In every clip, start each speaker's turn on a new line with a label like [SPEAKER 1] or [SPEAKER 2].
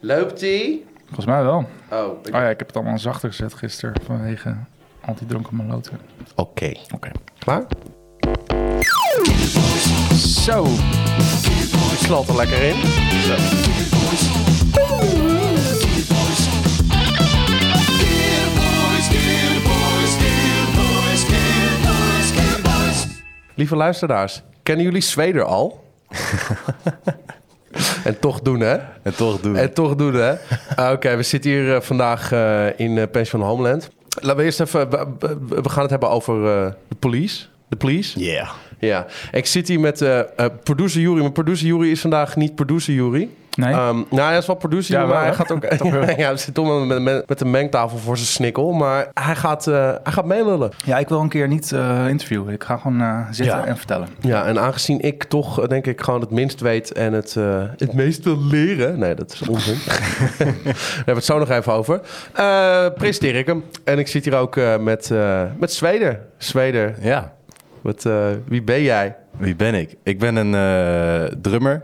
[SPEAKER 1] Loopt die?
[SPEAKER 2] Volgens mij wel.
[SPEAKER 1] Oh, ik-
[SPEAKER 2] Oh ja, ik heb het allemaal zachter gezet gisteren vanwege antidronken maloten.
[SPEAKER 3] Oké.
[SPEAKER 2] Oké.
[SPEAKER 3] Klaar?
[SPEAKER 2] Zo,
[SPEAKER 3] Ik knalt er lekker in. Lieve luisteraars, kennen jullie Zweder al? en toch doen, hè?
[SPEAKER 4] En toch doen.
[SPEAKER 3] En toch doen, hè? Ah, Oké, we zitten hier eh, vandaag eh, in eh, Pension Homeland. Laten we eerst even... we- We we gaan het hebben over eh, de police. De police?
[SPEAKER 4] Yeah.
[SPEAKER 3] Ja, ik zit hier met eh, eh, producer Jury. Maar producer Jury is vandaag niet producer Jury.
[SPEAKER 2] nee.
[SPEAKER 3] Ehm, nou, hij is wel producer,
[SPEAKER 2] Ja,
[SPEAKER 3] maar
[SPEAKER 2] wel,
[SPEAKER 3] hij
[SPEAKER 2] hè?
[SPEAKER 3] gaat ook... ja, hij zit toch met, met, met een mengtafel voor zijn snikkel. Maar hij gaat, eh, hij gaat meelullen.
[SPEAKER 2] ja, ik wil een keer niet eh, interviewen. Ik ga gewoon eh, zitten
[SPEAKER 3] Ja.
[SPEAKER 2] en vertellen.
[SPEAKER 3] Ja, en aangezien ik toch, eh, denk ik, gewoon het minst weet en het, eh, het meest wil leren... Nee, dat is onzin. Daar hebben we het zo nog even over. Eh presenteer ik hem. En ik zit hier ook eh, met, eh met Zweden. Zweden,
[SPEAKER 4] Ja.
[SPEAKER 3] wat, eh, wie ben jij?
[SPEAKER 4] Wie ben ik? Ik ben een eh, drummer.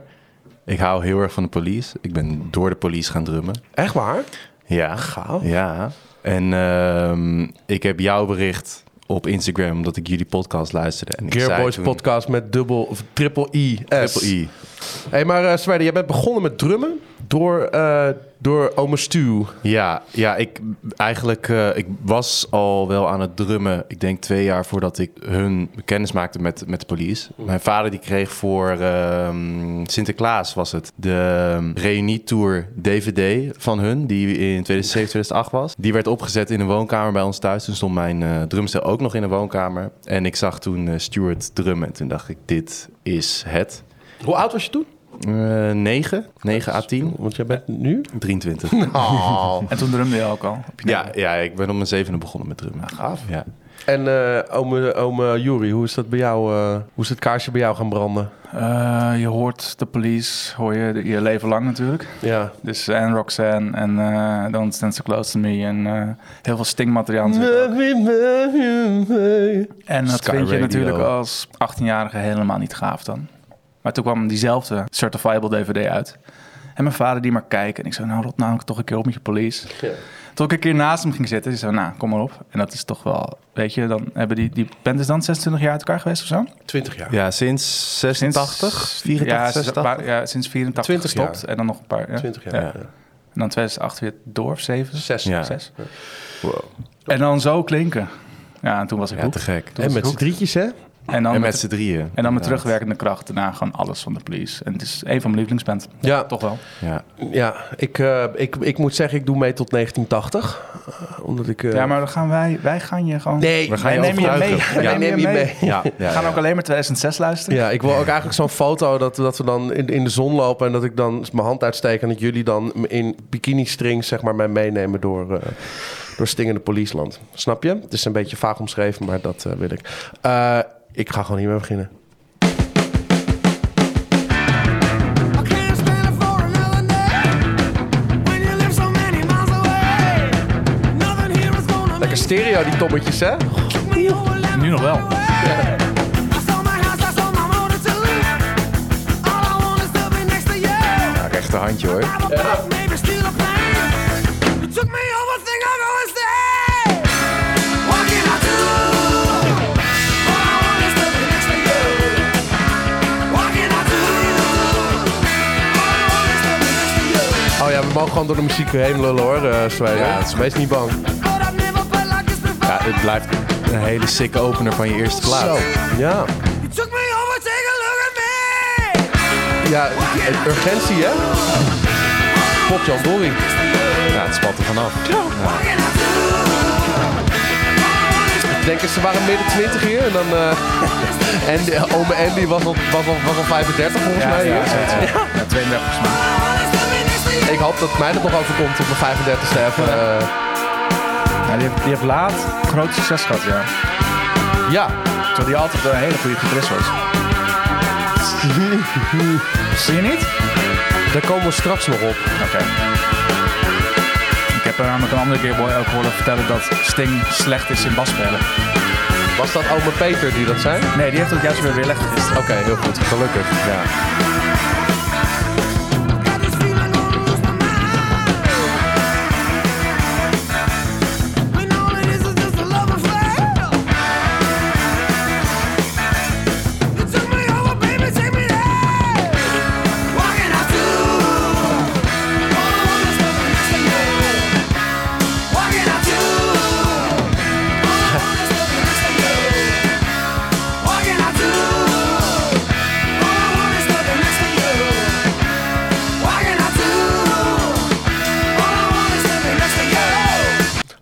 [SPEAKER 4] Ik hou heel erg van de police. Ik ben door de police gaan drummen.
[SPEAKER 3] Echt waar?
[SPEAKER 4] Ja.
[SPEAKER 3] Gaaf.
[SPEAKER 4] Ja. En ehm, ik heb jou bericht op Instagram omdat ik jullie podcast luisterde. En ik zei
[SPEAKER 3] Gearboys
[SPEAKER 4] toen-
[SPEAKER 3] podcast met dubbel of triple I.
[SPEAKER 4] Triple I.
[SPEAKER 3] Hey, maar eh Sweide, jij bent begonnen met drummen door, eh door Ome Stu.
[SPEAKER 4] Ja, ja ik eigenlijk, eh, ik was al wel aan het drummen. Ik denk twee jaar voordat ik hun kennis maakte met, met de police. Mijn vader die kreeg voor ehm, Sinterklaas was het. De ehm, reunietour DVD van hun, die in 2007, 2008 was. Die werd opgezet in een woonkamer bij ons thuis. Toen stond mijn eh, drumstel ook nog in een woonkamer. En ik zag toen eh, Stuart drummen. En toen dacht ik, dit is het.
[SPEAKER 3] Hoe oud was je toen?
[SPEAKER 4] 9, 9 à 10,
[SPEAKER 3] Want jij bent nu?
[SPEAKER 4] 23.
[SPEAKER 3] Oh.
[SPEAKER 2] En toen drumde je ook al. Op je
[SPEAKER 4] Ja, ja, ik ben om mijn zevende begonnen met drummen.
[SPEAKER 2] Ah.
[SPEAKER 4] gaaf. Ja.
[SPEAKER 3] en eh ome, ome Juri, hoe is dat bij jou? eh, hoe is het kaarsje bij jou gaan branden?
[SPEAKER 2] Eh, je hoort de police, hoor je de- je leven lang natuurlijk.
[SPEAKER 3] Ja.
[SPEAKER 2] Dus en Roxanne en eh, Don't Stand So Close To Me en eh, heel veel stingmateriaal. natuurlijk ook. En dat
[SPEAKER 4] Sky
[SPEAKER 2] vind je
[SPEAKER 4] Radio.
[SPEAKER 2] natuurlijk als 18-jarige helemaal niet gaaf dan. Maar toen kwam diezelfde Certifiable DVD uit. En mijn vader die maar kijken. En ik zei, nou rot nou toch een keer op met je police.
[SPEAKER 3] Ja.
[SPEAKER 2] Toen ik een keer naast hem ging zitten. Hij zei, nou kom maar op. En dat is toch wel, weet je, dan hebben die, die band is dan 26 jaar uit elkaar geweest of zo?
[SPEAKER 3] 20 jaar.
[SPEAKER 4] Ja, sinds
[SPEAKER 2] Sinds-
[SPEAKER 4] 86, 84,
[SPEAKER 2] ja, sinds
[SPEAKER 4] 86.
[SPEAKER 2] een paar- ja, sinds 84
[SPEAKER 3] 20 jaar.
[SPEAKER 2] gestopt. En dan nog een paar. Ja.
[SPEAKER 3] 20 jaar.
[SPEAKER 2] Ja.
[SPEAKER 3] Ja.
[SPEAKER 2] En dan 2008 weer door, of 7,
[SPEAKER 3] Zes.
[SPEAKER 4] Ja.
[SPEAKER 2] zes.
[SPEAKER 4] Wow.
[SPEAKER 2] En dan zo klinken. Ja, en toen was ik
[SPEAKER 4] Ja,
[SPEAKER 2] hoek.
[SPEAKER 4] te gek.
[SPEAKER 3] En met z'n drietjes, hè?
[SPEAKER 2] En dan
[SPEAKER 4] En
[SPEAKER 2] met
[SPEAKER 4] met z'n drieën.
[SPEAKER 2] En dan met
[SPEAKER 4] inderdaad.
[SPEAKER 2] terugwerkende kracht daarna gewoon alles van de police. En het is een van mijn lievelingsbands.
[SPEAKER 3] Ja.
[SPEAKER 2] Toch wel.
[SPEAKER 4] Ja.
[SPEAKER 3] Ja, ik, eh, ik, ik moet zeggen, ik doe mee tot 1980. Eh, Omdat ik... eh,
[SPEAKER 2] Ja, maar dan gaan wij, wij gaan je gewoon...
[SPEAKER 3] Nee,
[SPEAKER 4] We gaan je
[SPEAKER 2] Wij nemen je
[SPEAKER 4] overtuigen.
[SPEAKER 2] mee.
[SPEAKER 3] Ja,
[SPEAKER 2] Wij
[SPEAKER 3] neem je mee.
[SPEAKER 4] Ja, ja,
[SPEAKER 2] We gaan
[SPEAKER 4] ja.
[SPEAKER 2] ook alleen maar 2006 luisteren.
[SPEAKER 3] Ja, ik wil ook eigenlijk zo'n foto dat, dat we dan in, in de zon lopen en dat ik dan mijn hand uitsteek en dat jullie dan m- in bikini strings zeg maar mij meenemen door, eh, door stingende policeland. Snap je? Het is een beetje vaag omschreven, maar dat eh, wil ik. Eh, ik ga gewoon hiermee beginnen.
[SPEAKER 5] I can't stand it for another day. When you live so many miles away, nothing here is gonna
[SPEAKER 3] Lekker stereo die toppertjes, hè?
[SPEAKER 5] make me go a little
[SPEAKER 2] Nu nog wel.
[SPEAKER 5] way. I saw my house, I saw my motor too. All I want is to be next to you.
[SPEAKER 4] Ja, rechterhandje hoor.
[SPEAKER 5] Drive a bus, maybe steal a plane. You took me over, think I'll go and stay. What can I do? All I want is to be next to you. What can I do? All I want is to be next to you.
[SPEAKER 3] Oh ja, we mogen gewoon door de muziek heen lullen, hoor, eh Zweden.
[SPEAKER 4] Ja.
[SPEAKER 3] Dus Wees niet bang.
[SPEAKER 5] But I've never felt like this before.
[SPEAKER 4] Ja, het blijft een hele sikke opener van je eerste plaat.
[SPEAKER 3] Ja.
[SPEAKER 5] You took me over, take a look at me.
[SPEAKER 3] Ja, eh, urgentie, hè? Pop Jan Doring.
[SPEAKER 4] Ja, het spat er vanaf.
[SPEAKER 5] What can I do?
[SPEAKER 3] Ik denk dat ze waren midden 20 hier en dan... eh, En de- ome Andy was al, was al, was al 35 volgens mij. hier.
[SPEAKER 2] zoiets. Ja, 32 volgens mij.
[SPEAKER 5] All I want is to be next to you.
[SPEAKER 3] Ik hoop dat mij dat nog overkomt op mijn 35ste even. eh,
[SPEAKER 2] Ja, die, heeft, die heeft laat groot succes gehad, ja.
[SPEAKER 3] ja.
[SPEAKER 2] Terwijl die altijd een hele goede gitarist was. Zie je niet?
[SPEAKER 3] Daar komen we straks nog op.
[SPEAKER 2] Oké. Ik heb er namelijk een andere keer boy ook horen vertellen dat Sting slecht is in basspelen.
[SPEAKER 3] Was dat ome Peter die dat zei?
[SPEAKER 2] Nee, die heeft het juist weer weer legd
[SPEAKER 3] Oké, heel goed. Gelukkig.
[SPEAKER 4] Ja.
[SPEAKER 5] Got this feeling gonna lose my mind.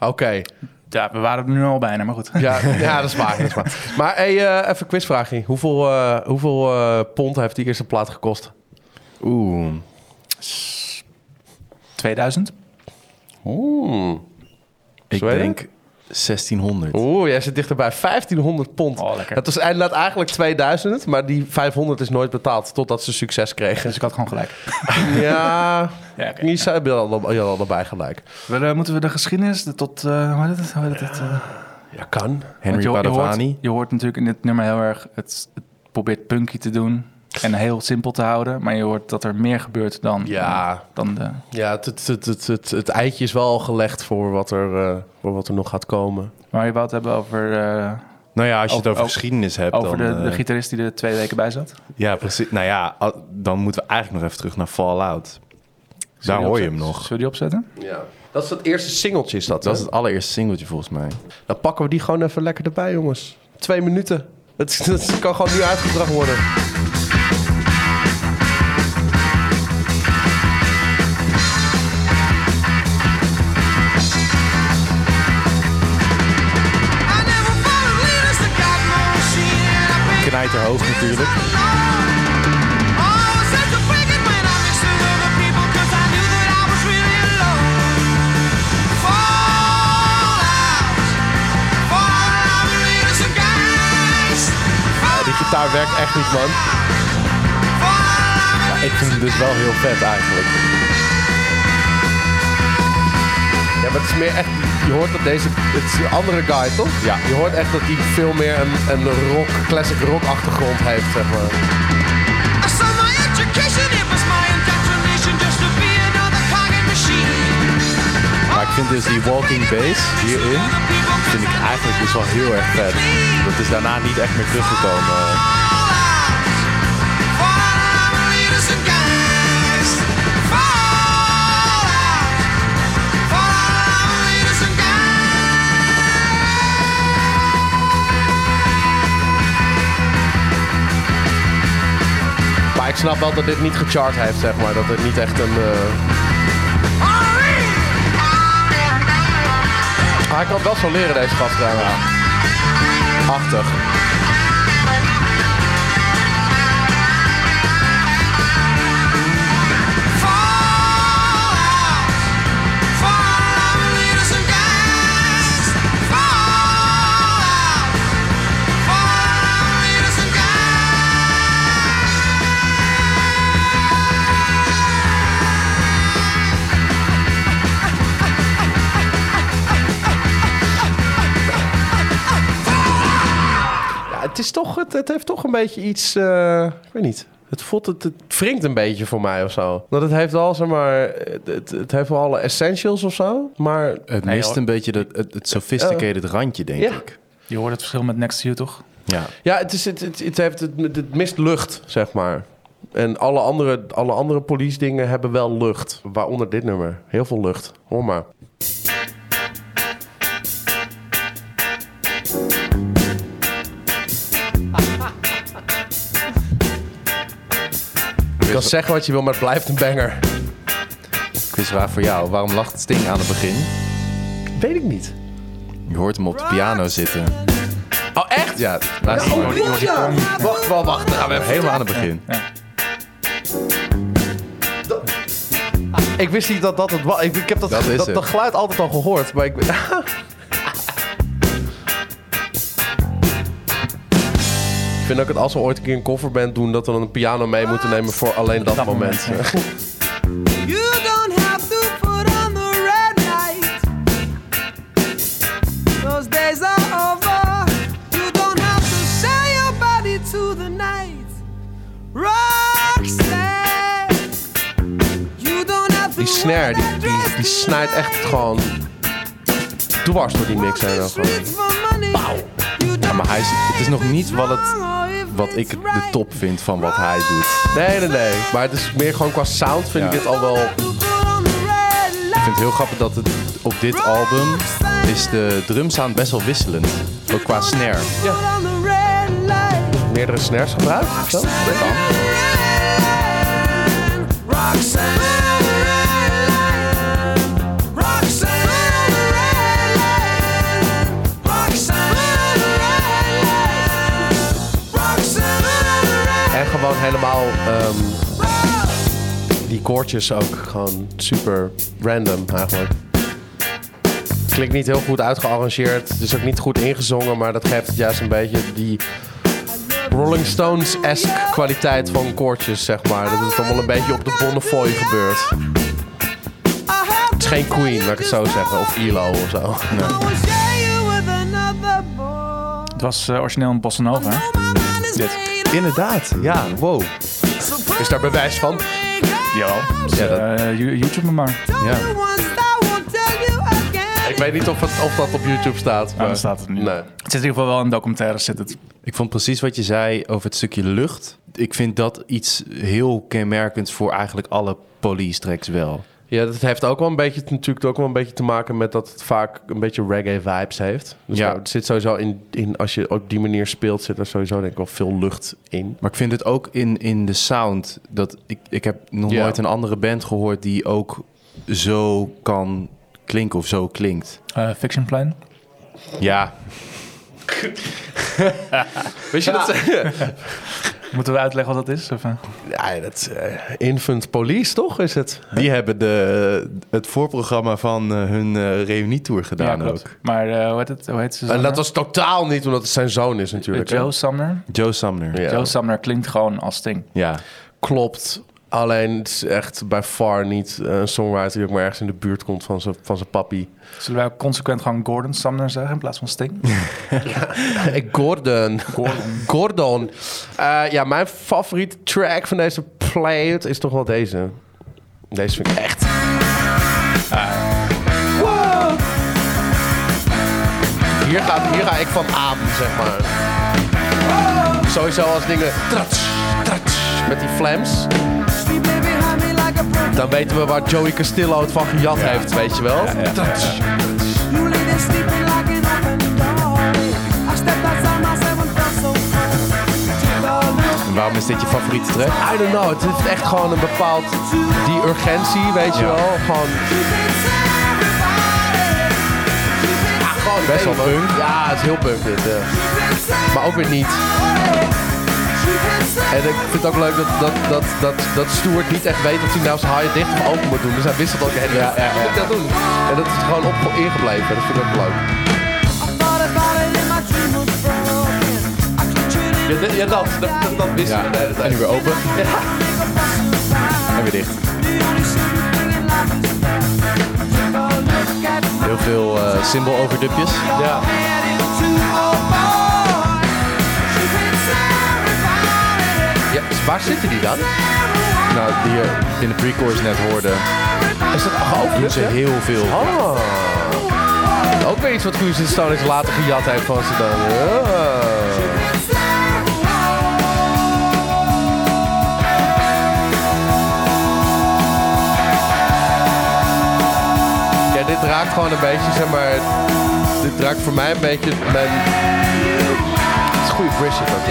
[SPEAKER 3] Oké.
[SPEAKER 2] Ja, we waren er nu al bijna, maar goed.
[SPEAKER 3] Ja, ja, dat is waar. Dat is waar. Maar hey, eh, even een quizvraagje. Hoeveel, eh, hoeveel eh, pond heeft die eerste plaat gekost?
[SPEAKER 4] Oeh.
[SPEAKER 2] 2000?
[SPEAKER 4] Ik
[SPEAKER 3] Zweden?
[SPEAKER 4] denk 1600.
[SPEAKER 3] Oeh, jij zit dichterbij. 1500 pond.
[SPEAKER 2] Oh, lekker.
[SPEAKER 3] Dat was inderdaad eigenlijk 2000, maar die 500 is nooit betaald totdat ze succes kregen.
[SPEAKER 2] Dus ik had gewoon gelijk.
[SPEAKER 3] Ja,
[SPEAKER 2] Ja, oké.
[SPEAKER 3] niet zijn beelden je al erbij gelijk.
[SPEAKER 2] Wel, eh, moeten we de geschiedenis de- tot... eh, hoe heet het? Hoe heet het? eh,
[SPEAKER 3] Ja, kan.
[SPEAKER 4] Henry
[SPEAKER 2] want je, ho- je
[SPEAKER 4] Padovani.
[SPEAKER 2] hoort, je hoort natuurlijk in dit nummer heel erg... Het, het probeert punky te doen en heel simpel te houden. Maar je hoort dat er meer gebeurt dan, eh,
[SPEAKER 3] Ja.
[SPEAKER 2] dan de...
[SPEAKER 3] Ja, het, het, het, het, het, het eitje is wel al gelegd voor wat, er, eh, voor wat er nog gaat komen.
[SPEAKER 2] Maar je wou het hebben over, eh,
[SPEAKER 4] Nou ja, als
[SPEAKER 2] Over-
[SPEAKER 4] je het over
[SPEAKER 2] over-
[SPEAKER 4] geschiedenis hebt,
[SPEAKER 2] oh. over
[SPEAKER 4] dan...
[SPEAKER 2] de, de
[SPEAKER 4] eh,
[SPEAKER 2] gitarist die er twee weken bij zat.
[SPEAKER 4] ja, precies. Nou ja, al- dan moeten we eigenlijk nog even terug naar Fallout. Daar hoor je hem nog.
[SPEAKER 2] Zullen we die opzetten?
[SPEAKER 3] Ja. Dat is het eerste singeltje, is dat?
[SPEAKER 4] Dat
[SPEAKER 3] Dat
[SPEAKER 4] is het allereerste singeltje volgens mij.
[SPEAKER 3] Dan pakken we die gewoon even lekker erbij, jongens. Twee minuten. Het, is- het kan gewoon nu uitgebracht worden.
[SPEAKER 4] Knijter hoog natuurlijk.
[SPEAKER 5] Oh,
[SPEAKER 3] Die gitaar werkt echt niet, man.
[SPEAKER 4] Ik vind het dus wel heel vet eigenlijk.
[SPEAKER 3] Ja, maar het is meer echt... Je hoort dat deze... Het is een andere guy, toch?
[SPEAKER 4] Ja.
[SPEAKER 3] Je hoort echt dat hij veel meer een, een rock, classic rock achtergrond heeft, zeg maar.
[SPEAKER 5] I saw my education, it was my indoctrination just to be another cog in the machine.
[SPEAKER 4] Maar ik vind dus die walking bass hierin, vind ik eigenlijk dus wel heel erg vet. Dat is daarna niet echt meer teruggekomen.
[SPEAKER 3] Maar ik snap wel dat dit niet gechart heeft, zeg maar. Dat het niet echt een... eh, Maar hij kan het wel zo leren, deze gast, trouwens. Achtig. Ja, het, is toch, het, het heeft toch een beetje iets. eh, ik weet niet. Het voelt het, het wringt een beetje voor mij of zo. Dat het heeft wel, zeg maar. Het, het- het heeft wel alle essentials of zo. Maar.
[SPEAKER 4] Het mist een beetje dat, het, het sophisticated randje, denk
[SPEAKER 3] Ja.
[SPEAKER 4] ik.
[SPEAKER 2] Je hoort het verschil met Next to You, toch?
[SPEAKER 4] Ja.
[SPEAKER 3] Ja, het, is, het, het, het heeft, het, het mist lucht, zeg maar. En alle andere, alle andere police dingen hebben wel lucht. Waaronder dit nummer. Heel veel lucht. Hoor maar. Je kan zeggen wat je wil, maar het blijft een banger.
[SPEAKER 4] Quizvraag voor jou. Waarom lacht Sting aan het begin?
[SPEAKER 3] Weet ik niet.
[SPEAKER 4] Je hoort hem op de piano zitten.
[SPEAKER 3] Oh, echt?
[SPEAKER 4] Ja, oh, luister maar.
[SPEAKER 3] Klopt, ja. Wacht, wacht, wacht. Dan gaan we even-
[SPEAKER 4] Helemaal aan het begin.
[SPEAKER 3] Ik wist niet dat dat het was. Ik, ik heb dat,
[SPEAKER 4] Dat
[SPEAKER 3] dat,
[SPEAKER 4] is
[SPEAKER 3] dat,
[SPEAKER 4] het.
[SPEAKER 3] geluid altijd al gehoord, maar ik... Ik vind ook het als we ooit een keer een coverband doen... dat we dan een piano mee moeten nemen voor alleen dat,
[SPEAKER 2] Dat
[SPEAKER 3] moment.
[SPEAKER 2] moment,
[SPEAKER 5] You don't have to put on the red light. Those days are over. You don't have to sell your body to the night. Roxanne. You don't have to
[SPEAKER 3] Die snare, die,
[SPEAKER 5] wear that
[SPEAKER 3] die,
[SPEAKER 5] dress
[SPEAKER 3] die snijdt echt
[SPEAKER 5] tonight.
[SPEAKER 3] gewoon dwars door die mix
[SPEAKER 5] Walk
[SPEAKER 3] heen.
[SPEAKER 5] the
[SPEAKER 3] ook gewoon.
[SPEAKER 5] streets for money. You don't
[SPEAKER 4] maar hij is- het is nog
[SPEAKER 5] care if
[SPEAKER 4] niet
[SPEAKER 5] it's
[SPEAKER 4] wat het-
[SPEAKER 5] wrong or if
[SPEAKER 4] Wat
[SPEAKER 5] it's
[SPEAKER 4] ik de
[SPEAKER 5] right.
[SPEAKER 4] top vind van wat hij doet.
[SPEAKER 3] Nee, nee, nee. Maar het is meer gewoon qua sound vind
[SPEAKER 4] Ja.
[SPEAKER 3] ik dit al wel...
[SPEAKER 5] You don't have to put on the
[SPEAKER 4] Ik
[SPEAKER 5] red
[SPEAKER 4] vind het
[SPEAKER 5] light.
[SPEAKER 4] heel grappig dat het op dit album is de drumsound best wel wisselend. Ook qua snare.
[SPEAKER 5] You don't have to put on the red light.
[SPEAKER 3] Meerdere snares gebruikt. of zo?
[SPEAKER 5] Roxanne, Roxanne,
[SPEAKER 3] gewoon helemaal ehm, die koortjes ook gewoon super random eigenlijk. Klinkt niet heel goed uitgearrangeerd. Het is ook niet goed ingezongen, maar dat geeft het juist een beetje die Rolling Stones-esque kwaliteit van koortjes, zeg maar. Dat het allemaal een beetje op de Bonnefoy gebeurt. Het is geen Queen, laat ik het zo zeggen. Of ILO of zo.
[SPEAKER 2] Het was eh, origineel een bossa nova. hè?
[SPEAKER 5] Dit.
[SPEAKER 4] Inderdaad, ja, wow.
[SPEAKER 3] Is daar bewijs van?
[SPEAKER 2] Jawel. Dus,
[SPEAKER 3] Ja, dat-
[SPEAKER 2] eh, you- YouTube me maar.
[SPEAKER 5] Ja.
[SPEAKER 3] Ik weet niet of, het, of dat op YouTube staat. Maar...
[SPEAKER 2] dan staat het niet.
[SPEAKER 3] Nee.
[SPEAKER 2] Het zit in ieder geval wel in documentaires. Zit het.
[SPEAKER 4] Ik vond precies wat je zei over het stukje lucht. Ik vind dat iets heel kenmerkends voor eigenlijk alle police tracks wel.
[SPEAKER 3] Ja, dat heeft ook wel een beetje, natuurlijk ook wel een beetje te maken met dat het vaak een beetje reggae vibes heeft. Dus
[SPEAKER 4] Ja.
[SPEAKER 3] ja. het zit sowieso in, in, als je op die manier speelt, zit er sowieso denk ik wel veel lucht in.
[SPEAKER 4] Maar ik vind het ook in, in de sound. Dat ik, ik heb nog
[SPEAKER 3] Ja.
[SPEAKER 4] nooit een andere band gehoord die ook zo kan klinken of zo klinkt.
[SPEAKER 2] Eh, Fiction Plan.
[SPEAKER 4] Ja,
[SPEAKER 3] Weet je dat?
[SPEAKER 2] Moeten we uitleggen wat dat is? Of, eh?
[SPEAKER 3] ja, dat eh, Infant Police toch is het?
[SPEAKER 4] die hebben de, het voorprogramma van eh, hun eh, reunietour gedaan
[SPEAKER 2] klopt.
[SPEAKER 4] ook.
[SPEAKER 2] Maar eh, hoe, heet het, hoe heet ze?
[SPEAKER 3] nou En dat
[SPEAKER 2] zanger?
[SPEAKER 3] was totaal niet omdat het zijn zoon is natuurlijk. hè?
[SPEAKER 2] Joe Sumner.
[SPEAKER 4] Joe Sumner.
[SPEAKER 3] Ja.
[SPEAKER 2] Joe Sumner klinkt gewoon als Sting.
[SPEAKER 4] ja.
[SPEAKER 3] Klopt. Alleen het is echt bij far niet eh, een songwriter die ook maar ergens in de buurt komt van zijn van zijn papi.
[SPEAKER 2] Zullen wij ook consequent gewoon Gordon Sumner zeggen in plaats van Sting?
[SPEAKER 3] Eh, Gordon.
[SPEAKER 2] Gordon.
[SPEAKER 3] Gordon. Eh, ja, mijn favoriete track van deze playlist is toch wel deze. Deze vind ik echt. Ah. Wow. Hier, ga, hier ga ik van aan, zeg maar. Sowieso als dingen. Trats, trats, met die flams. Dan weten we waar Joey Castillo het van gejat heeft, weet je wel. Trats.
[SPEAKER 4] En waarom is dit je favoriete track?
[SPEAKER 3] I don't know, het heeft echt gewoon een bepaald... Die urgentie, weet je
[SPEAKER 4] Ja.
[SPEAKER 3] wel. Gewoon... Ja, gewoon
[SPEAKER 4] Best wel
[SPEAKER 3] punk. Ja, het is heel punk dit. ja. Maar ook weer niet. En ik vind het ook leuk dat, dat, dat, dat, dat Stuart niet echt weet of hij nou zijn haaien dicht of open moet doen. Dus hij wist dat ook. En ja, ja, moet ik dat doen? En dat is gewoon op ingebleven. Dat vind ik ook leuk. Ja, dit- ja, dat, dat, dat, dat wist
[SPEAKER 4] Ja.
[SPEAKER 3] ik de hele tijd.
[SPEAKER 4] En nu weer open. En weer dicht. Heel veel eh cymbal overdubjes.
[SPEAKER 3] Ja. Ja, dus waar zitten die dan?
[SPEAKER 4] Nou, die je in de pre-chorus net hoorde,
[SPEAKER 3] Is dat
[SPEAKER 4] doen
[SPEAKER 3] geopend?
[SPEAKER 4] ze heel veel.
[SPEAKER 3] Oh. Ook weer iets wat Queens in Stone is later gejat heeft van ze dan. Ja. Ja, dit raakt gewoon een beetje, zeg maar. Dit raakt voor mij een beetje mijn. Het is een goede bridge dat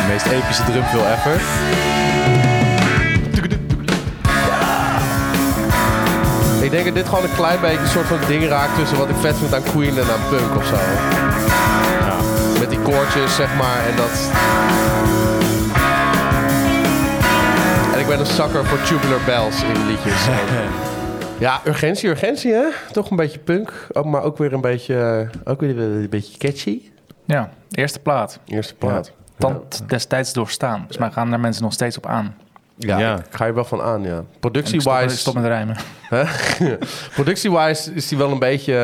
[SPEAKER 4] De meest epische drumfill ever.
[SPEAKER 3] Ik denk dat dit gewoon een klein beetje een soort van ding raakt tussen wat ik vet vind aan Queen en aan punk of zo. Met die koortjes, zeg maar, en dat. En ik ben een zakker voor tubular bells in liedjes. ja, urgentie, urgentie, hè? Toch een beetje punk, ook- maar ook weer een beetje, eh, ook weer een beetje catchy.
[SPEAKER 2] Ja, eerste plaat.
[SPEAKER 3] Eerste plaat.
[SPEAKER 2] Tand destijds doorstaan. Dus maar gaan daar mensen nog steeds op aan.
[SPEAKER 3] Ja,
[SPEAKER 4] Ja.
[SPEAKER 3] ik ga je wel van aan, ja.
[SPEAKER 2] En ik stop,
[SPEAKER 3] Productie-wise
[SPEAKER 2] stop met rijmen.
[SPEAKER 3] hè? Productie-wise is die wel een beetje...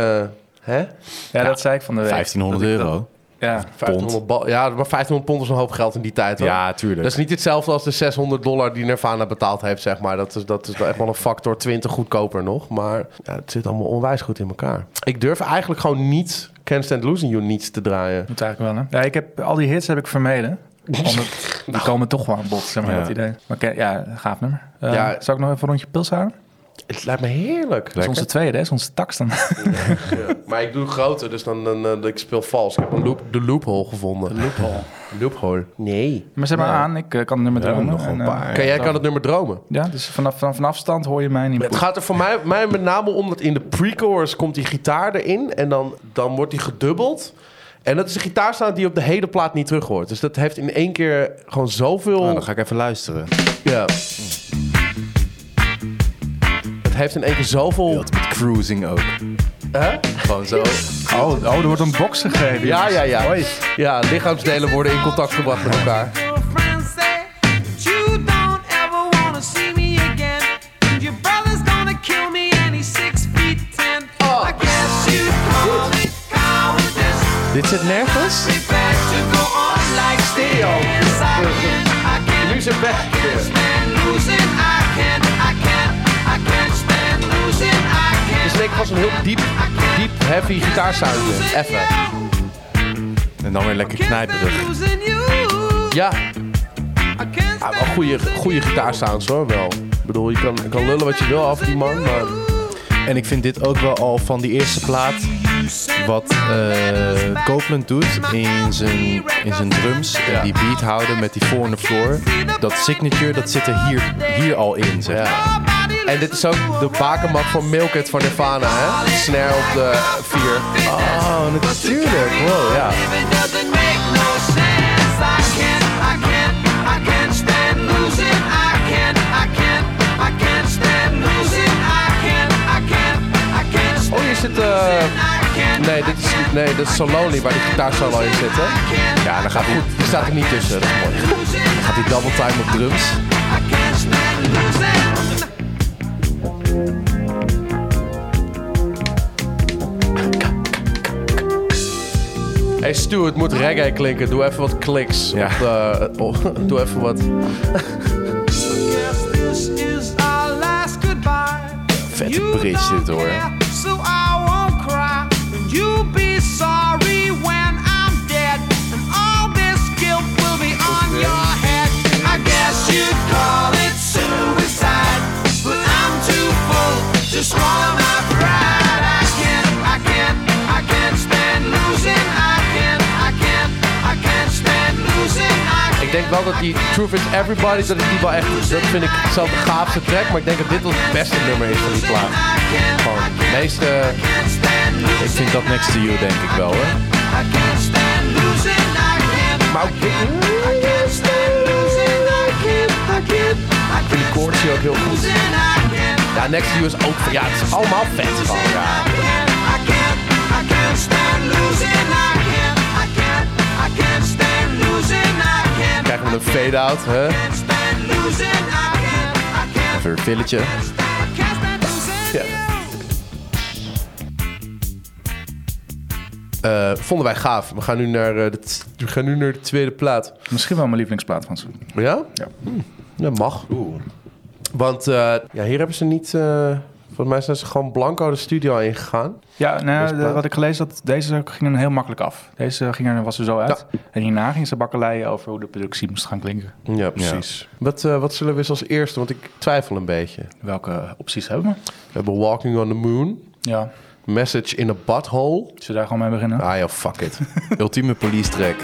[SPEAKER 3] eh, Hè?
[SPEAKER 2] Ja, dat zei ik van de week.
[SPEAKER 4] 1500 euro.
[SPEAKER 2] Ja.
[SPEAKER 3] 500 bal- ja, maar 500 pond is een hoop geld in die tijd. Hoor.
[SPEAKER 4] Ja,
[SPEAKER 3] Dat is
[SPEAKER 4] tuurlijk.
[SPEAKER 3] niet hetzelfde als de 600 dollar die Nirvana betaald heeft, zeg maar. Dat is, dat is wel echt wel een factor 20 goedkoper nog. Maar ja, het zit allemaal onwijs goed in elkaar. Ik durf eigenlijk gewoon niet Can't Stand Losing You niet te draaien.
[SPEAKER 2] Moet eigenlijk wel, hè? Ja, ik heb, al die hits heb ik vermeden. Omdat die
[SPEAKER 3] Nou.
[SPEAKER 2] komen toch wel aan bod, zeg maar,
[SPEAKER 4] Ja.
[SPEAKER 2] dat idee. Maar oké, ja, gaaf nummer. Eh,
[SPEAKER 3] Ja.
[SPEAKER 2] Zal ik nog even een rondje pils halen?
[SPEAKER 3] Het lijkt me heerlijk.
[SPEAKER 2] Dat is onze tweede, hè? Dat is onze tax dan.
[SPEAKER 3] Ja. Maar ik doe groter, dus dan, dan, eh, ik speel vals. Ik heb een loop, de loophole gevonden.
[SPEAKER 2] Loophole.
[SPEAKER 3] Loophole? Nee.
[SPEAKER 2] Maar zet maar aan, ik eh, kan het nummer dromen.
[SPEAKER 4] nog
[SPEAKER 2] en,
[SPEAKER 4] een
[SPEAKER 2] eh,
[SPEAKER 4] paar.
[SPEAKER 3] Kan, jij kan het nummer dromen.
[SPEAKER 2] Ja, dus vanaf, vanaf, vanaf afstand hoor je mij niet.
[SPEAKER 3] Het gaat er voor mij, mij met name om dat in de pre-chorus komt die gitaar erin en dan, dan wordt die gedubbeld. En dat is een gitaarstaat die je op de hele plaat niet terug hoort. Dus dat heeft in één keer gewoon zoveel...
[SPEAKER 4] Nou, dan ga ik even luisteren.
[SPEAKER 3] Ja. Het heeft in één keer zoveel...
[SPEAKER 4] Wild met cruising ook.
[SPEAKER 3] Hè?
[SPEAKER 4] Gewoon zo.
[SPEAKER 2] Oh, oh, er wordt een box gegeven.
[SPEAKER 3] Ja, ja, ja. Ja, lichaamsdelen worden in contact gebracht met elkaar.
[SPEAKER 1] Your friends say that you don't ever wanna see me again. And your brother's gonna kill me and he's six feet ten. I guess you call it cowardice.
[SPEAKER 4] Dit zit nergens?
[SPEAKER 1] Prepared to go on like this. I can't, I can't,
[SPEAKER 3] zijn weg
[SPEAKER 1] can't stand losing. I can't, I can't, I can't stand losing. I
[SPEAKER 3] Het is denk
[SPEAKER 1] can't,
[SPEAKER 3] Dus ik gewoon zo'n heel diep, diep, heavy gitaarsoundje.
[SPEAKER 1] losing
[SPEAKER 3] Even.
[SPEAKER 1] you.
[SPEAKER 4] En dan weer lekker
[SPEAKER 1] Can't
[SPEAKER 4] knijperig.
[SPEAKER 1] stand losing you.
[SPEAKER 3] Ja,
[SPEAKER 1] I can't
[SPEAKER 3] ja wel
[SPEAKER 1] stand
[SPEAKER 3] goede,
[SPEAKER 1] losing
[SPEAKER 3] goede
[SPEAKER 1] you.
[SPEAKER 3] gitaarsounds hoor wel. Ik bedoel, je kan, je kan lullen wat je wil af die man, maar...
[SPEAKER 4] En ik vind dit ook wel al van die eerste plaat wat eh Copeland doet in zijn, in zijn drums. en Die beat houden met die four on the floor. Dat signature, dat zit er hier, hier al in, zeg maar.
[SPEAKER 3] En dit is ook de bakermat van Milkit van Nirvana, hè? Snare op de 4.
[SPEAKER 4] Oh, natuurlijk. Wow,
[SPEAKER 3] Ja. Oh, hier zit... eh nee, dit is, nee, dat is So Lonely, waar die gitaar zo al in zit, hè?
[SPEAKER 4] Ja, dan gaat hij,
[SPEAKER 3] Goed, die staat er niet tussen. Dat is mooi.
[SPEAKER 4] gaat hij double time op drums.
[SPEAKER 3] Hey Stu, het moet reggae klinken. Doe even wat kliks.
[SPEAKER 4] Ja.
[SPEAKER 3] Op de, op- doe even wat...
[SPEAKER 1] Vette
[SPEAKER 4] bridge dit, hoor.
[SPEAKER 1] So I won't cry. And you'll be sorry when I'm dead. And all this guilt will be on your head. I guess you'd call it suicide. But I'm too full to swallow my pride. I can't, I can't, I can't stand losing. I can't, I can't, I can't stand losing. I
[SPEAKER 3] Ik denk wel dat die Truth is Everybody, dat ik die wel echt... Dat vind ik zelf de gaafste track, maar ik denk dat dit wel het beste nummer is van die plaat.
[SPEAKER 1] I can't,
[SPEAKER 3] Gewoon het meeste...
[SPEAKER 1] can't stand
[SPEAKER 4] Ik
[SPEAKER 1] losing.
[SPEAKER 4] vind dat next to you, denk ik wel, hoor.
[SPEAKER 1] I can't stand losing. I can't.
[SPEAKER 3] Maar ook dit
[SPEAKER 1] I can't stand losing. I can't. I can't. I
[SPEAKER 3] vind die
[SPEAKER 1] can't
[SPEAKER 3] koorts hier ook heel
[SPEAKER 1] stand
[SPEAKER 3] goed.
[SPEAKER 1] losing. I can't.
[SPEAKER 3] Ja, Next to You is ook... Ja, het is allemaal vet gewoon.
[SPEAKER 1] I can't. I can't. I can't stand losing. I can't. I can't. I can't stand losing. I can't.
[SPEAKER 3] Krijgen we een fade-out, hè?
[SPEAKER 1] I can't stand losing. I can't. I can't.
[SPEAKER 4] Even een filletje.
[SPEAKER 1] I can't stand losing. you.
[SPEAKER 3] Eh, vonden wij gaaf. We gaan nu naar, eh, de, t- we gaan nu naar de tweede plaat.
[SPEAKER 2] Misschien wel mijn lievelingsplaat van ze.
[SPEAKER 3] Ja?
[SPEAKER 2] Ja.
[SPEAKER 3] Dat mag. Want eh, ja, hier hebben ze niet... eh volgens mij zijn ze gewoon blanco de studio ingegaan.
[SPEAKER 2] Ja,
[SPEAKER 3] Best
[SPEAKER 2] nou, de-
[SPEAKER 3] plaat.
[SPEAKER 2] wat ik gelezen had, deze ging er heel makkelijk af. Deze ging er, was er zo uit. En hierna ging ze bakkeleien over hoe de productie moest gaan klinken.
[SPEAKER 3] Ja, precies. Wat, eh, wat zullen we eens als eerste? Want ik twijfel een beetje.
[SPEAKER 2] Welke opties hebben we?
[SPEAKER 3] We hebben Walking on the Moon.
[SPEAKER 2] Ja,
[SPEAKER 3] Message in a Butthole.
[SPEAKER 2] zullen we daar gewoon mee beginnen?
[SPEAKER 3] Ah ja, fuck it.
[SPEAKER 4] Ultieme police track.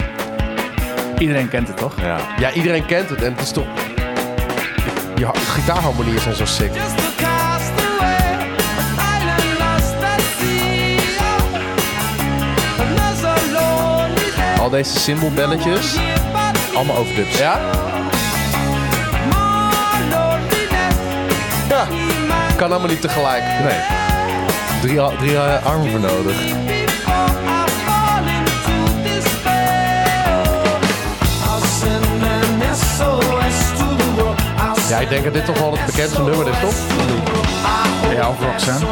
[SPEAKER 2] Iedereen kent het, toch?
[SPEAKER 4] Ja.
[SPEAKER 3] ja, iedereen kent het. En het is toch... Die ha- gitaarharmonieën zijn zo sick.
[SPEAKER 1] Just a castaway, an island lost at sea. Another lonely day.
[SPEAKER 4] Al deze symbolbelletjes, allemaal overdubs.
[SPEAKER 3] Ja? Ja. Kan allemaal niet tegelijk. Nee.
[SPEAKER 4] Drie, a- drie eh, armen voor nodig.
[SPEAKER 3] Ja, ik denk dat dit toch wel het bekendste nummer is, toch?
[SPEAKER 2] Ja, of Roxanne.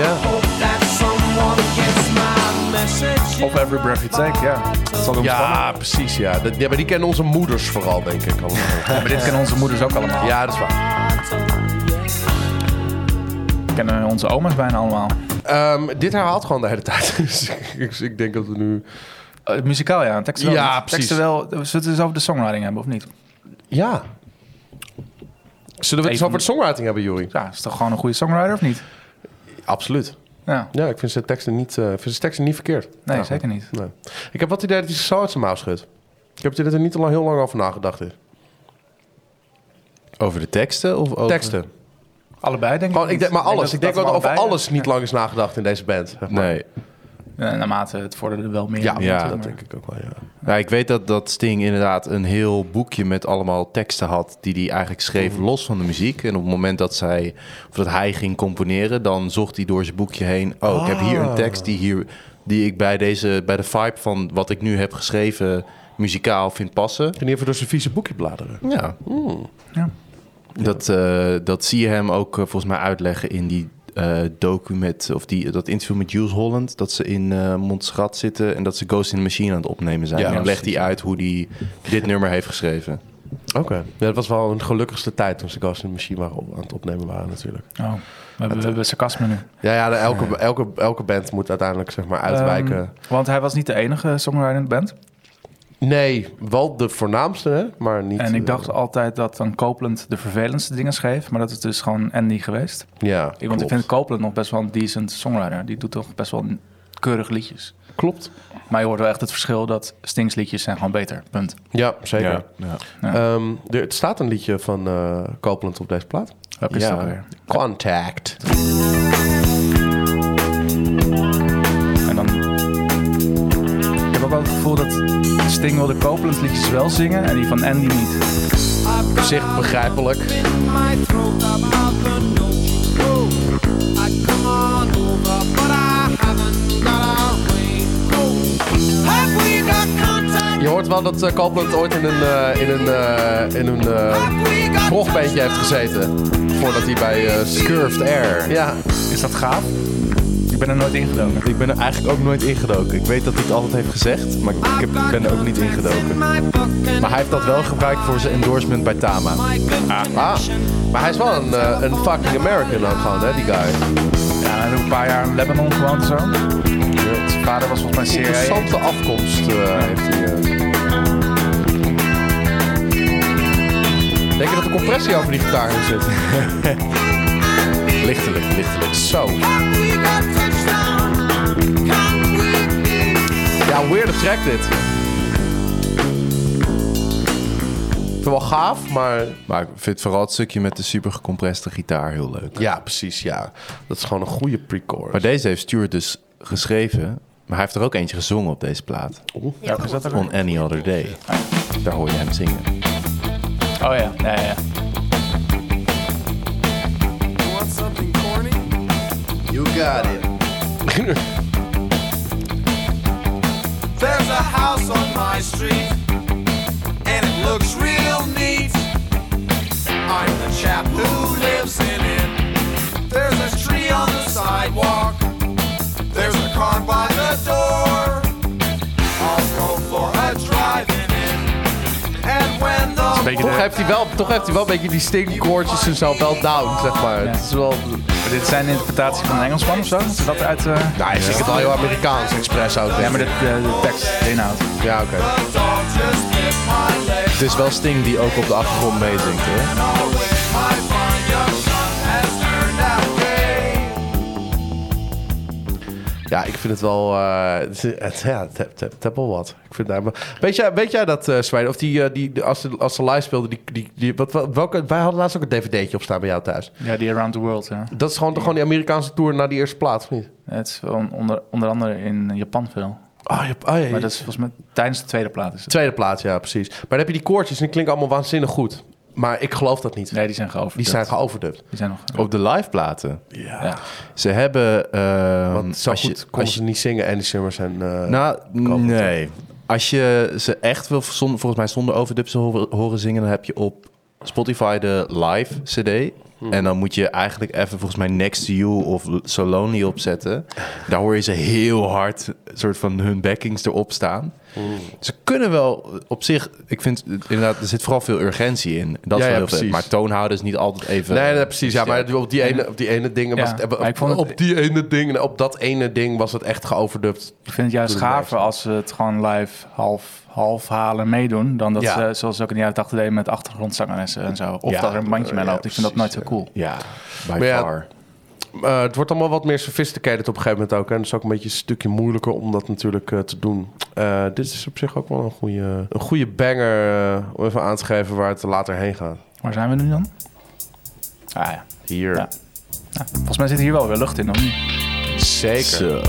[SPEAKER 3] Ja.
[SPEAKER 2] Of Every Breath You Take, ja. Dat zal
[SPEAKER 3] Ja, precies, ja. Dat- ja. Maar die kennen onze moeders vooral, denk ik. allemaal.
[SPEAKER 2] Maar dit kennen onze moeders ook allemaal.
[SPEAKER 3] ja, dat is waar.
[SPEAKER 2] Kennen onze oma's bijna allemaal.
[SPEAKER 3] Ehm, dit herhaalt gewoon de hele tijd. Dus ik- ik, ik denk dat we nu...
[SPEAKER 2] Eh, muzikaal, ja. Teksten wel.
[SPEAKER 3] Ja,
[SPEAKER 2] niet.
[SPEAKER 3] precies.
[SPEAKER 2] Teksten wel. Zullen we het eens over de songwriting hebben, of niet?
[SPEAKER 3] Ja. Zullen we het eens
[SPEAKER 2] Even-
[SPEAKER 3] over de songwriting hebben, Jori?
[SPEAKER 2] Ja, is toch gewoon een goede songwriter, of niet?
[SPEAKER 3] Absoluut.
[SPEAKER 2] Ja.
[SPEAKER 3] Ja, ik vind zijn teksten niet, eh, ik vind zijn teksten niet verkeerd.
[SPEAKER 2] Nee,
[SPEAKER 3] Ja.
[SPEAKER 2] zeker niet.
[SPEAKER 3] Nee. Ik heb wat idee dat hij zichzelf uit zijn mouw schudt. Ik heb het idee dat er niet al lang- heel lang over nagedacht is.
[SPEAKER 4] Over de teksten of over...
[SPEAKER 3] Teksten.
[SPEAKER 2] Allebei denk ik.
[SPEAKER 3] Gewoon, ik denk, maar
[SPEAKER 2] niet.
[SPEAKER 3] alles. Ik denk dat eh, er over
[SPEAKER 2] allebei-
[SPEAKER 3] alles niet lang is nagedacht in deze band. zeg maar.
[SPEAKER 4] Nee.
[SPEAKER 2] Eh, naarmate het vorderde wel meer.
[SPEAKER 3] Ja,
[SPEAKER 2] in,
[SPEAKER 4] ja,
[SPEAKER 2] maar-
[SPEAKER 3] Dat denk ik ook wel, ja.
[SPEAKER 4] Ja, ik weet dat, dat Sting inderdaad een heel boekje met allemaal teksten had... die hij eigenlijk schreef los van de muziek. En op het moment dat, zij, of dat hij ging componeren... dan zocht hij door zijn boekje heen... oh, ik heb hier een tekst die, hier, die ik bij, deze, bij de vibe van wat ik nu heb geschreven... muzikaal vind passen.
[SPEAKER 3] Ik kan niet even door zijn vieze boekje bladeren.
[SPEAKER 4] Ja.
[SPEAKER 2] Ja.
[SPEAKER 4] Dat, eh, dat zie je hem ook eh, volgens mij uitleggen in die eh docu met, of die, dat interview met Jules Holland. Dat ze in eh Montserrat zitten en dat ze Ghost in the Machine aan het opnemen zijn.
[SPEAKER 3] Ja,
[SPEAKER 4] en dan legt
[SPEAKER 2] precies,
[SPEAKER 4] hij uit hoe hij dit nummer heeft geschreven.
[SPEAKER 3] Oké. Ja, dat was wel een gelukkigste tijd toen ze Ghost in de Machine waren op- aan het opnemen waren natuurlijk.
[SPEAKER 2] Oh, we hebben, we hebben sarcasme nu.
[SPEAKER 3] Ja, ja de- elke, elke, elke band moet uiteindelijk zeg maar uitwijken.
[SPEAKER 2] Ehm, want hij was niet de enige songwriter in de band.
[SPEAKER 3] nee, wel de voornaamste, hè? maar niet...
[SPEAKER 2] En ik
[SPEAKER 3] eh,
[SPEAKER 2] dacht altijd dat dan Copeland de vervelendste dingen schreef. Maar dat is dus gewoon Andy geweest.
[SPEAKER 3] ja,
[SPEAKER 2] Want
[SPEAKER 3] klopt.
[SPEAKER 2] ik vind Copeland nog best wel een decent songwriter. Die doet toch best wel keurig liedjes.
[SPEAKER 3] Klopt.
[SPEAKER 2] Maar je hoort wel echt het verschil dat Stings liedjes zijn gewoon beter. Punt.
[SPEAKER 3] Ja, zeker.
[SPEAKER 4] ja.
[SPEAKER 3] Ehm, er het staat een liedje van eh Copeland op deze plaat.
[SPEAKER 2] Welke is
[SPEAKER 4] Ja.
[SPEAKER 2] dat weer?
[SPEAKER 3] Contact.
[SPEAKER 2] En dan... Ik heb ook wel het gevoel dat Sting wilde Copeland liedjes wel zingen en die van Andy niet.
[SPEAKER 3] Op zich begrijpelijk. Je hoort wel dat eh, Copeland ooit in een, eh in een, eh, in een eh kroegbeentje heeft gezeten.
[SPEAKER 4] Voordat hij bij
[SPEAKER 3] eh,
[SPEAKER 4] Scurved Air...
[SPEAKER 3] Ja,
[SPEAKER 2] Is dat gaaf? Ik ben er nooit ingedoken.
[SPEAKER 4] Ik ben er eigenlijk ook nooit ingedoken. Ik weet dat hij het altijd heeft gezegd, maar ik heb- ik ben er ook niet ingedoken. Maar hij heeft dat wel gebruikt voor zijn endorsement bij Tama.
[SPEAKER 3] ah. maar hij is wel een, eh, een fucking American ook gewoon, hè, die guy.
[SPEAKER 2] Ja, hij heeft een paar jaar in Lebanon gewoond en zo. Zijn vader was volgens mij CIA.
[SPEAKER 3] Interessante afkomst eh, heeft hij. eh. Denk je dat er compressie over die gitaar in zit?
[SPEAKER 4] Lichtelijk, lichtelijk.
[SPEAKER 3] Zo. Ja, weirde track dit. Ik vind het wel gaaf, maar...
[SPEAKER 4] Maar ik vind vooral het stukje met de super gecompreste gitaar heel leuk.
[SPEAKER 3] Ja, precies, ja. Dat is gewoon een goede pre-chorus.
[SPEAKER 4] Maar deze heeft Stuart dus geschreven. Maar hij heeft er ook eentje gezongen op deze plaat.
[SPEAKER 2] Welke is dat er?
[SPEAKER 4] On Any Other Day. Daar hoor je hem zingen.
[SPEAKER 2] Oh ja, ja, ja.
[SPEAKER 3] You got it.
[SPEAKER 5] There's a house on my street, and it looks real neat. I'm the chap who lives in it. There's a tree on the sidewalk, there's a car by the door. I'll go for a drive in it, and when the
[SPEAKER 2] Beetje
[SPEAKER 3] Toch
[SPEAKER 2] de-
[SPEAKER 3] heeft hij wel, toch heeft hij wel een beetje die stinkkoortjes en zo wel down, zeg maar. Het is wel...
[SPEAKER 2] Maar dit zijn interpretaties van een Engelsman of zo? Is dat uit... eh,
[SPEAKER 3] Nou, hij zingt het wel heel Amerikaans expres ook.
[SPEAKER 2] Ja, maar de, de, de tekst, de inhoud.
[SPEAKER 3] Ja, oké.
[SPEAKER 5] dog just hit my leg,
[SPEAKER 4] Het is wel Sting die ook op de achtergrond meezingt, hè?
[SPEAKER 5] I'll wait. My fine young son has turned out gay.
[SPEAKER 3] Ja, ik vind het wel... eh, het, het- ja, het, het, het- het heeft wel wat. Ik vind het, maar- weet, jij, weet jij dat, eh Sven? Of die, eh, die, die- als, ze, als ze live speelden, die, die, die, wat, wat- welke, wij hadden laatst ook een dvd'tje op staan bij jou thuis.
[SPEAKER 2] Ja, die Around the World, ja.
[SPEAKER 3] Dat is gewoon, gewoon die Amerikaanse tour naar die eerste plaats, of niet?
[SPEAKER 2] Het is wel onder, onder andere in Japan veel.
[SPEAKER 3] Oh, je, oh, ja,
[SPEAKER 2] Maar dat is volgens mij tijdens de tweede plaat is het.
[SPEAKER 3] Tweede plaats, ja, precies. Maar dan heb je die koortjes en die klinken allemaal waanzinnig goed. Maar ik geloof dat niet.
[SPEAKER 2] Nee, die zijn Oh. geoverd.
[SPEAKER 3] Die zijn geoverdubbed.
[SPEAKER 2] Die zijn nog...
[SPEAKER 4] Op de liveplaten.
[SPEAKER 3] Ja.
[SPEAKER 2] Ja.
[SPEAKER 4] Ze hebben... ehm,
[SPEAKER 3] Want zo
[SPEAKER 4] als je-
[SPEAKER 3] goed konden
[SPEAKER 4] als je-
[SPEAKER 3] ze niet zingen en die Summers en... eh,
[SPEAKER 4] Nou,
[SPEAKER 3] Cover.
[SPEAKER 4] nee. Als je ze echt wil, zonder, volgens mij zonder overdubs horen, horen zingen... dan heb je op Spotify de live cd.
[SPEAKER 3] Hm.
[SPEAKER 4] En dan moet je eigenlijk even volgens mij Next to You of So Lonely opzetten. Daar hoor je ze heel hard, soort van hun backings erop staan.
[SPEAKER 3] Hm.
[SPEAKER 4] Ze kunnen wel op zich, ik vind eh, inderdaad, er zit vooral veel urgentie in. Dat
[SPEAKER 3] Ja,
[SPEAKER 4] is
[SPEAKER 3] ja,
[SPEAKER 4] wel heel vet.
[SPEAKER 3] precies.
[SPEAKER 4] Maar toonhouden is niet altijd even...
[SPEAKER 3] nee, nee, precies. Ja, maar op die ene, op die ene ding was
[SPEAKER 2] Ja,
[SPEAKER 3] het... Op,
[SPEAKER 2] maar ik vond het-
[SPEAKER 3] op die ene ding, op dat ene ding was het echt geoverdubbed.
[SPEAKER 2] Ik vind het juist
[SPEAKER 3] Doe het
[SPEAKER 2] gaver als ze het gewoon live half, half halen meedoen... dan dat
[SPEAKER 3] Ja.
[SPEAKER 2] ze, zoals ze ook in de jaren 80 deden, met achtergrondzangeressen en zo. Of
[SPEAKER 3] Ja,
[SPEAKER 2] dat er een bandje mee
[SPEAKER 3] ja,
[SPEAKER 2] loopt. ik vind dat nooit zo
[SPEAKER 3] precies,
[SPEAKER 2] cool.
[SPEAKER 4] Ja, by
[SPEAKER 3] Maar ja,
[SPEAKER 4] far.
[SPEAKER 3] Eh, het wordt allemaal wat meer sophisticated op een gegeven moment ook. En het is ook een beetje een stukje moeilijker om dat natuurlijk eh, te doen. Eh, dit is op zich ook wel een goede, een goede banger eh, om even aan te geven waar het later heen gaat.
[SPEAKER 2] Waar zijn we nu dan? Ah ja.
[SPEAKER 4] Hier.
[SPEAKER 2] Ja. Nou, volgens mij zit hier wel weer lucht in, of niet?
[SPEAKER 4] Zeker.
[SPEAKER 3] Zo.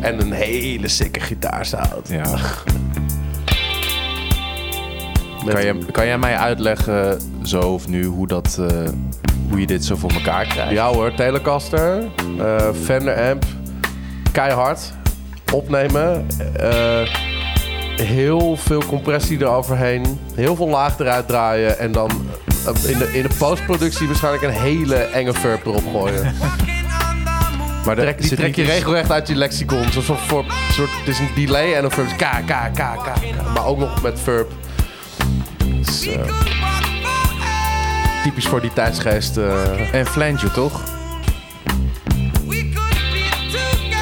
[SPEAKER 3] En een hele sikke gitaarsound.
[SPEAKER 4] Ja.
[SPEAKER 3] Met-
[SPEAKER 4] Kan, jij, kan jij mij uitleggen, zo of nu, hoe, dat, eh, hoe je dit zo voor elkaar krijgt?
[SPEAKER 3] Ja hoor, Telecaster, eh, Fender Amp, keihard, opnemen, eh, heel veel compressie eroverheen, heel veel laag eruit draaien en dan eh, in de, in de postproductie waarschijnlijk een hele enge verb erop gooien.
[SPEAKER 4] maar de-
[SPEAKER 3] Trek, die
[SPEAKER 4] zit
[SPEAKER 3] trek
[SPEAKER 4] niet
[SPEAKER 3] je
[SPEAKER 4] iets-
[SPEAKER 3] regelrecht uit je lexicon. Zo, zo voor, soort, het is een delay en een verb. K, k, k, k, k. Maar ook nog met verb. Dus, eh, typisch voor die tijdsgeest. eh.
[SPEAKER 4] En flanger, toch?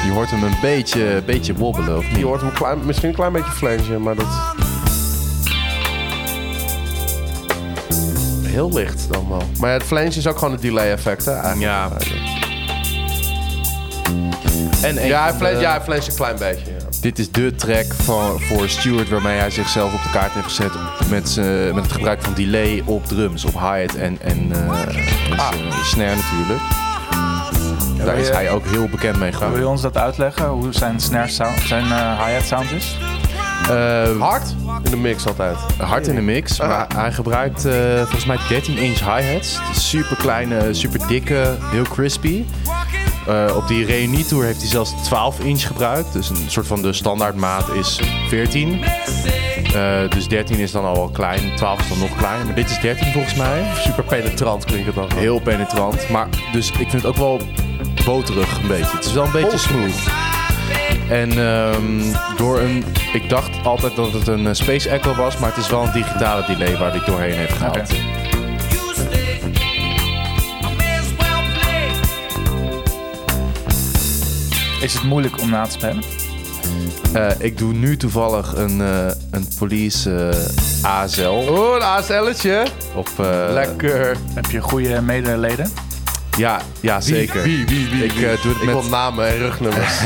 [SPEAKER 4] Je hoort hem een beetje, beetje wobbelen, of niet?
[SPEAKER 3] je hoort hem klein, misschien een klein beetje flangen, maar dat... Heel licht dan wel. Maar ja, het flange is ook gewoon het delay effect, hè? Eigenlijk.
[SPEAKER 4] Ja. En een
[SPEAKER 3] Ja, hij
[SPEAKER 4] van
[SPEAKER 3] flange,
[SPEAKER 4] de-
[SPEAKER 3] ja, hij flange een klein beetje. ja.
[SPEAKER 4] Dit is de track van, voor Stewart waarmee hij zichzelf op de kaart heeft gezet met, z'n- met het gebruik van delay op drums, op hi-hat en, en eh, eh, snare natuurlijk. Daar is
[SPEAKER 3] je-
[SPEAKER 4] hij ook heel bekend mee
[SPEAKER 2] Wil
[SPEAKER 4] geworden.
[SPEAKER 2] je ons dat uitleggen, hoe zijn, snare sound, zijn eh, hi-hat sound is?
[SPEAKER 4] Eh,
[SPEAKER 3] Hard in de mix altijd.
[SPEAKER 4] hard in de mix, maar hij gebruikt eh, volgens mij 13 inch hi-hats. Super kleine, super dikke, heel crispy. Eh, op die reunietour heeft hij zelfs 12 inch gebruikt. Dus een soort van de standaardmaat is 14. Eh, dus 13 is dan al wel klein, 12 is dan nog kleiner. Maar dit is 13 volgens mij.
[SPEAKER 3] Super penetrant klinkt het dan. gewoon.
[SPEAKER 4] Heel penetrant. Maar dus ik vind het ook wel boterig een beetje. Het is wel een beetje smooth. En ehm, door een... Ik dacht altijd dat het een eh, Space Echo was, maar het is wel een digitale delay waar dit doorheen heeft gehaald.
[SPEAKER 2] Oké. Is het moeilijk om na te spelen?
[SPEAKER 4] Eh, ik doe nu toevallig een, eh, een police eh, ASL
[SPEAKER 3] Oeh, een ASL'tje.
[SPEAKER 4] op... eh,
[SPEAKER 3] Oh. Lekker.
[SPEAKER 2] Heb je goede medeleden?
[SPEAKER 4] Ja, ja zeker.
[SPEAKER 3] Wie, wie, wie?
[SPEAKER 4] Ik, eh, doe het
[SPEAKER 3] Ik
[SPEAKER 4] met-
[SPEAKER 3] wil namen en rugnummers.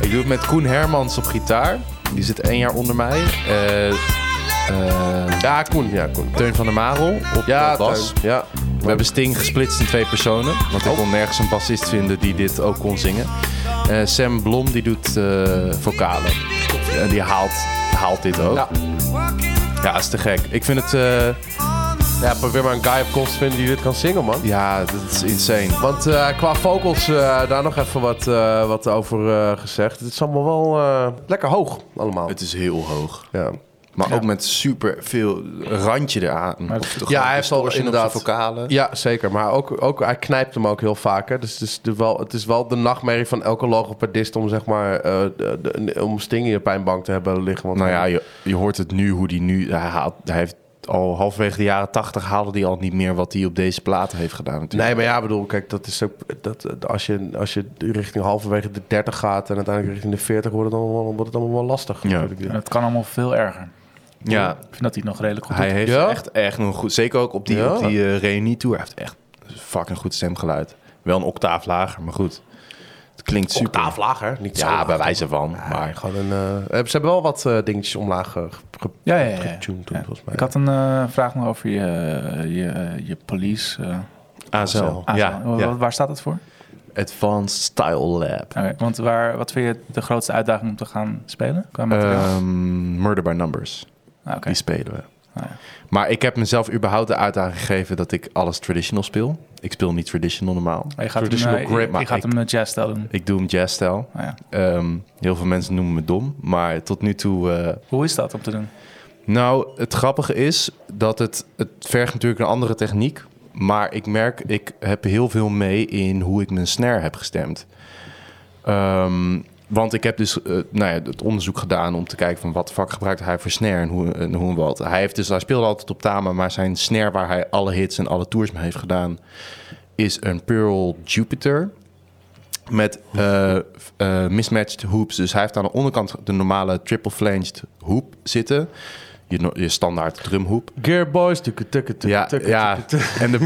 [SPEAKER 4] Ik doe het met Koen Hermans op gitaar. Die zit één jaar onder mij. Eh, eh,
[SPEAKER 3] ja, Koen. Ja, Koen.
[SPEAKER 4] Teun van der Marel op
[SPEAKER 3] Ja,
[SPEAKER 4] eh, bas.
[SPEAKER 3] Teun. Ja.
[SPEAKER 4] We hebben Sting gesplitst in twee personen. Want ik kon nergens een bassist vinden die dit ook kon zingen. Eh, Sam Blom die doet eh, vocalen. En die haalt, haalt dit ook.
[SPEAKER 3] Ja.
[SPEAKER 4] Ja. is te gek. Ik vind het... eh,
[SPEAKER 3] ja, probeer maar een guy op kost te vinden die dit kan zingen, man.
[SPEAKER 4] ja, dat is insane.
[SPEAKER 3] Want eh, qua vocals, eh, daar nog even wat, eh, wat over eh, gezegd. Het is allemaal wel eh, lekker hoog, allemaal.
[SPEAKER 4] Het is heel hoog.
[SPEAKER 3] Ja.
[SPEAKER 4] Maar ook met super veel randje eraan. Of toch
[SPEAKER 3] Ja, hij heeft al
[SPEAKER 4] distortion op
[SPEAKER 3] inderdaad-
[SPEAKER 4] zijn vocalen.
[SPEAKER 3] ja, zeker. Maar ook, ook, hij knijpt hem ook heel vaak. Hè. Dus het is, de, wel, het is wel de nachtmerrie van elke logopedist om, zeg maar, eh, de- de- om Sting in je pijnbank te hebben liggen. Want
[SPEAKER 4] Nou ja, je, je hoort het nu hoe die nu. Hij, haalt, hij heeft al halverwege de jaren tachtig haalde hij al niet meer wat hij op deze platen heeft gedaan. Natuurlijk.
[SPEAKER 3] Nee, maar ja, ik bedoel, kijk, dat is ook. Dat, eh, als, je, als je richting halverwege de 30 gaat en uiteindelijk richting de 40, wordt het allemaal, wordt het allemaal wel lastig.
[SPEAKER 4] Ja.
[SPEAKER 3] natuurlijk.
[SPEAKER 2] Het kan allemaal veel erger.
[SPEAKER 4] ja,
[SPEAKER 2] Ik vind dat hij het nog redelijk goed
[SPEAKER 4] hij
[SPEAKER 2] doet.
[SPEAKER 4] heeft
[SPEAKER 3] Ja?
[SPEAKER 4] echt, echt een goed. Zeker ook op die,
[SPEAKER 3] Ja?
[SPEAKER 4] op die eh, reunie-tour. Hij heeft echt een fucking goed stemgeluid. Wel een octaaf lager, maar goed. Het klinkt super.
[SPEAKER 3] Octaaf lager, niet zo
[SPEAKER 4] Ja,
[SPEAKER 3] laag.
[SPEAKER 4] bij wijze van.
[SPEAKER 3] Maar
[SPEAKER 4] Maar
[SPEAKER 3] gewoon een, eh, ze hebben wel wat eh, dingetjes omlaag eh, ge-
[SPEAKER 2] Ja, ja, ja. ja.
[SPEAKER 3] getuned toen,
[SPEAKER 2] Ja.
[SPEAKER 3] volgens mij.
[SPEAKER 2] Ik had een eh, vraag nog over je, je, je police. eh,
[SPEAKER 4] ASL.
[SPEAKER 2] ASL.
[SPEAKER 4] Ja,
[SPEAKER 2] Wa-
[SPEAKER 4] ja.
[SPEAKER 2] wa- Waar staat het voor?
[SPEAKER 4] Advanced Style Lab.
[SPEAKER 2] Oké, Want waar, wat vind je de grootste uitdaging om te gaan spelen? Qua materiaal?
[SPEAKER 4] Ehm, Murder by Numbers.
[SPEAKER 2] Ah, oké.
[SPEAKER 4] Die spelen we.
[SPEAKER 2] Ah, ja.
[SPEAKER 4] Maar ik heb mezelf überhaupt de uitdaging gegeven dat ik alles traditional speel. Ik speel niet traditional normaal.
[SPEAKER 2] Maar je gaat hem,
[SPEAKER 4] traditional
[SPEAKER 2] eh,
[SPEAKER 4] grip,
[SPEAKER 2] je- je,
[SPEAKER 4] maar
[SPEAKER 2] gaat
[SPEAKER 4] ik-
[SPEAKER 2] hem een jazzstijl doen.
[SPEAKER 4] Ik doe hem jazzstijl.
[SPEAKER 2] Ah, ja.
[SPEAKER 4] Ehm, heel veel mensen noemen me dom, maar tot nu toe... eh,
[SPEAKER 2] Hoe is dat om te doen?
[SPEAKER 4] nou, het grappige is dat het, het vergt natuurlijk een andere techniek. Maar ik merk, ik heb heel veel mee in hoe ik mijn snare heb gestemd. Ehm, want ik heb dus eh, nou ja, het onderzoek gedaan om te kijken van wat vak gebruikt hij voor snare en hoe, en hoe en wat. Hij, heeft dus, hij speelde altijd op Tama, maar zijn snare waar hij alle hits en alle tours mee heeft gedaan is een Pearl Jupiter met eh, f- eh, mismatched hoops. Dus hij heeft aan de onderkant de normale triple flanged hoop zitten. Je, no- je standaard drumhoep.
[SPEAKER 3] Gearboys, tukke, tukke, tukke,
[SPEAKER 4] Ja,
[SPEAKER 3] tukke,
[SPEAKER 4] ja.
[SPEAKER 3] tukke, tukke.
[SPEAKER 4] en de,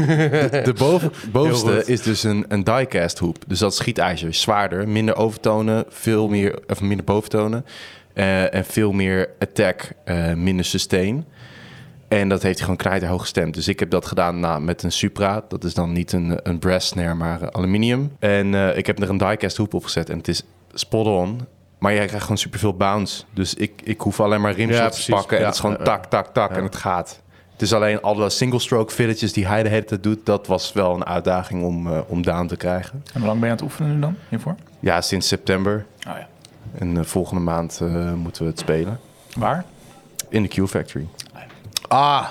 [SPEAKER 4] de, de boven-
[SPEAKER 3] Heel
[SPEAKER 4] bovenste
[SPEAKER 3] goed.
[SPEAKER 4] is dus een, een diecast hoep. Dus dat schietijzer is zwaarder, minder overtonen, veel meer, of minder boventonen. eh, en veel meer attack, eh, minder sustain. En dat heeft hij gewoon knijterhoog gestemd. Dus ik heb dat gedaan na, met een Supra. Dat is dan niet een, een brass snare, maar eh, aluminium. En eh, ik heb er een diecast hoep op gezet. En het is spot on. Maar jij krijgt gewoon superveel bounce. Dus ik, ik hoef alleen maar
[SPEAKER 3] Ja,
[SPEAKER 4] rimshots te
[SPEAKER 3] precies.
[SPEAKER 4] pakken. En
[SPEAKER 3] Ja,
[SPEAKER 4] het is gewoon
[SPEAKER 3] ja, ja.
[SPEAKER 4] tak, tak, tak. En het gaat. Het is alleen alle single-stroke filletjes die hij de hele tijd doet. Dat was wel een uitdaging om, eh, om down te krijgen.
[SPEAKER 2] En hoe lang ben je aan het oefenen nu dan, hiervoor?
[SPEAKER 4] Ja, sinds september.
[SPEAKER 2] Oh ja.
[SPEAKER 4] En eh, volgende maand eh, moeten we het spelen.
[SPEAKER 2] Waar?
[SPEAKER 4] In de Q-Factory.
[SPEAKER 3] Ah,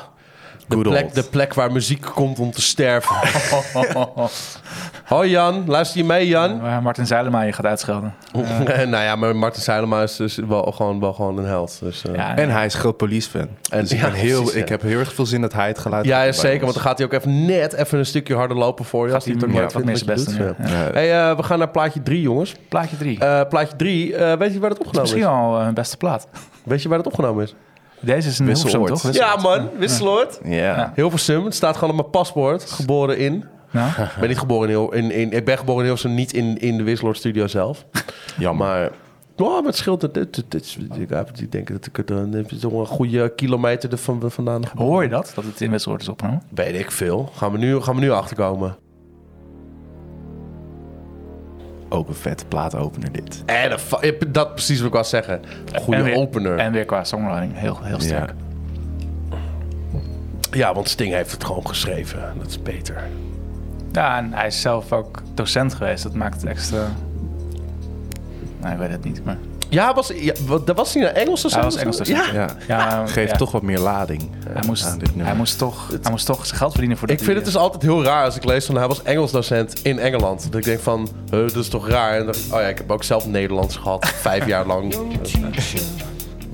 [SPEAKER 3] de
[SPEAKER 4] Good
[SPEAKER 3] plek,
[SPEAKER 4] old.
[SPEAKER 3] de plek waar muziek komt om te sterven.
[SPEAKER 2] Oh,
[SPEAKER 3] Hoi Jan, luister je mee Jan?
[SPEAKER 2] Waar Martin Zeilema je gaat uitschelden.
[SPEAKER 3] nou ja, maar Martin Seilema is dus wel gewoon, wel gewoon een held. Dus, eh.
[SPEAKER 2] Ja,
[SPEAKER 4] En hij is groot police-fan.
[SPEAKER 3] En-
[SPEAKER 4] Dus ik,
[SPEAKER 3] ja,
[SPEAKER 4] ben heel,
[SPEAKER 3] precies, ja.
[SPEAKER 4] ik heb heel erg veel zin dat hij het geluid
[SPEAKER 3] Ja, ja,
[SPEAKER 4] heeft bij
[SPEAKER 3] zeker. Want
[SPEAKER 4] ons.
[SPEAKER 3] dan gaat hij ook even net even een stukje harder lopen voor je. Als hij
[SPEAKER 2] die
[SPEAKER 3] het ook
[SPEAKER 2] ja,
[SPEAKER 3] leuk
[SPEAKER 2] wat
[SPEAKER 3] vindt
[SPEAKER 2] meer
[SPEAKER 3] wat je
[SPEAKER 2] zijn
[SPEAKER 3] doet.
[SPEAKER 2] beste,
[SPEAKER 3] Ja.
[SPEAKER 4] ja. Ja.
[SPEAKER 3] Hey, eh, we gaan naar plaatje 3, jongens.
[SPEAKER 2] plaatje 3.
[SPEAKER 3] Eh, plaatje 3, eh, weet je waar dat opgenomen
[SPEAKER 2] Misschien
[SPEAKER 3] is?
[SPEAKER 2] al eh, een beste plaat.
[SPEAKER 3] Weet je waar dat opgenomen is?
[SPEAKER 2] Deze is een
[SPEAKER 4] Wisseloord.
[SPEAKER 2] Hilversum, toch?
[SPEAKER 3] Ja, man. Wisseloord.
[SPEAKER 4] Ja.
[SPEAKER 2] Ja.
[SPEAKER 3] Heel veel sum. Het staat gewoon op mijn paspoort. Geboren in.
[SPEAKER 2] Nou,
[SPEAKER 3] Ik ben niet geboren in, Hil- in, in Ik ben geboren in Hilversum, niet in, in de Wisseloord Studio zelf.
[SPEAKER 4] Jammer.
[SPEAKER 3] Maar, oh, maar het scheelt. Het, het, het is, ik, heb- ik denk dat ik er een, het is toch een goede kilometer er van, vandaan geboren.
[SPEAKER 2] hoor je dat? Dat het in Wisseloord is opgenomen?
[SPEAKER 3] Weet ik veel. Gaan we nu, gaan we nu achterkomen.
[SPEAKER 4] Ook een vette plaatopener dit.
[SPEAKER 3] En een fa- ik- dat precies wat ik wou zeggen.
[SPEAKER 2] En
[SPEAKER 3] Goede
[SPEAKER 2] weer-
[SPEAKER 3] opener.
[SPEAKER 2] En weer qua songwriting. Heel, heel sterk.
[SPEAKER 4] Ja.
[SPEAKER 3] Ja, want Sting heeft het gewoon geschreven. Dat is beter.
[SPEAKER 2] Ja, en hij is zelf ook docent geweest. Dat maakt het extra... Nee, ik weet het niet, maar...
[SPEAKER 3] Ja, was, ja wat, dat was hij naar Engels of zo?
[SPEAKER 2] Hij was Engels docent.
[SPEAKER 3] Ja.
[SPEAKER 4] Ja.
[SPEAKER 2] Ja,
[SPEAKER 4] Geeft
[SPEAKER 2] ja.
[SPEAKER 4] toch wat meer lading eh,
[SPEAKER 2] Hij moest,
[SPEAKER 3] Ah,
[SPEAKER 4] aan dit nummer.
[SPEAKER 2] hij, moest toch, hij moest toch zijn geld verdienen voor
[SPEAKER 3] Ik vind het dus altijd heel raar als ik lees van hij was Engels docent in Engeland. Dat ik denk van, eh, dat is toch raar? En dan dacht ik, oh ja, ik heb ook zelf Nederlands gehad, vijf jaar lang.
[SPEAKER 1] teacher,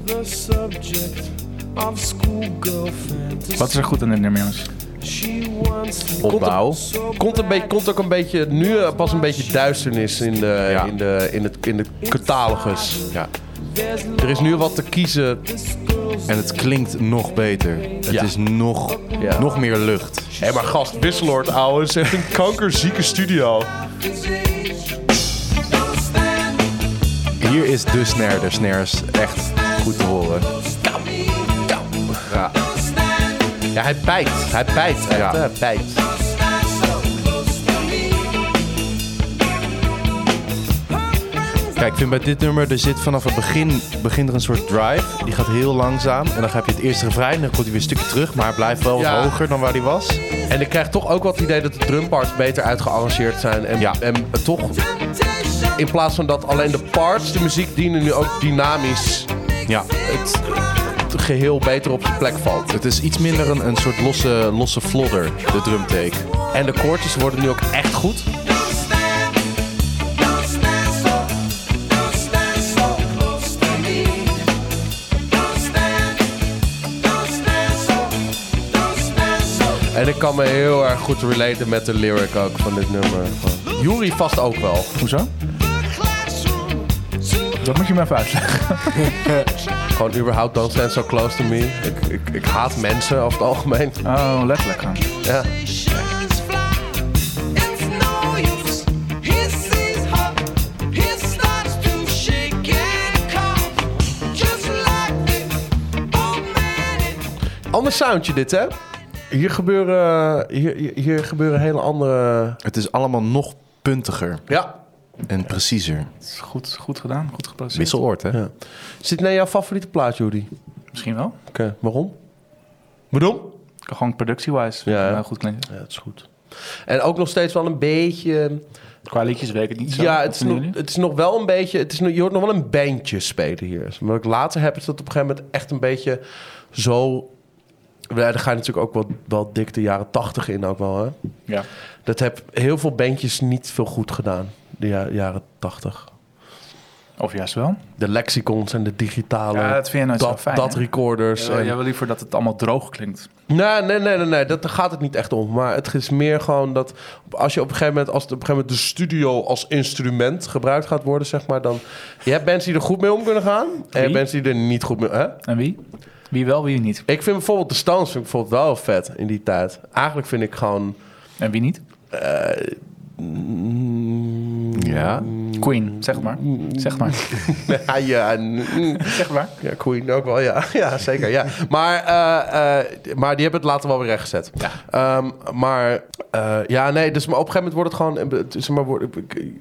[SPEAKER 1] the subject of schoolgirl fantasy.
[SPEAKER 2] Wat is er goed aan dit nummer, jongens?
[SPEAKER 1] She wants to
[SPEAKER 4] Opbouw.
[SPEAKER 3] Komt, een beetje, komt ook een beetje, nu eh, pas een beetje duisternis in de,
[SPEAKER 4] Ja.
[SPEAKER 3] in de, in het, in de catalogus.
[SPEAKER 4] Ja.
[SPEAKER 3] Er is nu wat te kiezen.
[SPEAKER 4] En het klinkt nog beter. Het
[SPEAKER 3] Ja.
[SPEAKER 4] is nog,
[SPEAKER 3] Ja.
[SPEAKER 4] nog meer lucht.
[SPEAKER 3] Hé, maar gast, Wisseloord, ouwe, is echt een kankerzieke studio.
[SPEAKER 4] Hier is de snare der snares echt goed te horen. Ja.
[SPEAKER 3] Ja, hij bijt. Hij bijt, echt,
[SPEAKER 4] Ja.
[SPEAKER 3] hè, hij bijt.
[SPEAKER 4] Kijk, ik vind bij dit nummer, er zit vanaf het begin, begint er een soort drive. Die gaat heel langzaam. En dan heb je het eerste refrein, dan komt hij weer een stukje terug. Maar hij blijft wel wat
[SPEAKER 3] Ja.
[SPEAKER 4] hoger dan waar hij was.
[SPEAKER 3] En ik krijg toch ook wat idee dat de drumparts beter uitgearrangeerd zijn. En,
[SPEAKER 4] Ja.
[SPEAKER 3] en eh, toch, in plaats van dat alleen de parts de muziek dienen, nu ook dynamisch
[SPEAKER 4] Ja.
[SPEAKER 3] het, het geheel beter op zijn plek valt.
[SPEAKER 4] Het is iets minder een, een soort losse, losse flodder, de drumtake.
[SPEAKER 3] En de koortjes worden nu ook echt goed. En ik kan me heel erg goed relaten met de lyric ook van dit nummer. Gewoon. Yuri vast ook wel.
[SPEAKER 2] Hoezo? Dat moet je me even uitleggen.
[SPEAKER 3] Gewoon überhaupt don't stand so close to me. Ik, ik, ik haat mensen over het algemeen.
[SPEAKER 2] Oh, letterlijk gaan.
[SPEAKER 3] Ja. Ander soundje dit, hè? Hier gebeuren, hier, hier- hier gebeuren hele andere...
[SPEAKER 4] Het is allemaal nog puntiger
[SPEAKER 3] Ja.
[SPEAKER 4] en preciezer.
[SPEAKER 2] Het is goed, goed gedaan, goed geproduceerd.
[SPEAKER 4] Wisseloord, hè?
[SPEAKER 3] ja. Is dit nou jouw favoriete plaat, Judy? Oké,
[SPEAKER 2] Misschien wel.
[SPEAKER 3] waarom? Waarom?
[SPEAKER 2] Gewoon productie-wise.
[SPEAKER 3] Ja, hè?
[SPEAKER 2] eh, goed klinken.
[SPEAKER 3] Ja, het is goed. En ook nog steeds wel een beetje... ehm,
[SPEAKER 2] Qua liedjes weet ik het niet zo.
[SPEAKER 3] ja,
[SPEAKER 2] Wat
[SPEAKER 3] het is,
[SPEAKER 2] vinden
[SPEAKER 3] nog,
[SPEAKER 2] jullie?
[SPEAKER 3] het is nog wel een beetje... Het is, nog- je hoort nog wel een bandje spelen hier. Wat ik later heb, is dat op een gegeven moment echt een beetje zo... Ja, daar ga je natuurlijk ook wel, wel dik de jaren tachtig in ook wel, hè?
[SPEAKER 2] Ja.
[SPEAKER 3] Dat heb heel veel bandjes niet veel goed gedaan. De ja- jaren tachtig.
[SPEAKER 2] Of juist wel.
[SPEAKER 3] De lexicons en de digitale...
[SPEAKER 2] Ja, dat vind je nooit zo
[SPEAKER 3] dat,
[SPEAKER 2] fijn,
[SPEAKER 3] dat
[SPEAKER 2] hè?
[SPEAKER 3] recorders.
[SPEAKER 2] Jij
[SPEAKER 3] en-
[SPEAKER 2] wil Eh, liever dat het allemaal droog klinkt.
[SPEAKER 3] Nee, nee, nee, nee, nee, dat, daar gaat het niet echt om. Maar het is meer gewoon dat als je op een gegeven moment, als het op een gegeven moment de studio als instrument gebruikt gaat worden, zeg maar, dan. Je hebt mensen die er goed mee om kunnen gaan. En je hebt
[SPEAKER 2] Wie?
[SPEAKER 3] mensen die er niet goed mee. Hè?
[SPEAKER 2] En wie? Wie wel, wie niet.
[SPEAKER 3] Ik vind bijvoorbeeld de Stones vind ik bijvoorbeeld wel vet in die tijd. Eigenlijk vind ik gewoon.
[SPEAKER 2] En wie niet?
[SPEAKER 3] eh, mm,
[SPEAKER 4] Ja.
[SPEAKER 2] Queen, zeg maar. Zeg maar.
[SPEAKER 3] ja, ja, mm.
[SPEAKER 2] Zeg maar.
[SPEAKER 3] Ja, Queen ook wel, ja. Ja, zeker, ja. Maar, eh, eh, maar die hebben het later wel weer rechtgezet.
[SPEAKER 2] Ja.
[SPEAKER 3] Ehm, maar eh, ja, nee, dus maar op een gegeven moment wordt het gewoon... eh, Zeg maar, wordt- ik, ik-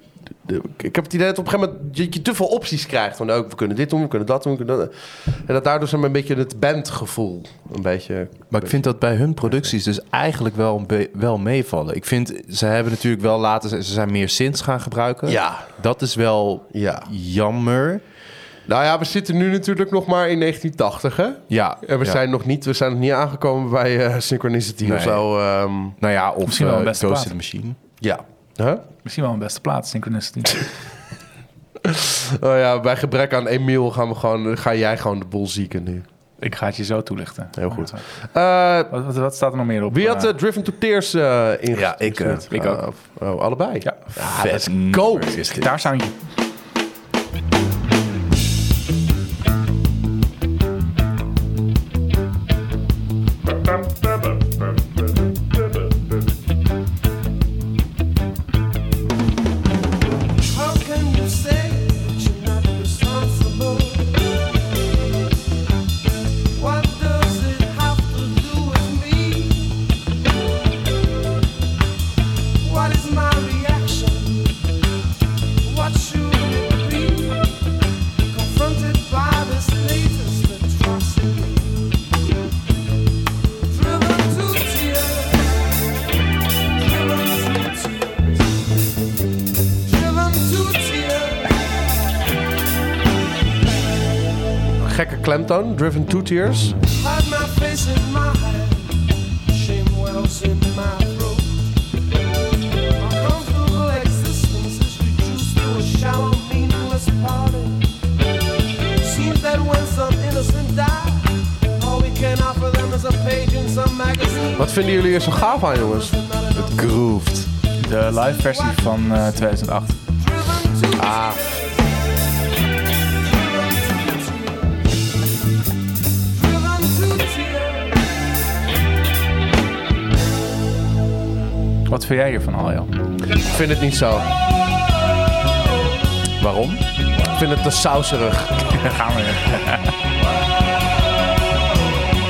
[SPEAKER 3] ik heb het idee dat op een gegeven moment je, je te veel opties krijgt. Van, ook we kunnen dit doen, we kunnen dat doen, we kunnen dat En dat daardoor zeg maar, een beetje het bandgevoel een beetje...
[SPEAKER 4] Maar ik vind dat bij hun producties dus eigenlijk wel, een be- wel meevallen. Ik vind, ze hebben natuurlijk wel later, ze zijn meer synths gaan gebruiken.
[SPEAKER 3] Ja.
[SPEAKER 4] Dat is wel
[SPEAKER 3] Ja.
[SPEAKER 4] jammer.
[SPEAKER 3] Nou ja, we zitten nu natuurlijk nog maar in 1980, hè?
[SPEAKER 4] Ja.
[SPEAKER 3] En we,
[SPEAKER 4] ja.
[SPEAKER 3] zijn nog niet, we zijn nog niet aangekomen bij eh, Synchronicity
[SPEAKER 4] Nee.
[SPEAKER 3] of zo. ehm,
[SPEAKER 4] Nou ja, of
[SPEAKER 2] Misschien wel een
[SPEAKER 4] eh,
[SPEAKER 2] beste
[SPEAKER 4] Ghost
[SPEAKER 2] plaat.
[SPEAKER 4] in the Machine.
[SPEAKER 3] ja. Huh?
[SPEAKER 2] Misschien wel een beste plaats, Synchronicity.
[SPEAKER 3] Oh ja, bij gebrek aan Emiel gaan we gewoon, ga jij gewoon de boel zieken nu.
[SPEAKER 2] Ik ga het je zo toelichten.
[SPEAKER 3] Heel goed.
[SPEAKER 2] Wat,
[SPEAKER 3] Eh,
[SPEAKER 2] wat, wat staat er nog meer op?
[SPEAKER 3] wie had
[SPEAKER 2] Eh,
[SPEAKER 3] eh, Driven to Tears eh ingestuurd?
[SPEAKER 4] Ja, ik, eh, ik ook.
[SPEAKER 3] Eh, oh, allebei?
[SPEAKER 2] Ja.
[SPEAKER 3] Ah, let's go!
[SPEAKER 2] Daar staan je.
[SPEAKER 1] How can you say that you're not responsible? What does it have to do with me? What is my reaction? What should it be? Confronted by this latest atrocity. Driven to tears. Driven to tears. Driven to tears.
[SPEAKER 3] Gekke klemtoon, Driven to Tears.
[SPEAKER 1] Hide my face in my hand. Shame wells in my throat. My comfortable existence is reduced to a shallow, meaningless party. Seems that when some innocent die, all we can offer them is a page in some magazine.
[SPEAKER 3] Wat vinden jullie er zo gaaf aan, jongens?
[SPEAKER 4] Grooved.
[SPEAKER 2] De live versie van eh, 2008.
[SPEAKER 1] Driven to
[SPEAKER 3] Ah.
[SPEAKER 1] Driven to tears.
[SPEAKER 2] Wat vind jij hiervan, Aljo?
[SPEAKER 3] Ik vind het niet zo.
[SPEAKER 4] Waarom?
[SPEAKER 3] Ik vind het te sauserig.
[SPEAKER 2] Daar gaan we weer.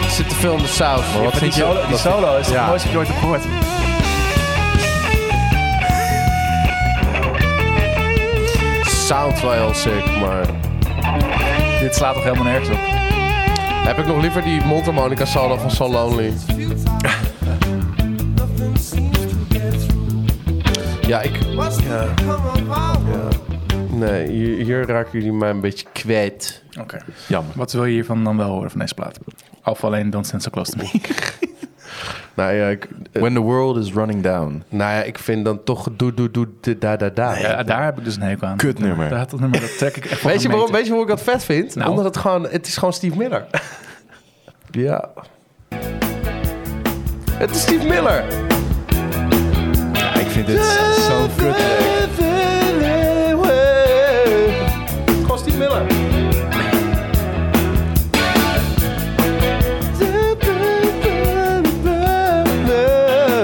[SPEAKER 3] Er zit te veel in de saus.
[SPEAKER 4] Maar wat
[SPEAKER 2] Die
[SPEAKER 4] vind je?
[SPEAKER 2] solo, die solo is
[SPEAKER 4] Ja.
[SPEAKER 2] het mooiste dat je ooit hebt gehoord.
[SPEAKER 3] Sound wel heel sick, maar...
[SPEAKER 2] Dit slaat toch helemaal nergens op?
[SPEAKER 3] Heb ik nog liever die mondharmonica solo van So Lonely.
[SPEAKER 1] Nothing seems to get through.
[SPEAKER 3] Ja, ik...
[SPEAKER 1] What's to become of our world?
[SPEAKER 3] Nee, hier, hier raken jullie mij een beetje kwijt.
[SPEAKER 2] Oké.
[SPEAKER 4] Jammer.
[SPEAKER 2] Wat wil je hiervan dan wel horen van deze plaat? Of alleen Don't Stand So Close To Me.
[SPEAKER 3] Nou ja, ik, eh,
[SPEAKER 4] When the world is running down.
[SPEAKER 3] nou ja, ik vind dan toch doe, doe, doe, dit, da, da, da.
[SPEAKER 2] Ja, daar heb ik dus een hekel aan.
[SPEAKER 4] Kut nummer.
[SPEAKER 2] Daar had dat nummer, dat trek ik echt van
[SPEAKER 3] Weet je,
[SPEAKER 2] een
[SPEAKER 3] waarom,
[SPEAKER 2] meter.
[SPEAKER 3] weet je waarom ik dat vet vind?
[SPEAKER 2] Nou.
[SPEAKER 3] Omdat het gewoon, het is gewoon Steve Miller. ja. Het is Steve Miller.
[SPEAKER 4] Ik vind dit zo'n kut.
[SPEAKER 3] Gewoon Steve Miller.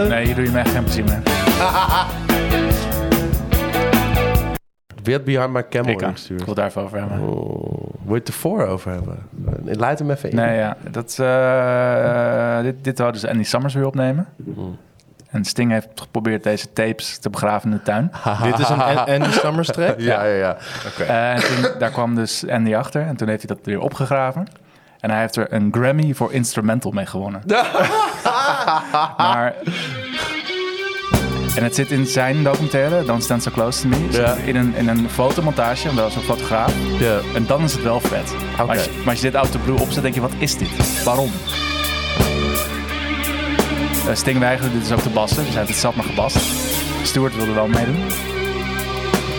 [SPEAKER 2] Nee, hier doe je mij echt geen plezier meer.
[SPEAKER 3] Wie had Behind My Camel
[SPEAKER 2] Ik, aan. ik
[SPEAKER 3] ingestuurd?
[SPEAKER 2] wil het daarvoor over hebben.
[SPEAKER 3] Oh, wil je het ervoor over hebben? Leid hem even in.
[SPEAKER 2] Nee, ja. Dat, eh, dit, dit hadden ze Andy Summers weer opnemen. En Sting heeft geprobeerd deze tapes te begraven in de tuin.
[SPEAKER 4] Dit is een An- Andy Summers track?
[SPEAKER 3] Ja, ja, ja.
[SPEAKER 2] Eh, en toen, daar kwam dus Andy achter. En toen heeft hij dat weer opgegraven. En hij heeft er een Grammy voor instrumental mee gewonnen. maar... En het zit in zijn documentaire, Don't Stand So Close To Me. zit
[SPEAKER 3] Ja.
[SPEAKER 2] In, een, in een fotomontage, omdat hij is een fotograaf.
[SPEAKER 3] Ja.
[SPEAKER 2] En dan is het wel vet. Maar, als je, maar als je dit out of the blue opzet, denk je, wat is dit? Waarom? Eh, Sting weigerde dit is ook te bassen, dus hij heeft het zat maar gebast. Stuart wilde wel meedoen.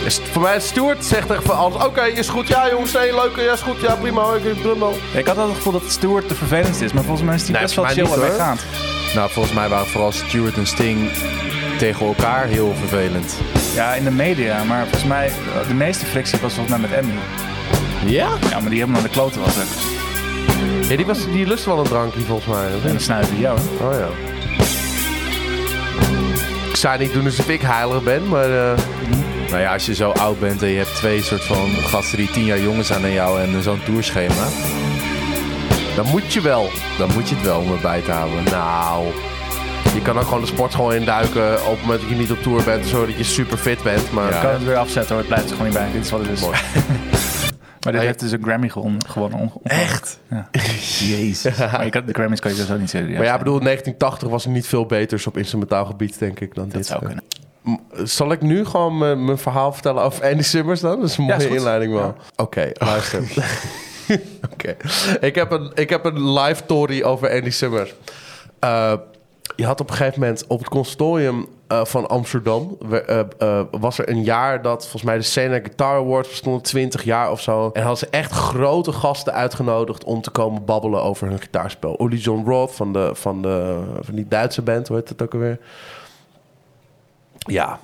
[SPEAKER 3] Is- Voor mij, Stuart zegt echt van alles. Oké, is goed. Ja, jongens, nee, leuk. Ja, is goed. Ja, prima. Ik heb drummer.
[SPEAKER 2] Ik had altijd het gevoel dat Stuart de vervelendste is, maar volgens mij is hij
[SPEAKER 3] Nee,
[SPEAKER 2] best wel
[SPEAKER 3] volgens
[SPEAKER 2] chill
[SPEAKER 3] mij
[SPEAKER 2] en
[SPEAKER 3] niet,
[SPEAKER 2] meegaand.
[SPEAKER 4] Nou, volgens mij waren vooral Stewart en Sting tegen elkaar heel vervelend.
[SPEAKER 2] Ja, in de media, maar volgens mij, eh, de meeste frictie was volgens mij met Emmy.
[SPEAKER 4] Ja?
[SPEAKER 2] Ja, maar die helemaal naar de kloten was er.
[SPEAKER 3] Ja, die, was, die lust wel een drankje, volgens mij.
[SPEAKER 2] En dan snuiven die jou. hè.
[SPEAKER 3] Oh ja. Ik zou niet doen alsof ik heilig ben, maar... eh,
[SPEAKER 4] Nou ja, als je zo oud bent en je hebt twee soort van gasten die tien jaar jonger zijn dan jou en zo'n tourschema. Dan moet je wel. Dan moet je het wel om het bij te houden. Nou,
[SPEAKER 3] Je kan ook gewoon de sportschool induiken op het moment dat je niet op tour bent, zodat je super fit bent. Maar
[SPEAKER 4] Ja.
[SPEAKER 2] kan het weer afzetten hoor, het blijft er gewoon niet bij. Dit is wat het is. maar dit heeft dus een Grammy gewonnen. gewonnen onge-
[SPEAKER 4] echt?
[SPEAKER 2] Ja.
[SPEAKER 4] Jezus.
[SPEAKER 2] Maar je kan, de Grammys kan je dus ook niet serieus
[SPEAKER 3] Maar ja, ik bedoel,
[SPEAKER 2] nemen.
[SPEAKER 3] 1980 was er niet veel beters op instrumentaal gebied, denk ik, dan
[SPEAKER 2] Dat
[SPEAKER 3] dit. eh,
[SPEAKER 2] zou kunnen.
[SPEAKER 3] Zal ik nu gewoon mijn, mijn verhaal vertellen over Andy Simmers dan? Dat is een
[SPEAKER 2] Ja, is
[SPEAKER 3] mooie
[SPEAKER 2] goed.
[SPEAKER 3] inleiding wel. Oké, luister. Oké. Ik, heb een- ik heb een live story over Andy Simmers. Eh, je had op een gegeven moment op het consortium eh, van Amsterdam... we- eh, eh, was er een jaar dat volgens mij de Sena Guitar Awards bestonden, 20 jaar of zo. En hadden ze echt grote gasten uitgenodigd om te komen babbelen over hun gitaarspel. Oli John Roth van, de, van, de, van die Duitse band, hoe heet het ook alweer? Ja.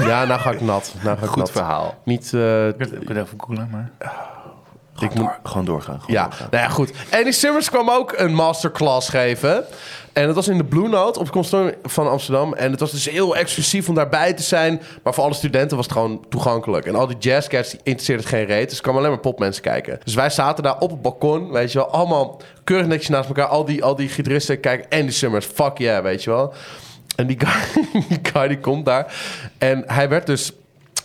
[SPEAKER 3] ja, nou ga ik nat. Nou ga ik
[SPEAKER 4] Goed
[SPEAKER 3] nat.
[SPEAKER 4] verhaal.
[SPEAKER 3] Niet... eh,
[SPEAKER 2] Ik kan het even googlen, maar...
[SPEAKER 4] Ik moet gewoon doorgaan. gewoon
[SPEAKER 3] ja,
[SPEAKER 4] doorgaan.
[SPEAKER 3] nou ja, goed. Andy Simmers kwam ook een masterclass geven. En dat was in de Blue Note op het Consortium van Amsterdam. En het was dus heel exclusief om daarbij te zijn. Maar voor alle studenten was het gewoon toegankelijk. En al die jazzcats die interesseerden het geen reet. Dus er kwamen alleen maar popmensen kijken. Dus wij zaten daar op het balkon, weet je wel. Allemaal keurig netjes naast elkaar. Al die, al die gitaristen kijken. Andy Simmers, fuck yeah, weet je wel. En die guy, die guy die komt daar. En hij werd dus...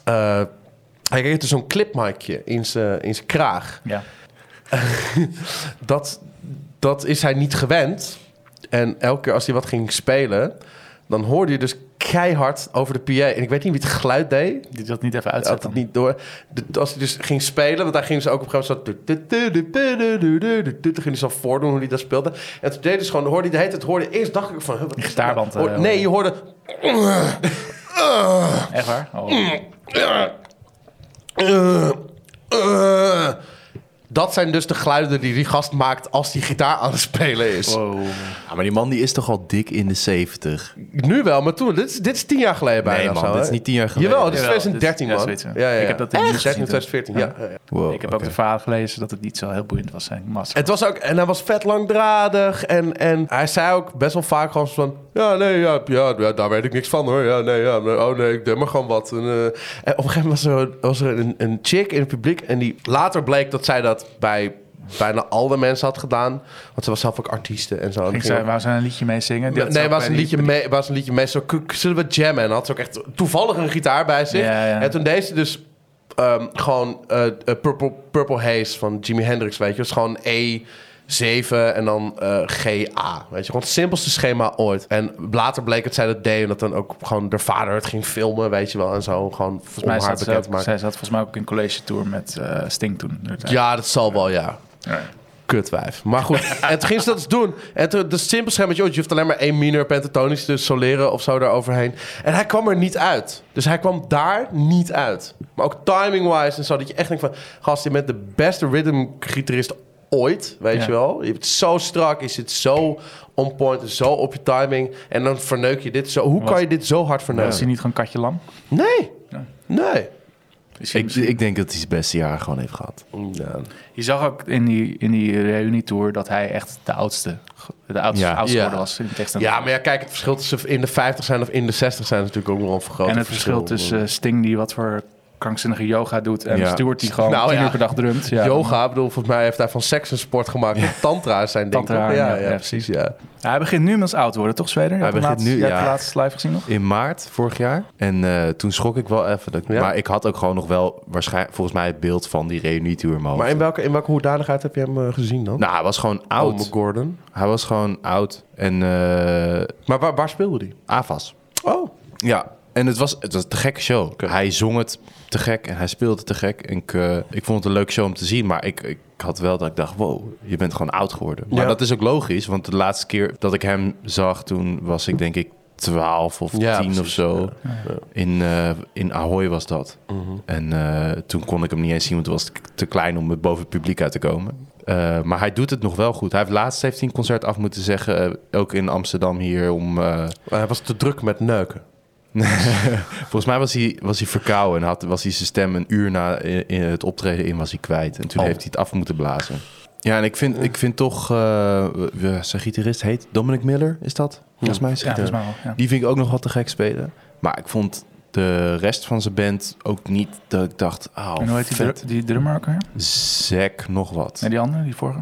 [SPEAKER 3] eh, hij kreeg dus zo'n clipmicje in zijn in zijn kraag
[SPEAKER 2] Ja.
[SPEAKER 3] dat, dat is hij niet gewend. En elke keer als hij wat ging spelen, dan hoorde je dus keihard over de PA. En ik weet niet wie het geluid deed.
[SPEAKER 2] Die dat niet even
[SPEAKER 3] Hij had
[SPEAKER 2] uitzetten.
[SPEAKER 3] het niet door. De- als hij dus ging spelen, want daar ging ze ook op een gegeven moment zo... Toen ging hij zo voordoen hoe hij dat speelde. En toen deed hij dus gewoon, hoorde hij de hele tijd, hoorde eerst dacht ik van... huh, Wat is dit nou?
[SPEAKER 2] gitaarband, eh,
[SPEAKER 3] Hoor- nee, je hoorde...
[SPEAKER 2] Echt waar? Oh.
[SPEAKER 3] eh. dat zijn dus de geluiden die die gast maakt als die gitaar aan het spelen is.
[SPEAKER 2] Wow.
[SPEAKER 4] Ja, Ah, maar die man die is toch al dik in de 70.
[SPEAKER 3] Nu wel, maar toen. Dit is, dit is tien jaar geleden bijna.
[SPEAKER 4] man,
[SPEAKER 3] zo,
[SPEAKER 4] dit
[SPEAKER 3] hè?
[SPEAKER 4] is niet tien jaar geleden.
[SPEAKER 3] Jawel, dit is
[SPEAKER 2] Jawel,
[SPEAKER 3] 2013,
[SPEAKER 2] dit is-
[SPEAKER 3] man.
[SPEAKER 2] ja,
[SPEAKER 3] Ja,
[SPEAKER 2] zoiets,
[SPEAKER 3] ja,
[SPEAKER 2] ja.
[SPEAKER 3] ja.
[SPEAKER 2] Ik heb dat in het nieuws
[SPEAKER 3] 2013,
[SPEAKER 2] gezien
[SPEAKER 3] 2014, ja. ja, ja.
[SPEAKER 4] Wow,
[SPEAKER 2] Ik heb ook
[SPEAKER 4] oké.
[SPEAKER 2] de verhaal gelezen dat het niet zo heel boeiend was, zijn massa.
[SPEAKER 3] Het was ook... En hij was vet langdradig. En, en hij zei ook best wel vaak gewoon zo van... Ja, nee, ja, ja, ja, daar weet ik niks van, hoor. Ja, nee, ja. maar- Oh, nee, ik deed maar gewoon wat. En, eh, en op een gegeven moment was er, was er een, een chick in het publiek... En die later bleek dat zij dat bij bijna alle mensen had gedaan. Want ze was zelf ook artieste en zo. En
[SPEAKER 2] Ik
[SPEAKER 3] ging
[SPEAKER 2] zei, waar ze een liedje mee zingen? Die had ze
[SPEAKER 3] nee,
[SPEAKER 2] ook
[SPEAKER 3] was
[SPEAKER 2] bij
[SPEAKER 3] een,
[SPEAKER 2] die-
[SPEAKER 3] liedje mee, was een liedje mee. Zo, "K- zullen we jammen? En had ze ook echt toevallig een gitaar bij zich.
[SPEAKER 2] Ja, ja.
[SPEAKER 3] En toen deed ze dus ehm, gewoon eh, eh, Purple, Purple Haze van Jimi Hendrix, weet je. Dat is gewoon E7 en dan eh, GA, weet je. Gewoon het simpelste schema ooit. En later bleek dat zij dat deed en dat dan ook gewoon haar vader het ging filmen, weet je wel. En zo gewoon om
[SPEAKER 2] Volgens mij
[SPEAKER 3] haar
[SPEAKER 2] zat
[SPEAKER 3] bekend
[SPEAKER 2] ze
[SPEAKER 3] te
[SPEAKER 2] ook,
[SPEAKER 3] maken.
[SPEAKER 2] zij zat volgens mij ook in college tour met eh, Sting toen.
[SPEAKER 3] Ja, dat zal wel, ja.
[SPEAKER 2] Ja.
[SPEAKER 3] Kutwijf. Maar goed, en toen ging ze dat eens doen. En toen, de simpel schemmetje, je hoeft alleen maar één minor pentatonisch te soleren of zo daaroverheen. En hij kwam er niet uit. Dus hij kwam daar niet uit. Maar ook timing-wise en zo, dat je echt denkt van... Gast, je bent de beste rhythm-gitarist ooit, weet
[SPEAKER 2] Ja.
[SPEAKER 3] je wel. Je bent zo strak, je zit zo on point, en zo op je timing. En dan verneuk je dit zo. Hoe kan je dit zo hard
[SPEAKER 2] Was hij
[SPEAKER 3] verneuken?
[SPEAKER 2] niet gewoon Katje Lam?
[SPEAKER 3] Nee, nee.
[SPEAKER 4] Ik, ik denk dat hij zijn beste jaar gewoon heeft gehad.
[SPEAKER 2] Je zag ook in die, in die reunietour dat hij echt de oudste, de oudste,
[SPEAKER 4] Ja.
[SPEAKER 2] oudste
[SPEAKER 3] Ja.
[SPEAKER 2] geworden was in de tekst.
[SPEAKER 3] Ja, maar ja, kijk, het verschil tussen in de 50 zijn of in de 60 zijn is natuurlijk ook nog een vergroot
[SPEAKER 2] en het verschil tussen eh, Sting die wat voor krankzinnige yoga doet en
[SPEAKER 4] Ja.
[SPEAKER 2] Stuart die gewoon
[SPEAKER 3] Nou,
[SPEAKER 2] tien
[SPEAKER 3] ja.
[SPEAKER 2] uur per dag drumt. Ja,
[SPEAKER 3] Yoga, ik bedoel, volgens mij heeft hij van seks een sport gemaakt. Tantra is zijn ding.
[SPEAKER 2] Tantra,
[SPEAKER 3] toch?
[SPEAKER 2] ja, ja,
[SPEAKER 3] Ja.
[SPEAKER 2] Ja, hij begint nu met oud te worden, toch Zweden? Je
[SPEAKER 4] Hij
[SPEAKER 2] hebt hem
[SPEAKER 4] begint
[SPEAKER 2] laatst-
[SPEAKER 4] nu,
[SPEAKER 2] je hebt
[SPEAKER 4] ja.
[SPEAKER 2] de laatste live gezien nog?
[SPEAKER 4] In maart vorig jaar. En eh, toen schrok ik wel even. Dat,
[SPEAKER 3] Ja.
[SPEAKER 4] Maar ik had ook gewoon nog wel waarschijnlijk volgens mij het beeld van die reunietour. in mijn
[SPEAKER 3] Maar
[SPEAKER 4] hoofd.
[SPEAKER 3] in welke, in welke hoedanigheid heb je hem eh, gezien dan?
[SPEAKER 4] Nou, hij was gewoon
[SPEAKER 3] Ome
[SPEAKER 4] oud.
[SPEAKER 3] Gordon.
[SPEAKER 4] hij was gewoon oud. En eh
[SPEAKER 3] Maar waar, waar speelde hij?
[SPEAKER 4] AFAS.
[SPEAKER 3] Oh,
[SPEAKER 4] Ja, en het was, het was een te gekke show. Hij zong het te gek en hij speelde te gek. En ik, eh, ik vond het een leuke show om te zien, maar ik, ik had wel dat ik dacht, wow, je bent gewoon oud geworden. Maar
[SPEAKER 3] Ja.
[SPEAKER 4] dat is ook logisch, want de laatste keer dat ik hem zag, toen was ik denk ik 12 of
[SPEAKER 3] Ja, Mhm.
[SPEAKER 4] 10 of
[SPEAKER 3] precies.
[SPEAKER 4] zo. In, eh, in Ahoy was dat. En eh, toen kon ik hem niet eens zien, want het was t- te klein om boven het publiek uit te komen. Eh, maar hij doet het nog wel goed. Hij heeft laatst heeft hij een concert af moeten zeggen, eh, ook in Amsterdam hier om... eh,
[SPEAKER 3] hij was te druk met neuken.
[SPEAKER 4] Volgens mij was hij, was hij verkouden en had, was hij zijn stem een uur na i- i- het optreden in was hij kwijt. En toen
[SPEAKER 3] Oh.
[SPEAKER 4] heeft hij het af moeten blazen. Ja, en ik vind, ik vind toch... eh, we- zijn gitarist heet Dominic Miller, is dat? Volgens mij is
[SPEAKER 2] Ja,
[SPEAKER 4] hij.
[SPEAKER 2] volgens mij wel. Ja.
[SPEAKER 4] Die vind ik ook nog wat te gek spelen. Maar ik vond de rest van zijn band ook niet dat ik dacht, oh,
[SPEAKER 2] en hoe heet die,
[SPEAKER 4] vet.
[SPEAKER 2] dru- die drummer ook weer?
[SPEAKER 4] Zack nog wat.
[SPEAKER 2] Nee, die andere, die vorige.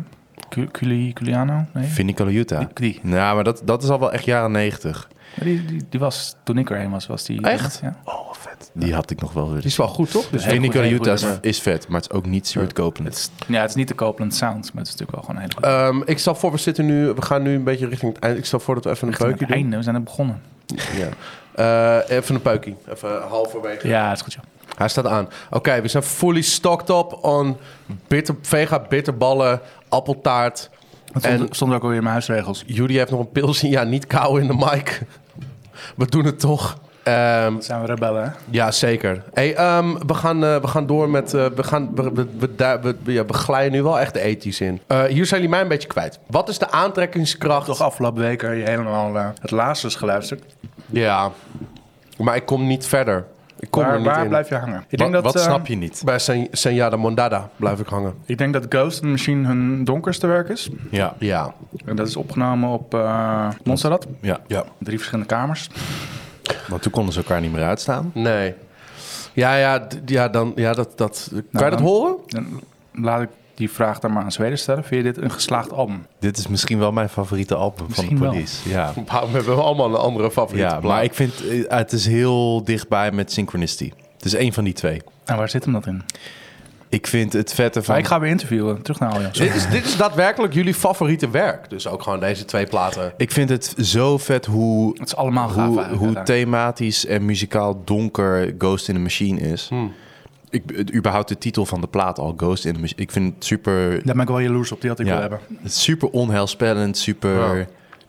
[SPEAKER 2] Cu- Culi, Culiano? Nee,
[SPEAKER 4] Vinnie Colaiuta.
[SPEAKER 2] Die- die.
[SPEAKER 4] Nou, maar dat, dat is al wel echt jaren negentig.
[SPEAKER 2] Maar die, die, die was, toen ik erheen was, was die...
[SPEAKER 4] Echt?
[SPEAKER 2] Ja.
[SPEAKER 4] Oh, vet. Die had ik nog wel
[SPEAKER 3] Die
[SPEAKER 4] willen.
[SPEAKER 3] is wel goed, toch? Dus
[SPEAKER 2] Heel
[SPEAKER 4] Vinnie
[SPEAKER 2] goed, heel
[SPEAKER 4] Colaiuta
[SPEAKER 2] goed
[SPEAKER 4] is, is vet, maar het is ook niet Stuart Copeland.
[SPEAKER 2] ja, het is niet de Copeland Sound, maar het is natuurlijk wel gewoon een hele goede...
[SPEAKER 3] Ehm, ik stel voor, we zitten nu, we gaan nu een beetje richting het einde. Ik stel voor dat we even een
[SPEAKER 2] Aan
[SPEAKER 3] peukje
[SPEAKER 2] het
[SPEAKER 3] doen.
[SPEAKER 2] einde, we zijn er begonnen.
[SPEAKER 3] Ja. Eh, even een peukie. Even halverwege.
[SPEAKER 2] Ja, is goed, joh.
[SPEAKER 3] Hij staat aan. Oké, we zijn fully stocked up on bitter, vega bitterballen, appeltaart.
[SPEAKER 2] Dat
[SPEAKER 3] En-
[SPEAKER 2] stond, stond ook alweer in mijn huisregels.
[SPEAKER 3] Jullie heeft nog een pils in. Ja, niet kou in de mic. We doen het toch. Ehm,
[SPEAKER 2] Dat zijn we rebellen, hè?
[SPEAKER 3] ja, zeker. Hey, ehm, we, gaan, eh, we gaan door met... eh, we, gaan, we, we, we, du- we- we- ja, we glijden nu wel echt ethisch in. Eh, hier zijn jullie mij een beetje kwijt. Wat is de aantrekkingskracht?
[SPEAKER 2] Toch afgelopen week heb je helemaal eh, het laatste is geluisterd.
[SPEAKER 3] Ja, maar ik kom niet verder. Ik kom er
[SPEAKER 2] Waar,
[SPEAKER 3] niet
[SPEAKER 2] waar
[SPEAKER 3] in.
[SPEAKER 2] blijf je hangen? Ik
[SPEAKER 4] Wat, wat
[SPEAKER 2] eh,
[SPEAKER 4] snap je niet?
[SPEAKER 3] Bij Sen- Senjada Mondada blijf ik hangen.
[SPEAKER 2] Ik denk dat Ghost Machine hun donkerste werk is.
[SPEAKER 4] Ja,
[SPEAKER 3] Ja.
[SPEAKER 2] En dat is opgenomen op eh Montserrat.
[SPEAKER 4] ja, ja.
[SPEAKER 2] Drie verschillende kamers.
[SPEAKER 4] Want toen konden ze elkaar niet meer uitstaan.
[SPEAKER 3] Nee. Ja, ja, d- ja, dan, ja dat, dat... Kan je dat
[SPEAKER 2] dan-
[SPEAKER 3] horen?
[SPEAKER 2] Dan laat ik die vraag dan maar aan Zweden stellen. Vind je dit een geslaagd album?
[SPEAKER 4] Dit is misschien wel mijn favoriete album
[SPEAKER 2] Misschien
[SPEAKER 4] van de
[SPEAKER 2] wel.
[SPEAKER 4] Police. Ja.
[SPEAKER 3] Waarom hebben we allemaal een andere favoriete
[SPEAKER 4] Ja,
[SPEAKER 3] plaat?
[SPEAKER 4] maar ik vind eh, het is heel dichtbij met Synchronicity. Het is één van die twee.
[SPEAKER 2] En waar zit hem dat in?
[SPEAKER 4] Ik vind het vette van.
[SPEAKER 2] Maar ik ga weer interviewen. Terug naar Allianz.
[SPEAKER 3] Dit is, dit is daadwerkelijk jullie favoriete werk. Dus ook gewoon deze twee platen.
[SPEAKER 4] Ik vind het zo vet hoe,
[SPEAKER 2] Het is allemaal gaaf
[SPEAKER 4] hoe,
[SPEAKER 2] eigenlijk,
[SPEAKER 4] hoe
[SPEAKER 2] hè.
[SPEAKER 4] thematisch en muzikaal donker Ghost in the Machine is. Ik, het, überhaupt de titel van de plaat al, Ghost in the Machine. Ik vind het super,
[SPEAKER 2] Daar ben ik wel jaloers op. Die had ik
[SPEAKER 4] ja,
[SPEAKER 2] willen hebben.
[SPEAKER 4] het is super onheilspellend, super
[SPEAKER 3] Ja.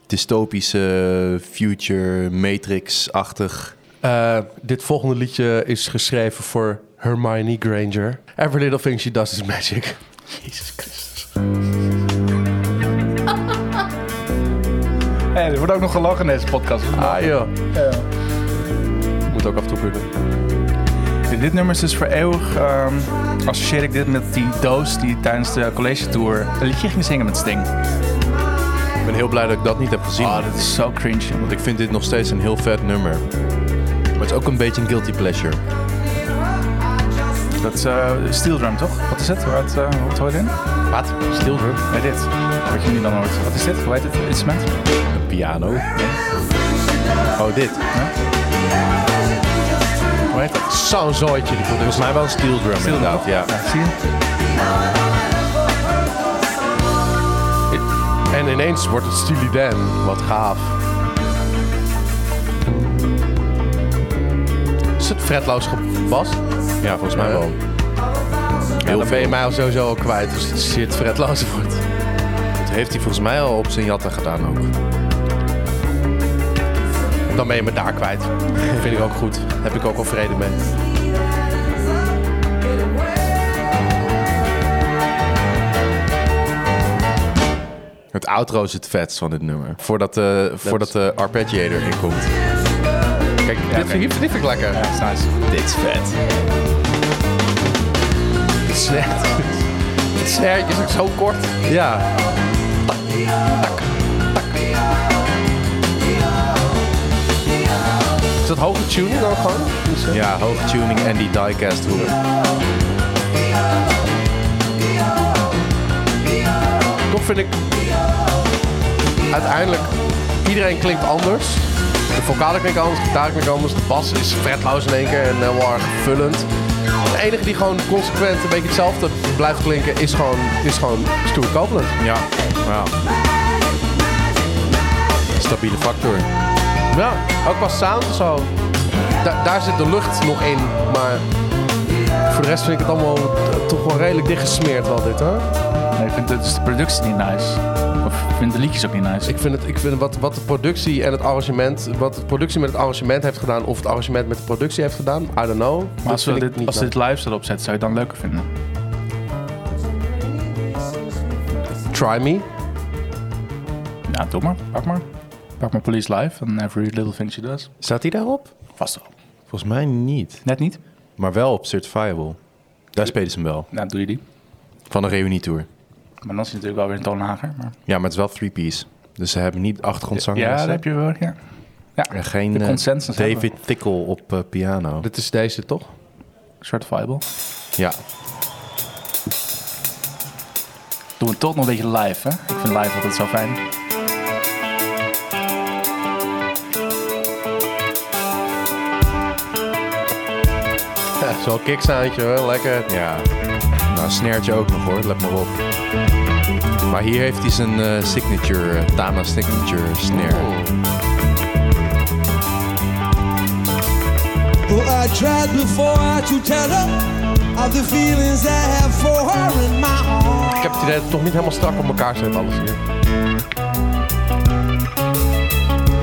[SPEAKER 4] dystopische, future, Matrix-achtig.
[SPEAKER 3] Eh, dit volgende liedje is geschreven voor Hermione Granger. Every little thing she does is magic.
[SPEAKER 2] Hey, er wordt ook nog gelachen in deze podcast.
[SPEAKER 3] Ah joh. Moet ook af en toe kunnen.
[SPEAKER 2] Dit nummer is dus voor eeuwig. ehm, associeer ik dit met die doos die tijdens de college tour een liedje ging zingen met Sting.
[SPEAKER 4] Ik ben heel blij dat ik Ah, dat niet heb gezien.
[SPEAKER 2] Oh, dat is zo cringe. jongen.
[SPEAKER 4] Want ik vind dit nog steeds een heel vet nummer. Maar het is ook een beetje een guilty pleasure.
[SPEAKER 2] Dat is eh, steel drum, toch? Wat is het? Wat, eh wat hoor je in?
[SPEAKER 4] Wat? Stil
[SPEAKER 2] Nee, dit. Wat je nu dan hoort. Wat is dit? Hoe heet het instrument?
[SPEAKER 4] Een piano. Oh, dit.
[SPEAKER 2] Hoe heet dat?
[SPEAKER 3] Zo'n zooitje die
[SPEAKER 4] Volgens mij wel een steel drum inderdaad, ja.
[SPEAKER 2] zie je?
[SPEAKER 3] En ineens wordt het Steely Dan. Wat gaaf. Is het fretloos gebast?
[SPEAKER 4] Ja, volgens mij
[SPEAKER 3] Ja.
[SPEAKER 4] wel.
[SPEAKER 3] Ja, dan ben
[SPEAKER 4] Heel
[SPEAKER 3] je
[SPEAKER 4] veel.
[SPEAKER 3] mij al sowieso al kwijt als het shit fretloos wordt.
[SPEAKER 4] Dat heeft hij volgens mij al op zijn jatta gedaan ook.
[SPEAKER 3] Dan ben je me daar kwijt. Vind ik ook goed. Heb ik ook al vrede mee.
[SPEAKER 4] Het outro is het vetst van dit nummer. Voordat de, voordat de arpeggiator in komt.
[SPEAKER 3] Kijk, dit, vind, dit vind ik lekker.
[SPEAKER 2] Ja, dat is nice.
[SPEAKER 4] Dit is vet.
[SPEAKER 3] Het snert. Het snertje is ook zo kort.
[SPEAKER 4] Ja.
[SPEAKER 3] Is dat hoge tuning dan gewoon? eh,
[SPEAKER 4] Ja, hoge tuning en die diecast hoeren.
[SPEAKER 3] Toch vind ik... Uiteindelijk, iedereen klinkt anders. De vocalen klinken anders, de gitaar klinkt anders. De bas is fretloos in één keer en heel erg vullend. De enige die gewoon consequent een beetje hetzelfde blijft klinken is gewoon, is gewoon Stuart Copeland.
[SPEAKER 4] Ja. ja. Stabiele factor.
[SPEAKER 3] Ja, ook qua sound en zo. Da- daar zit de lucht nog in, maar voor de rest vind ik het allemaal t- toch wel redelijk dichtgesmeerd wel dit hoor.
[SPEAKER 2] Nee, ik vind dus de productie niet nice. Of ik vind de liedjes ook niet nice.
[SPEAKER 3] Ik vind, het, ik vind wat, wat de productie en het arrangement, wat de productie met het arrangement heeft gedaan of het arrangement met de productie heeft gedaan, I don't know.
[SPEAKER 2] maar als, we
[SPEAKER 3] vind ik
[SPEAKER 2] dit, als
[SPEAKER 3] nice.
[SPEAKER 2] dit live zouden opzetten, zou je het dan leuker vinden?
[SPEAKER 3] Try me.
[SPEAKER 2] Nou, doe maar. Pak maar. Pak maar Police Live en Every Little Thing She Does.
[SPEAKER 4] Staat hij daarop?
[SPEAKER 2] Vast wel.
[SPEAKER 4] Volgens mij niet.
[SPEAKER 2] Net niet?
[SPEAKER 4] Maar wel op Certifiable. Daar spelen ze hem wel.
[SPEAKER 2] Nou, doe je die.
[SPEAKER 4] Van de reunietour.
[SPEAKER 2] Maar dan is het natuurlijk wel weer een toon lager. Maar...
[SPEAKER 4] Ja, maar het is wel three-piece. Dus ze hebben niet achtergrondzang.
[SPEAKER 2] Ja,
[SPEAKER 4] is
[SPEAKER 2] dat
[SPEAKER 4] het?
[SPEAKER 2] heb je wel, ja. Ja,
[SPEAKER 4] En geen
[SPEAKER 2] de
[SPEAKER 4] eh,
[SPEAKER 2] consensus hebben
[SPEAKER 4] David Tickle op eh, piano.
[SPEAKER 3] Dit is deze, toch?
[SPEAKER 2] we. Certifiable.
[SPEAKER 4] Ja,
[SPEAKER 2] Doen we toch nog een beetje live, hè? Ik vind live altijd zo fijn.
[SPEAKER 3] Ja, zo'n kicksoundje, hoor. Lekker.
[SPEAKER 4] ja. Nou, snaartje ook nog hoor, let maar op. Maar hier heeft hij zijn eh, signature, eh, Tama signature snare.
[SPEAKER 5] Oh, I tried before to tell her of the feelings I have for her in my arms.
[SPEAKER 3] Ik heb het idee dat het toch niet helemaal strak op elkaar zit, alles hier.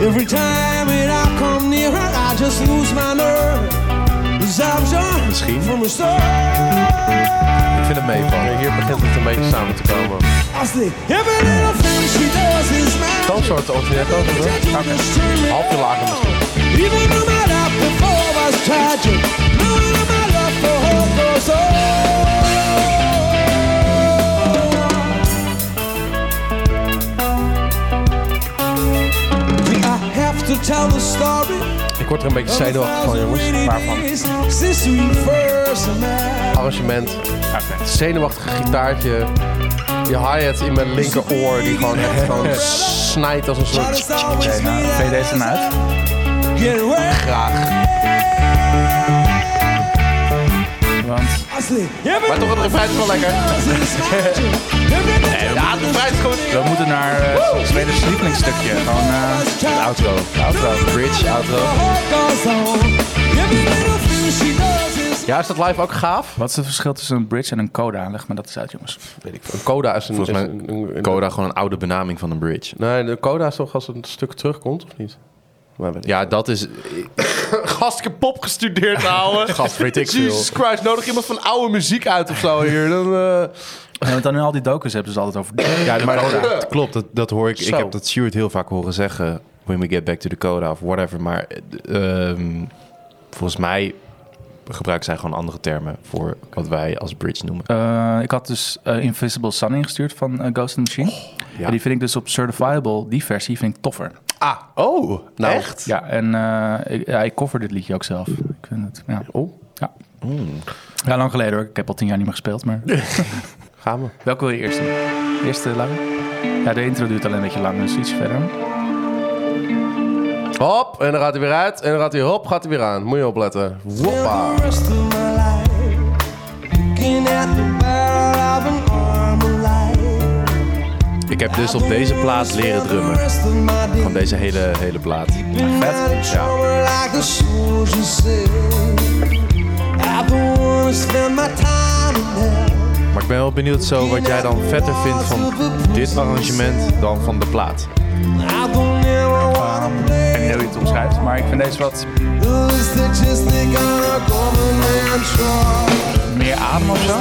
[SPEAKER 5] Every time it I come near her, I just lose my nerve. Absorption
[SPEAKER 4] Misschien.
[SPEAKER 5] From a star.
[SPEAKER 4] Ik vind het meevallen.
[SPEAKER 3] Hier begint het een beetje samen te komen.
[SPEAKER 5] I say, every little thing she does is mine.
[SPEAKER 3] Toonsoorten of net ook, hoor. Half je lager misschien.
[SPEAKER 5] Even though my life before was tragic, knowing that my love for her goes on. I have to tell the story.
[SPEAKER 3] Ik word er een beetje
[SPEAKER 5] of the
[SPEAKER 3] zenuwachtig van,
[SPEAKER 5] thousand
[SPEAKER 3] jongens.
[SPEAKER 5] rainy
[SPEAKER 3] Waarvan?
[SPEAKER 5] days Since we first met.
[SPEAKER 3] Arrangement. Zenuwachtige gitaartje. Die hi-hat in mijn linkeroor die gewoon echt gewoon snijdt als een soort...
[SPEAKER 5] Oké,
[SPEAKER 2] nou, ben je deze dan uit?
[SPEAKER 3] Graag.
[SPEAKER 2] Want
[SPEAKER 3] Maar toch, het refrein is wel lekker.
[SPEAKER 5] Ja,
[SPEAKER 3] het refrein is goed.
[SPEAKER 2] we moeten naar eh, ons Zweders lievelingsstukje. Gewoon eh,
[SPEAKER 5] de
[SPEAKER 4] Outro. Outro. Bridge, outro.
[SPEAKER 3] Ja, is dat live ook gaaf?
[SPEAKER 2] Wat is het verschil tussen een bridge en een coda? Leg me dat eens uit, jongens.
[SPEAKER 3] Weet ik veel. Een coda is een...
[SPEAKER 4] Volgens
[SPEAKER 3] is
[SPEAKER 4] mij
[SPEAKER 3] een- een- een-
[SPEAKER 4] Coda gewoon een oude benaming van een bridge.
[SPEAKER 3] Nee, de coda is toch als een stuk terugkomt, of niet? Maar weet ik.
[SPEAKER 4] Ja, dat is...
[SPEAKER 3] Gastje pop gestudeerd, ouwe.
[SPEAKER 4] Gast, weet ik veel.
[SPEAKER 3] Jesus Christ, nodig iemand van oude muziek uit of zo hier. Dan, eh,
[SPEAKER 2] Ja, want dan in al die docus hebben ze het altijd over...
[SPEAKER 4] Ja, maar dat klopt. Dat, dat hoor ik. Ik
[SPEAKER 3] Zo.
[SPEAKER 4] heb dat Stuart heel vaak horen zeggen. When we get back to the coda of whatever. Maar eh, ehm, volgens mij gebruiken zij gewoon andere termen voor wat wij als bridge noemen.
[SPEAKER 3] Oh.
[SPEAKER 2] Eh, ik had dus eh, Invisible Sun ingestuurd van eh, Ghost in the Machine.
[SPEAKER 4] ja.
[SPEAKER 2] En die vind ik dus op Certifiable, die versie, vind ik toffer.
[SPEAKER 3] Ah,
[SPEAKER 4] Oh,
[SPEAKER 3] nou.
[SPEAKER 4] echt?
[SPEAKER 2] Ja, en eh, ik, ja, ik cover dit liedje ook zelf. Ik vind het, ja.
[SPEAKER 3] Oh.
[SPEAKER 2] Ja. ja, lang geleden hoor. Ik heb al tien jaar niet meer gespeeld, maar...
[SPEAKER 3] gaan we.
[SPEAKER 2] Welke wil je eerst doen? Eerste lang? Ja, de intro duurt alleen een beetje lang, dus iets verder.
[SPEAKER 3] Hop, en dan gaat hij weer uit. En dan gaat hij, hop, gaat hij weer aan. Moet je opletten. Woppa.
[SPEAKER 4] Ik heb dus op deze plaat leren drummen. Van deze hele, hele plaat.
[SPEAKER 5] Vet. Ja.
[SPEAKER 4] Maar ik ben wel benieuwd zo wat jij dan vetter vindt van dit arrangement dan van de plaat.
[SPEAKER 2] Ik weet niet hoe je het omschrijft, maar ik vind deze wat meer adem of zo.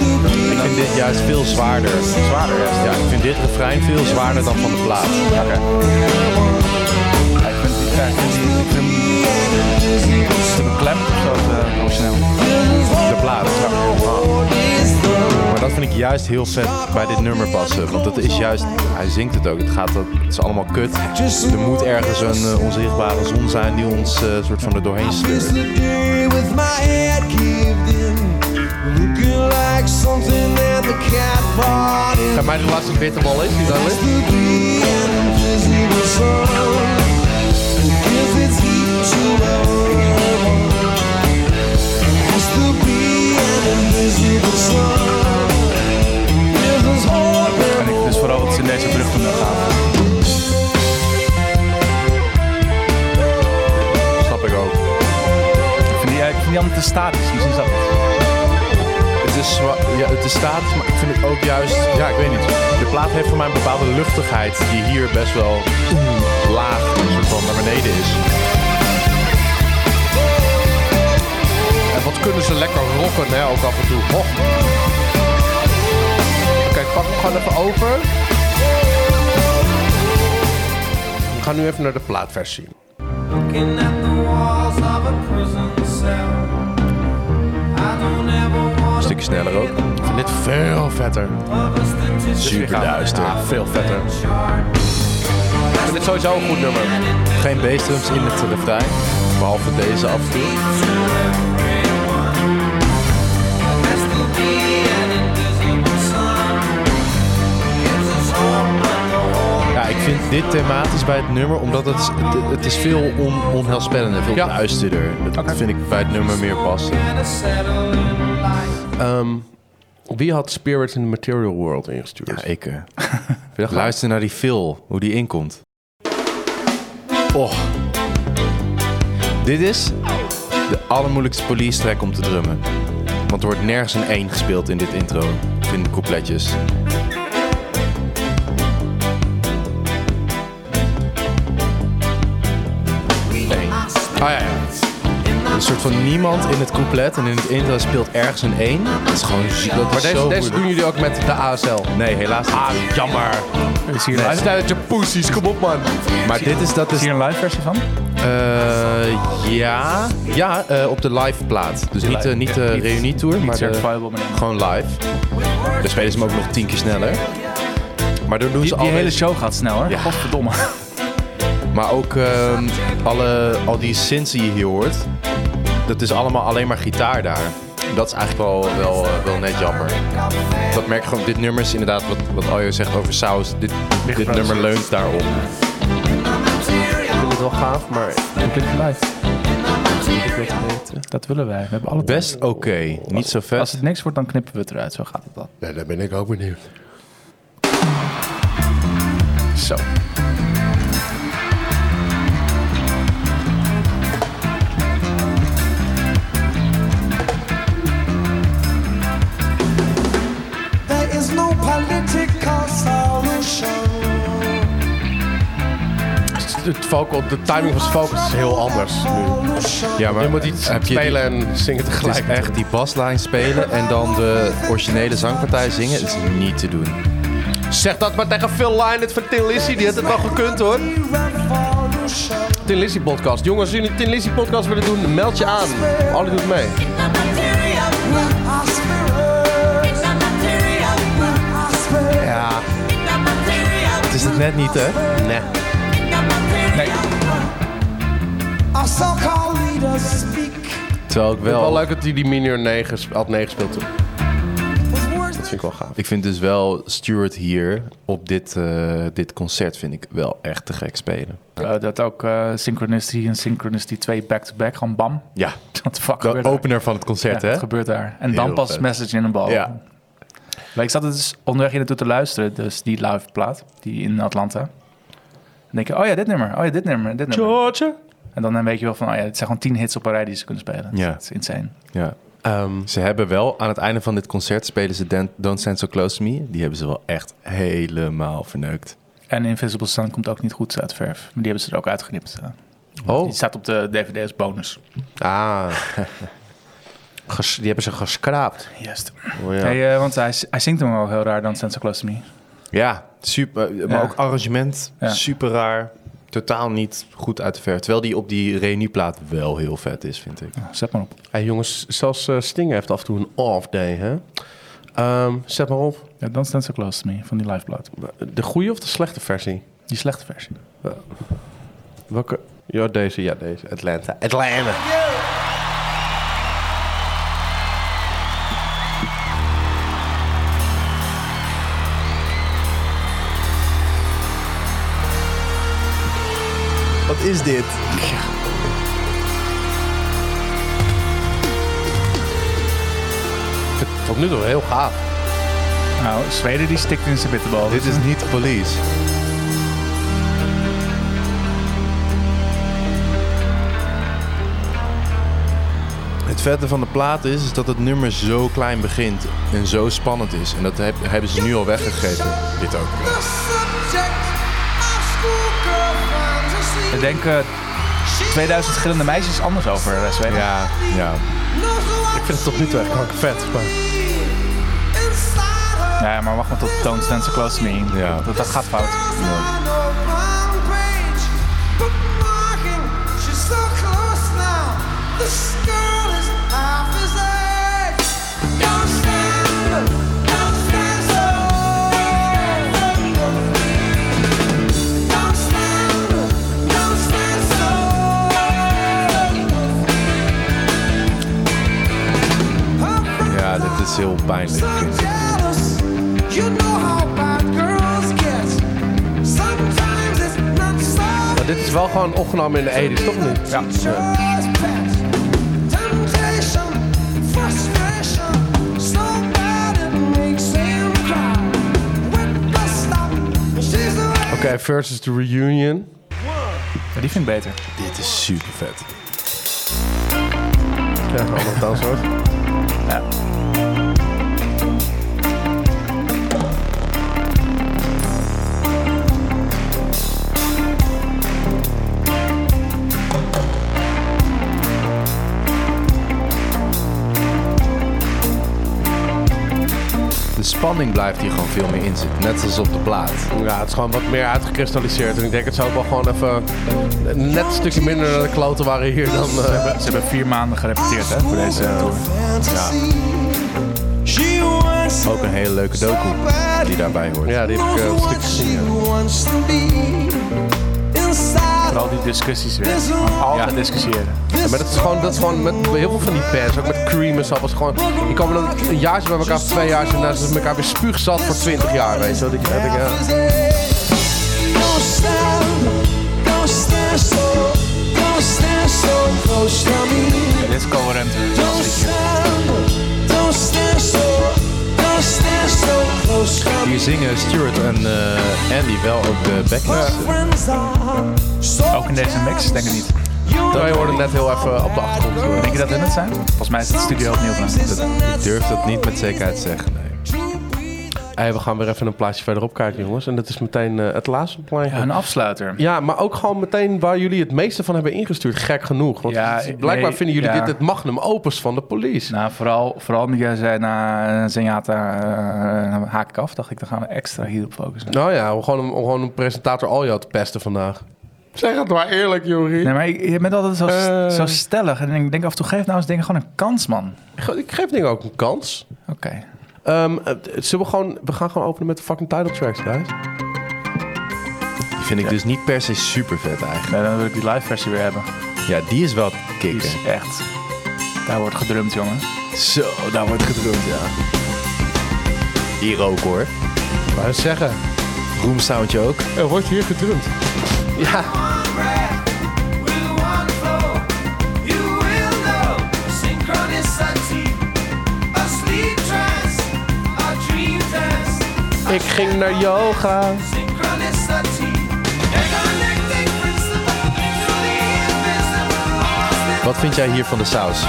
[SPEAKER 4] Ik vind dit juist veel zwaarder. Zwaarder, ja. Ja, ik vind dit refrein veel zwaarder dan van de plaat.
[SPEAKER 2] Ja, ik vind die, ja, ik vind die, ik vind te beklemd of zo, eh, te emotioneel.
[SPEAKER 4] De plaat. Maar dat vind ik juist heel vet bij dit nummer passen. Want het is juist, hij zingt het ook, het, gaat, dat- het is allemaal kut. Er moet ergens een eh, onzichtbare zon zijn die ons eh, soort van er doorheen sleurt.
[SPEAKER 3] Ga mij de laatste bitterbal is, die daar ligt.
[SPEAKER 2] En ik dus vooral wat ze in deze brug doen gaan.
[SPEAKER 4] Snap ik ook.
[SPEAKER 2] Ik vind die, ja, ik vind die allemaal te statisch, misschien is dat het.
[SPEAKER 4] Het is, zwa- ja, het is statisch, maar ik vind het ook juist, ja ik weet niet. De plaat heeft voor mij een bepaalde luchtigheid die hier best wel mm, laag, een soort van naar beneden is.
[SPEAKER 3] En wat kunnen ze lekker rocken, hè, ook af en toe. Ho. Oké, pak hem gewoon even over. We gaan nu even naar de plaatversie.
[SPEAKER 1] Looking at the walls of a prison cell. I don't ever want
[SPEAKER 4] Een stukje sneller ook.
[SPEAKER 3] Ik vind dit veel vetter.
[SPEAKER 1] of us to
[SPEAKER 4] dus Super duister.
[SPEAKER 3] Ah, veel vetter.
[SPEAKER 1] chart.
[SPEAKER 3] En dit is sowieso een goed nummer.
[SPEAKER 4] Geen bassdrums in het refrein. Behalve deze af en toe. Ja, ik vind dit thematisch bij het nummer, omdat het, is- het, het is veel on, onheilspellender, veel
[SPEAKER 3] Ja.
[SPEAKER 4] duisterder. Dat vind ik bij het nummer meer passen.
[SPEAKER 3] Ehm, wie had Spirits in the Material World ingestuurd?
[SPEAKER 4] Ja, ik. eh, luister naar die Phil, hoe die inkomt. Och. Oh. Dit is de allermoeilijkste police track om te drummen. Want er wordt nergens een 1 gespeeld in dit intro. Of in de coupletjes. Nee. Ah ja, ja. Een soort van niemand in het couplet en in het intro speelt ergens een 1. Dat is gewoon ziek. Dat is
[SPEAKER 3] maar deze, deze
[SPEAKER 4] zo moeilijk.
[SPEAKER 3] doen jullie ook met de ASL.
[SPEAKER 4] Nee, helaas niet. Ah, jammer.
[SPEAKER 2] Is hier, een
[SPEAKER 3] Hij is
[SPEAKER 2] live,
[SPEAKER 3] tijd dat je poesies, kom op man.
[SPEAKER 4] Maar dit is, dat
[SPEAKER 2] is
[SPEAKER 4] is,
[SPEAKER 2] hier een live versie van?
[SPEAKER 4] eh, ja, ja eh, op de live plaat. Dus niet, eh, niet de
[SPEAKER 2] Niet-
[SPEAKER 4] reunietour,
[SPEAKER 2] Niet
[SPEAKER 4] maar de-
[SPEAKER 2] certifiable, maar die-
[SPEAKER 4] gewoon live. Dan spelen ze hem ook nog tien keer sneller. Maar dan doen ze
[SPEAKER 2] Die,
[SPEAKER 4] al
[SPEAKER 2] die hele
[SPEAKER 4] deze-
[SPEAKER 2] show gaat snel, hoor.
[SPEAKER 4] Ja.
[SPEAKER 2] Godverdomme.
[SPEAKER 4] Maar ook ehm, alle, al die synths die je hier hoort, dat is allemaal alleen maar gitaar daar. Dat is eigenlijk wel, wel, eh, wel net jammer. Dat merk je gewoon, dit nummer is inderdaad wat, wat Aljo zegt over saus. Dit, dit nummer leunt daarop.
[SPEAKER 3] Ik vind het wel gaaf, maar
[SPEAKER 2] Hoe klinkt die live? Dat willen wij. We hebben alle
[SPEAKER 4] Best oké, niet zo
[SPEAKER 2] Als
[SPEAKER 4] vet.
[SPEAKER 2] het niks wordt, dan knippen we het eruit. Zo gaat het dan.
[SPEAKER 3] ja, daar ben ik ook benieuwd.
[SPEAKER 2] Zo.
[SPEAKER 1] There is no political solution.
[SPEAKER 3] Het vocal, de timing van zijn vocals is heel anders nu.
[SPEAKER 4] Ja, maar
[SPEAKER 3] Je moet iets
[SPEAKER 4] heb je die-
[SPEAKER 3] spelen en zingen
[SPEAKER 4] Het
[SPEAKER 3] tegelijk.
[SPEAKER 4] is echt die baslijn spelen en dan de originele zangpartij zingen. Het is niet te doen.
[SPEAKER 3] Zeg dat maar tegen Phil Lynott het van Tin Lizzy. Die had het wel gekund hoor. Tin Lizzy podcast. Jongens, als jullie een Tin Lizzy podcast willen doen, meld je aan. Alle doet mee. Ja.
[SPEAKER 4] Het is het net niet, hè?
[SPEAKER 3] Nee.
[SPEAKER 1] Our so-called leaders speak
[SPEAKER 4] Terwijl ik
[SPEAKER 3] Wel
[SPEAKER 4] wel...
[SPEAKER 3] leuk dat hij die minor 9, sp- alt 9 speelt. Dat
[SPEAKER 1] with words that
[SPEAKER 3] vind ik wel gaaf.
[SPEAKER 4] Ik vind dus wel Stuart hier op dit, eh, dit concert vind ik wel echt te gek spelen.
[SPEAKER 2] Eh, dat ook eh, Synchronicity en Synchronicity 2 back-to-back. Gewoon bam.
[SPEAKER 4] Ja,
[SPEAKER 2] Wat de fuck
[SPEAKER 4] de
[SPEAKER 2] gebeurt daar?
[SPEAKER 4] opener van het concert,
[SPEAKER 2] Ja,
[SPEAKER 4] hè?
[SPEAKER 2] dat gebeurt daar. En dan
[SPEAKER 4] Heel
[SPEAKER 2] pas
[SPEAKER 4] vet.
[SPEAKER 2] message in een bal.
[SPEAKER 4] Ja.
[SPEAKER 2] Maar ik zat er dus onderweg hier naartoe te luisteren. Dus die live plaat, die in Atlanta. Dan denk je, oh ja, dit nummer. Oh ja, dit nummer. Dit nummer.
[SPEAKER 4] Georgia.
[SPEAKER 2] En dan weet je wel van, oh ja, het zijn gewoon tien hits op een rij die ze kunnen spelen.
[SPEAKER 4] Ja.
[SPEAKER 2] Dat is insane.
[SPEAKER 4] Ja. ze hebben wel, aan het einde van dit concert spelen ze Dan- Don't Stand So Close To Me. Die hebben ze wel echt helemaal verneukt.
[SPEAKER 2] En Invisible Sun komt ook niet goed uit verf. Maar die hebben ze er ook uitgeknipt. eh.
[SPEAKER 3] Oh.
[SPEAKER 2] Die staat op de DVD als bonus.
[SPEAKER 3] Ah. Ges- die hebben ze geskraapt.
[SPEAKER 2] Juist.
[SPEAKER 3] Oh, ja.
[SPEAKER 2] Hey, eh, want hij, hij zingt hem wel heel raar dan Sense Close To Me.
[SPEAKER 4] Ja, super. eh, Maar
[SPEAKER 2] Ja.
[SPEAKER 4] ook arrangement,
[SPEAKER 2] Ja.
[SPEAKER 4] super raar. Totaal niet goed uit de verf. Terwijl die op die reunieplaat wel heel vet is, vind ik.
[SPEAKER 2] Zet maar op.
[SPEAKER 3] Hey, jongens, zelfs eh, Sting heeft af en toe een off day, hè? Ehm, zet maar op.
[SPEAKER 2] Ja, dan Sense Close To Me van die live plaat.
[SPEAKER 3] De goede of de slechte versie?
[SPEAKER 2] Die slechte versie.
[SPEAKER 3] Welke? Ja, deze. Ja, deze. Atlanta. Atlanta.
[SPEAKER 4] Wat is dit?
[SPEAKER 3] Tot nu toe heel gaaf.
[SPEAKER 2] Nou, Zweden die stikt in zijn bitterbal.
[SPEAKER 4] Dit is niet police. Het vette van de plaat is, is dat het nummer zo klein begint en zo spannend is. En dat heb- hebben ze nu al weggegeven. Dit ook.
[SPEAKER 5] The subject our schoolgirl finds
[SPEAKER 2] Ik
[SPEAKER 5] asleep.
[SPEAKER 2] denk eh, 2000 verschillende meisjes anders over eh, Zweden.
[SPEAKER 4] Ja, ja.
[SPEAKER 5] Ik vind het tot nu toe echt
[SPEAKER 3] Kanker vet. Maar...
[SPEAKER 2] Ja, maar wacht maar tot Don't Stand So Close To Me.
[SPEAKER 4] Ja.
[SPEAKER 2] Dat, dat gaat fout.
[SPEAKER 5] Don't stand,
[SPEAKER 4] is heel pijnlijk.
[SPEAKER 6] So jealous, you know how bad girls get. Sometimes it's not so
[SPEAKER 3] Maar dit is wel gewoon opgenomen in de 80's, toch niet?
[SPEAKER 6] Ja. Temptation, frustration, so bad it makes him cry. With the stop, she's the
[SPEAKER 3] Oké, versus The Reunion.
[SPEAKER 2] Ja, die vind ik beter.
[SPEAKER 4] Dit is super vet.
[SPEAKER 3] Ja, allemaal danswoord.
[SPEAKER 4] De spanning blijft hier gewoon veel meer in zitten. Net als op de plaat.
[SPEAKER 3] Ja, het is gewoon wat meer uitgekristalliseerd. En ik denk het zou ook wel gewoon even net een stukje minder naar de kloten waren hier dan... eh,
[SPEAKER 2] Ze hebben vier maanden gerepeteerd hè, voor deze eh, tour.
[SPEAKER 6] She wants
[SPEAKER 4] Ook een hele leuke docu die daarbij hoort.
[SPEAKER 3] ja, die heb ik eh, een stukje gezien. ja.
[SPEAKER 6] wants to be inside
[SPEAKER 2] Al die discussies weer. Gewoon Altijd discussiëren.
[SPEAKER 3] Ja, maar dat is gewoon, dat is gewoon met bij heel veel van die bands, ook met Cream en zo, was gewoon... Die kwamen dan een jaartje bij elkaar, twee jaar, en daarna zijn ze elkaar weer spuugzat voor twintig jaar, weet je wel. Dat je- dat ik, ja.
[SPEAKER 6] Don't stand, don't stand so, don't stand so close to me.
[SPEAKER 2] Dit is coherent.
[SPEAKER 6] Don't stand, don't stand so, don't stand so close to me.
[SPEAKER 4] Hier zingen Stuart en eh, Andy wel ook de
[SPEAKER 6] My
[SPEAKER 4] backings.
[SPEAKER 6] friends are so
[SPEAKER 2] Ook in deze mix, denk ik niet.
[SPEAKER 3] Wij hoorden net heel even op de achtergrond. eh.
[SPEAKER 2] Denk je dat hun het zijn? Volgens mij is het studio opnieuw gedaan.
[SPEAKER 4] Ik durf dat niet met zekerheid te zeggen, nee.
[SPEAKER 3] Hey, we gaan weer even een plaatje verderop kijken, jongens. En dat is meteen eh, het laatste plaatje.
[SPEAKER 2] Ja,
[SPEAKER 3] Ja,
[SPEAKER 2] Een afsluiter.
[SPEAKER 3] maar ook gewoon meteen waar jullie het meeste van hebben ingestuurd. Gek genoeg. Want
[SPEAKER 2] Ja,
[SPEAKER 3] het is- blijkbaar
[SPEAKER 2] nee,
[SPEAKER 3] vinden jullie
[SPEAKER 2] ja.
[SPEAKER 3] dit het magnum opus van de police.
[SPEAKER 2] Nou, vooral, vooral omdat jij zei na eh, Zenyatta eh, haak ik af, dacht ik, dan gaan we extra hierop focussen.
[SPEAKER 3] Nou ja, om gewoon, om gewoon een presentator Aljo te pesten vandaag. Zeg het maar eerlijk, Jurie.
[SPEAKER 2] Nee, maar je je bent altijd zo,
[SPEAKER 3] Eh.
[SPEAKER 2] zo stellig. En ik denk af en toe, geef nou eens dingen gewoon een kans, man.
[SPEAKER 3] Ik, ik geef dingen ook een kans.
[SPEAKER 2] Oké.
[SPEAKER 3] Ehm, eh, zullen we gewoon... We gaan gewoon openen met de fucking title tracks, guys.
[SPEAKER 4] Die vind ik dus niet per se super vet eigenlijk.
[SPEAKER 2] Nee, dan wil ik die live versie weer hebben.
[SPEAKER 4] Ja, die is wel
[SPEAKER 2] Die
[SPEAKER 4] kicken.
[SPEAKER 2] is echt... Daar wordt gedrumd, jongen.
[SPEAKER 4] Zo, daar wordt gedroomd, ja. Hier ook hoor.
[SPEAKER 3] Wou je zeggen.
[SPEAKER 4] Room soundje ook.
[SPEAKER 3] Er wordt hier gedrumd. Ja. Ik ging naar yoga.
[SPEAKER 4] Wat vind jij hier van de saus?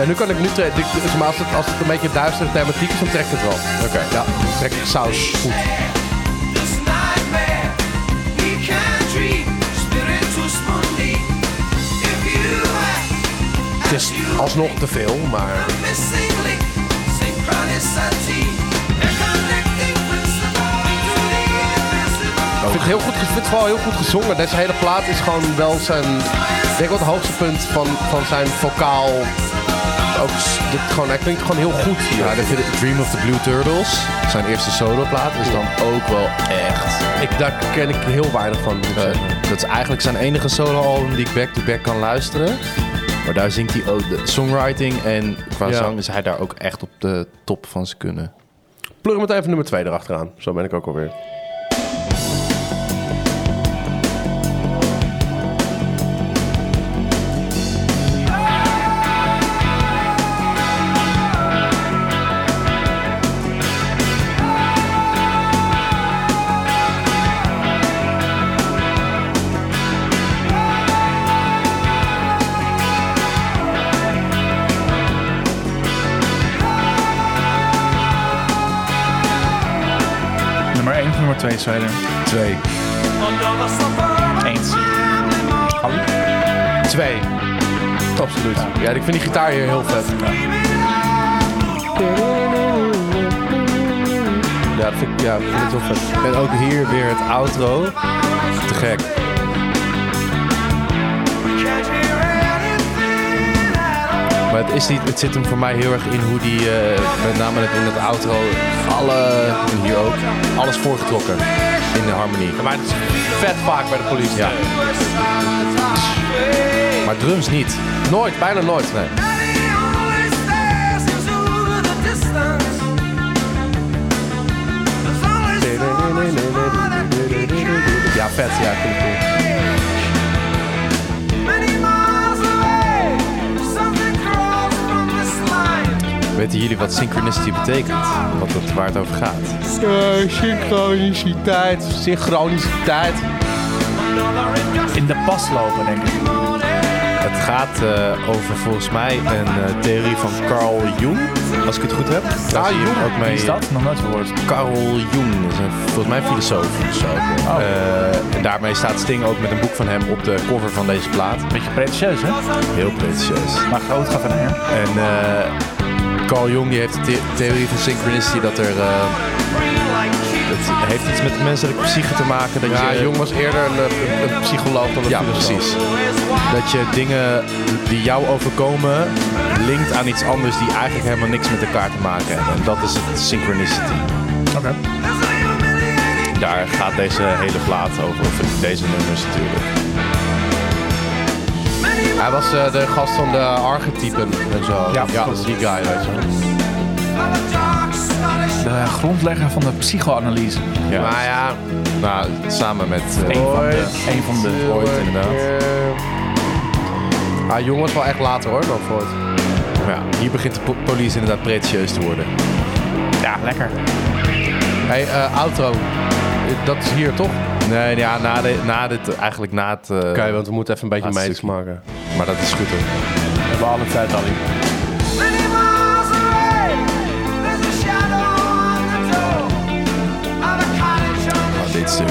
[SPEAKER 3] En nu kan ik nu... tre- dit- dit is Maar als het, als het een beetje duistere thematiek is, dan trekt het wel. Oké. Ja, dan trek ik saus. Goed.
[SPEAKER 6] This nightmare we can dream spiritus mundi. If you had
[SPEAKER 3] Het is alsnog te veel, maar...
[SPEAKER 6] a missing link, synchronicity, a connecting principle to the invisible.
[SPEAKER 3] Ik vind het, heel goed, ik vind het vooral heel goed gezongen. Deze hele plaat is gewoon wel zijn... Ik denk wel het hoogste punt van, van zijn vocaal. Ook, s- dit gewoon, hij klinkt gewoon heel goed hier.
[SPEAKER 4] Ja, dan vind ik Dream of the Blue Turtles. Zijn eerste soloplaat is dan ook wel echt.
[SPEAKER 3] ik, daar ken ik heel weinig van. moet ik zeggen.
[SPEAKER 4] Eh, dat is eigenlijk zijn enige soloalbum die ik back-to-back kan luisteren. Maar daar zingt hij ook de songwriting en qua
[SPEAKER 3] Ja.
[SPEAKER 4] zang is hij daar ook echt op de top van zijn kunnen.
[SPEAKER 3] Plug hem even nummer 2 erachteraan. Zo ben ik ook alweer.
[SPEAKER 2] Nummer 1 of nummer 2 is verder.
[SPEAKER 4] Twee.
[SPEAKER 2] Eens.
[SPEAKER 3] Twee. Absoluut. Ja, ik vind die gitaar hier heel vet. Ja, dat vind ik, ja, ik vind het heel vet.
[SPEAKER 4] En ook hier weer het outro. Te gek. Maar het, is niet, het zit hem voor mij heel erg in hoe die, eh, met name in het outro, alle, en hier ook, alles voorgetrokken. in de harmonie.
[SPEAKER 2] Maar het is vet vaak bij de politie.
[SPEAKER 4] Ja. Maar drums niet.
[SPEAKER 3] Nooit, bijna nooit. Nee.
[SPEAKER 4] Ja, vet. Ja, cool, cool. Weten jullie wat synchronicity betekent? Wat het, waar het over gaat?
[SPEAKER 3] Eh, synchroniciteit, synchroniciteit.
[SPEAKER 2] In de pas lopen, denk ik.
[SPEAKER 4] Het gaat eh, over volgens mij een eh, theorie van Carl Jung, als ik het goed heb. Daar zie je hem Ook
[SPEAKER 2] Ah, Wie
[SPEAKER 4] mee,
[SPEAKER 2] is dat? Nog nooit gehoord.
[SPEAKER 4] Carl Jung, dat is een, volgens mij een filosoof. of zo.
[SPEAKER 2] Oh.
[SPEAKER 4] Eh, en daarmee staat Sting ook met een boek van hem op de cover van deze plaat.
[SPEAKER 2] Beetje pretentieus, hè?
[SPEAKER 4] Heel pretentieus.
[SPEAKER 2] Maar groot gaat er hè?
[SPEAKER 4] En eh, Carl Jung die heeft de the- theorie van synchronicity dat er... eh, het heeft iets met de menselijke psyche te maken. Dat
[SPEAKER 3] Ja,
[SPEAKER 4] je,
[SPEAKER 3] Jong was eerder een, eh, een psycholoog dan een
[SPEAKER 4] Ja,
[SPEAKER 3] filosoof.
[SPEAKER 4] precies. Dat je dingen die jou overkomen linkt aan iets anders die eigenlijk helemaal niks met elkaar te maken hebben. En dat is het synchronicity.
[SPEAKER 2] Oké.
[SPEAKER 4] Daar gaat deze hele plaat over, of deze nummers natuurlijk.
[SPEAKER 3] Hij was eh, de gast van de archetypen en zo.
[SPEAKER 2] Ja,
[SPEAKER 3] dat is die guy, weet je wel.
[SPEAKER 2] De grondlegger van de psychoanalyse.
[SPEAKER 4] Ja.
[SPEAKER 3] Maar ja,
[SPEAKER 4] Nou, samen met... eh,
[SPEAKER 2] Eén van de. Een van de.
[SPEAKER 4] Freud, inderdaad.
[SPEAKER 3] eh, Ah, Jong was wel echt later hoor dan Freud.
[SPEAKER 4] ja, hier begint de po- police inderdaad pretentieus te worden.
[SPEAKER 2] Ja, lekker.
[SPEAKER 3] hey, eh, outro. Eh, Dat is hier toch?
[SPEAKER 4] Nee, ja, na, de, na dit, eigenlijk na het... eh,
[SPEAKER 3] Oké, want we moeten even een beetje
[SPEAKER 4] Laatste
[SPEAKER 3] medisch maken.
[SPEAKER 4] Maar dat is goed hoor.
[SPEAKER 2] We hebben alle tijd al in.
[SPEAKER 4] Maar Ah, dit stuk.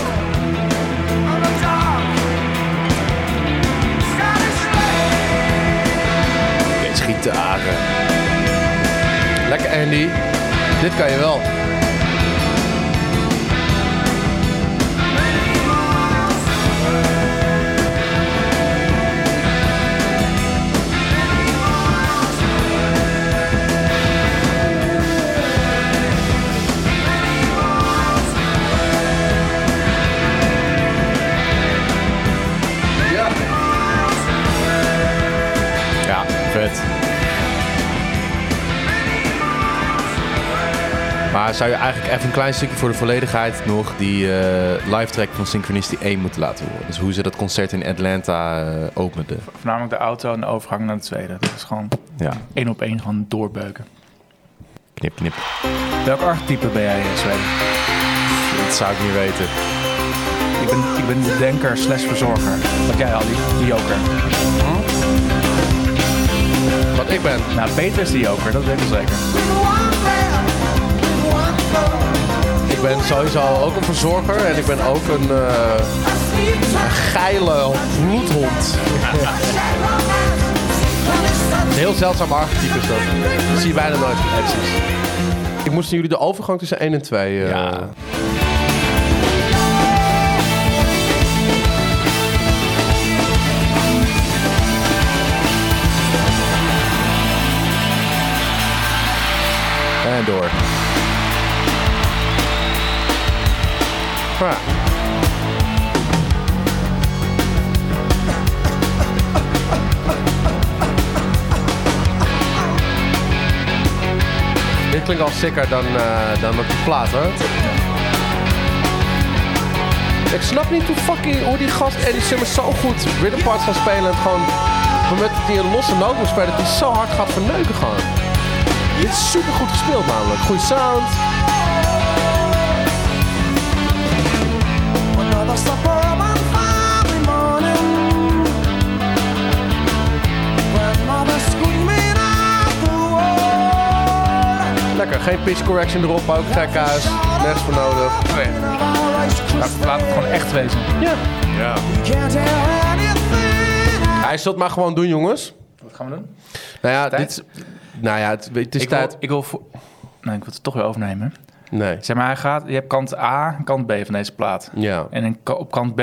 [SPEAKER 4] Deze gitaren.
[SPEAKER 3] Lekker Andy. Dit kan je wel.
[SPEAKER 4] Ja, vet. Maar zou je eigenlijk even een klein stukje voor de volledigheid nog die eh, live track van Synchronicity 1 moeten laten horen? Dus hoe ze dat concert in Atlanta eh, openden.
[SPEAKER 2] Voornamelijk de auto en de overgang naar de tweede. Dat is gewoon
[SPEAKER 4] Ja,
[SPEAKER 2] één op één gewoon doorbeuken.
[SPEAKER 4] knip, knip.
[SPEAKER 2] Welk archetype ben jij, eh, Zweden?
[SPEAKER 4] Dat zou ik niet weten.
[SPEAKER 2] Ik ben, ik ben de denker slash verzorger. Wat jij al, de joker.
[SPEAKER 3] Wat ik ben.
[SPEAKER 2] Nou, Peter is de joker, dat weet ik zeker.
[SPEAKER 3] Ik ben sowieso ook een verzorger en ik ben ook een eh, geile bloedhond. Heel zeldzaam archetype is dat. Dat zie je bijna nooit in acties. Ik moest jullie de overgang tussen 1 en 2. eh,
[SPEAKER 4] Ja. En door.
[SPEAKER 3] ja. Dit klinkt al sicker dan, eh, dan op de plaat, hoor. Ik snap niet hoe fucking hoe die gast Eddie Simmons zo goed rhythm parts kan spelen. En het gewoon, op het moment dat hij een losse noot moet spelen, dat hij zo hard gaat verneuken gewoon. Dit is super goed gespeeld namelijk. Goeie sound. Lekker, geen pitch correction erop, ook gek huis. Nergens voor nodig.
[SPEAKER 2] Laat het gewoon echt wezen.
[SPEAKER 4] Ja.
[SPEAKER 3] Hij zult maar gewoon doen, jongens.
[SPEAKER 2] Wat gaan we doen?
[SPEAKER 3] Nou ja,
[SPEAKER 2] Tijd?
[SPEAKER 3] dit is, nou ja, het, het is
[SPEAKER 2] Ik
[SPEAKER 3] tijd.
[SPEAKER 2] wil, ik wil voor... Nee, ik wil het toch weer overnemen.
[SPEAKER 3] Nee.
[SPEAKER 2] Zeg maar, hij gaat, je hebt kant A en kant B van deze plaat.
[SPEAKER 3] Ja.
[SPEAKER 2] En in, ka- op kant B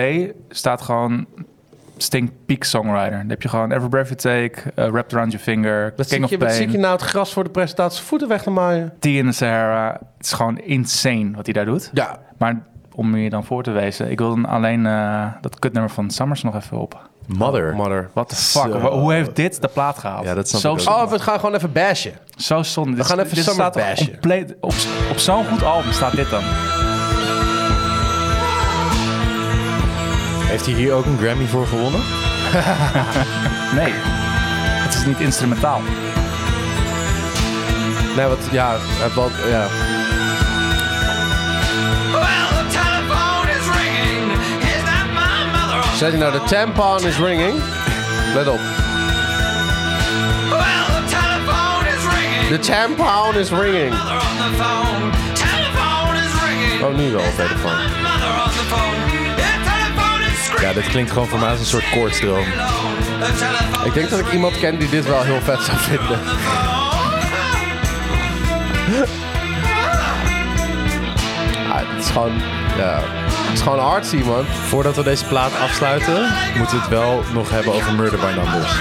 [SPEAKER 2] staat gewoon Sting Peak Songwriter. Dan heb je gewoon Every Breath You Take, eh, Wrapped Around Your Finger,
[SPEAKER 3] Wat
[SPEAKER 2] King
[SPEAKER 3] zit,
[SPEAKER 2] of
[SPEAKER 3] je, wat zit je
[SPEAKER 2] Pain,
[SPEAKER 3] nou het gras voor de presentatie voeten weg te maaien?
[SPEAKER 2] Tea in the Sahara. Het is gewoon insane wat hij daar doet.
[SPEAKER 3] Ja.
[SPEAKER 2] Maar om meer dan voor te wezen. Ik wil dan alleen eh, dat kutnummer van Summers nog even op.
[SPEAKER 4] Mother.
[SPEAKER 3] Mother.
[SPEAKER 2] What the fuck?
[SPEAKER 4] Zo.
[SPEAKER 2] wa- Hoe heeft dit de plaat gehaald?
[SPEAKER 4] Ja, dat snap
[SPEAKER 2] zo
[SPEAKER 4] ik ook.
[SPEAKER 2] zonde.
[SPEAKER 3] Oh, we gaan gewoon even bashen.
[SPEAKER 2] Zo zonde. We
[SPEAKER 3] gaan even
[SPEAKER 2] dit
[SPEAKER 3] Summer
[SPEAKER 2] staat toch
[SPEAKER 3] bashen.
[SPEAKER 2] compleet op, op zo'n goed album staat dit dan.
[SPEAKER 4] Heeft hij hier ook een Grammy voor gewonnen?
[SPEAKER 2] Nee, het is niet instrumentaal.
[SPEAKER 3] Nee, wat, ja, eh, wat, ja.
[SPEAKER 5] Well, the telephone is ringing. Is that my mother?
[SPEAKER 3] Zet je nou de tampon is ringing? Let op.
[SPEAKER 5] Well, the telephone is ringing.
[SPEAKER 3] De tampon is ringing.
[SPEAKER 5] Mother on the phone. Telephone is ringing.
[SPEAKER 3] Oh, nu wel,
[SPEAKER 5] Is that
[SPEAKER 3] telefoon.
[SPEAKER 5] my mother on the phone? The telephone is
[SPEAKER 4] Ja,
[SPEAKER 5] screaming.
[SPEAKER 4] dit klinkt gewoon voor mij als een soort koortsdroom.
[SPEAKER 3] Ik denk dat ik iemand ken die dit wel heel vet zou vinden. Ah, het is gewoon, ja. Het is gewoon artsy, man.
[SPEAKER 4] Voordat we deze plaat afsluiten, moeten we het wel nog hebben over Murder by Numbers.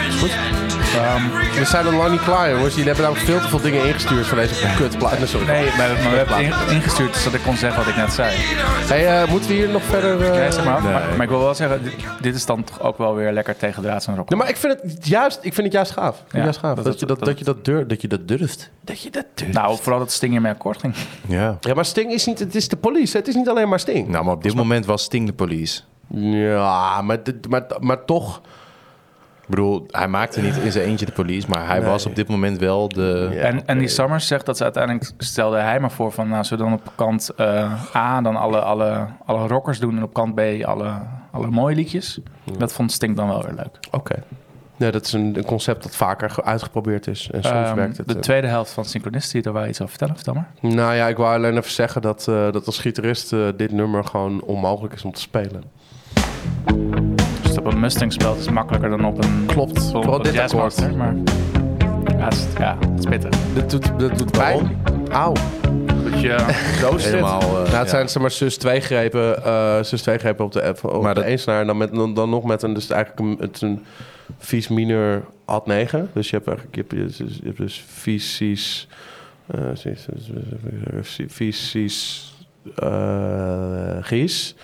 [SPEAKER 3] We zijn nog lang niet klaar, jongens. Jullie hebben namelijk veel te veel dingen ingestuurd voor deze kutplaat. Nee, sorry.
[SPEAKER 2] Nee, maar, maar we hebben het in- ingestuurd zodat ik kon zeggen wat ik net zei.
[SPEAKER 3] Hey, eh, moeten we hier nog verder... eh,
[SPEAKER 2] Nee, zeg maar,
[SPEAKER 4] Nee.
[SPEAKER 2] maar, maar ik wil wel zeggen, dit, dit is dan toch ook wel weer lekker tegen draad en rock.
[SPEAKER 3] Nee, maar ik vind het juist, ik vind het juist gaaf. Ik vind het
[SPEAKER 2] Ja,
[SPEAKER 3] juist gaaf. Dat,
[SPEAKER 2] dat-
[SPEAKER 3] je dat, dat,
[SPEAKER 2] dat-
[SPEAKER 3] je dat, durft, dat je dat durft.
[SPEAKER 2] Nou, vooral dat Sting hiermee akkoord ging.
[SPEAKER 4] Ja.
[SPEAKER 3] Ja, maar Sting is niet, het is de police. Het is niet alleen maar Sting.
[SPEAKER 4] Nou, maar op dit moment was Sting de police.
[SPEAKER 2] Nou.
[SPEAKER 3] Ja, maar, dit- maar, maar toch.
[SPEAKER 4] Ik bedoel, hij maakte niet in zijn eentje de police, maar hij was op dit moment wel de...
[SPEAKER 3] Ja.
[SPEAKER 2] en, en die Summers zegt dat ze uiteindelijk, stelde hij maar voor van, nou, zullen we dan op kant eh, A dan alle, alle, alle rockers doen en op kant B alle, alle mooie liedjes. Dat vond Sting dan wel weer leuk.
[SPEAKER 3] Oké. Nee, dat is een, een concept dat vaker ge- uitgeprobeerd is. En soms
[SPEAKER 2] Ehm,
[SPEAKER 3] werkt het.
[SPEAKER 2] de
[SPEAKER 3] eh.
[SPEAKER 2] tweede helft van Synchronicity, daar wou je iets over vertellen, vertel maar.
[SPEAKER 3] Nou ja, ik wou alleen even zeggen dat, eh, dat als gitarist eh, dit nummer gewoon onmogelijk is om te spelen.
[SPEAKER 2] Dus dat op een Mustang speelt is makkelijker dan op een...
[SPEAKER 3] Klopt.
[SPEAKER 2] op
[SPEAKER 3] Vooral
[SPEAKER 2] een
[SPEAKER 3] dit
[SPEAKER 2] Jazzmaster, Maar ja, het is, ja, het is pittig.
[SPEAKER 3] Dat doet, dat doet pijn. Auw.
[SPEAKER 2] Dat je...
[SPEAKER 3] Zo is dit.
[SPEAKER 4] Helemaal, eh,
[SPEAKER 3] nou, het
[SPEAKER 4] ja.
[SPEAKER 3] zijn zeg maar zus twee grepen, eh, zus twee grepen op de app, op
[SPEAKER 4] Maar
[SPEAKER 3] de
[SPEAKER 4] dat-
[SPEAKER 3] één snaar en dan, met, dan, dan nog met een, dus eigenlijk een, het is een vies minor ad 9. Dus je hebt eigenlijk, je hebt, je hebt- je hebt dus vies, cis, eh, cis, cis, vies, cis, eh, gis.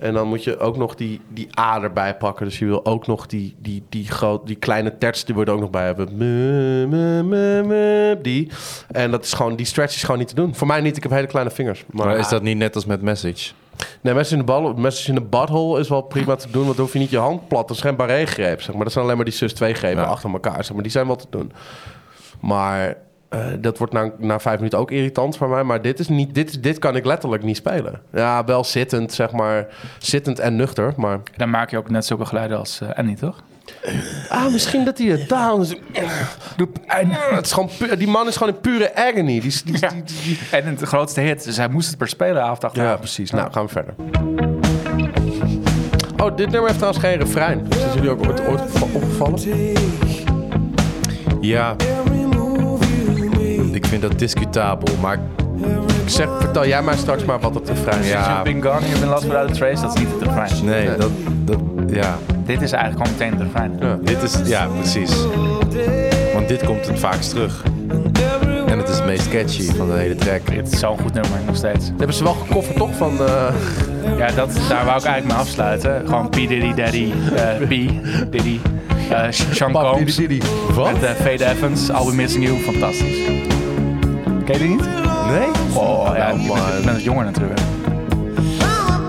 [SPEAKER 3] En dan moet je ook nog die, die A erbij pakken. Dus je wil ook nog die, die, die, groot, die kleine terts, die wordt ook nog bij hebben. Me, me, me, me, die. En dat is gewoon, die stretch is gewoon niet te doen. Voor mij niet, ik heb hele kleine vingers.
[SPEAKER 4] Maar is dat niet net als met Message?
[SPEAKER 3] Nee, mensen in de, bal, mensen in de butthole is wel prima te doen, want dan hoef je niet je hand plat. Dat is geen barré-greep, zeg maar. Dat zijn alleen maar die sus 2 grepen
[SPEAKER 4] Ja.
[SPEAKER 3] achter elkaar, zeg maar. Die zijn wel te doen. Maar eh, dat wordt na, na vijf minuten ook irritant voor mij. Maar dit, is niet, dit, is- dit kan ik letterlijk niet spelen. Ja, wel zittend, zeg maar. Zittend en nuchter, maar...
[SPEAKER 2] Dan maak je ook net zulke geluiden als eh Annie, toch?
[SPEAKER 3] Ah, misschien dat hij het down... Het is gewoon pu- die man is gewoon in pure agony. Die, die, die, die- die-
[SPEAKER 2] En het grootste hit, dus hij moest het per spelen avond achter
[SPEAKER 3] Ja,
[SPEAKER 2] avond.
[SPEAKER 3] precies. Nou, gaan we verder. Oh, dit nummer heeft trouwens geen refrein. Is dat jullie ook ooit, ooit opge- opgevallen?
[SPEAKER 4] Ja, ik vind dat discutabel, maar
[SPEAKER 3] Ik zeg, vertel jij mij straks maar wat het refrein is.
[SPEAKER 4] Ja.
[SPEAKER 2] You've been Dus gone, you've been lost without a trace, dat is niet het refrein.
[SPEAKER 4] nee, Dat, dat... Ja,
[SPEAKER 2] Dit is eigenlijk gewoon meteen het refrein.
[SPEAKER 4] dit is... Ja, precies. Want dit komt het vaakst terug. En het is het meest catchy van de hele track.
[SPEAKER 2] Het is zo'n goed nummer, nog steeds.
[SPEAKER 3] Dat hebben ze wel gekofferd, toch? Van, eh,
[SPEAKER 2] Ja, dat, daar wou ik eigenlijk mee afsluiten. Gewoon P. Diddy Daddy, eh P. Diddy, eh Sean
[SPEAKER 3] Pap Diddy
[SPEAKER 2] Combs.
[SPEAKER 3] Diddy.
[SPEAKER 2] Wat? Met eh, Fade Evans, I'll Be Missing You, fantastisch. Ken je die niet?
[SPEAKER 4] Nee?
[SPEAKER 2] Oh, ja, ik
[SPEAKER 3] man.
[SPEAKER 2] ben, ik ben het jonger natuurlijk.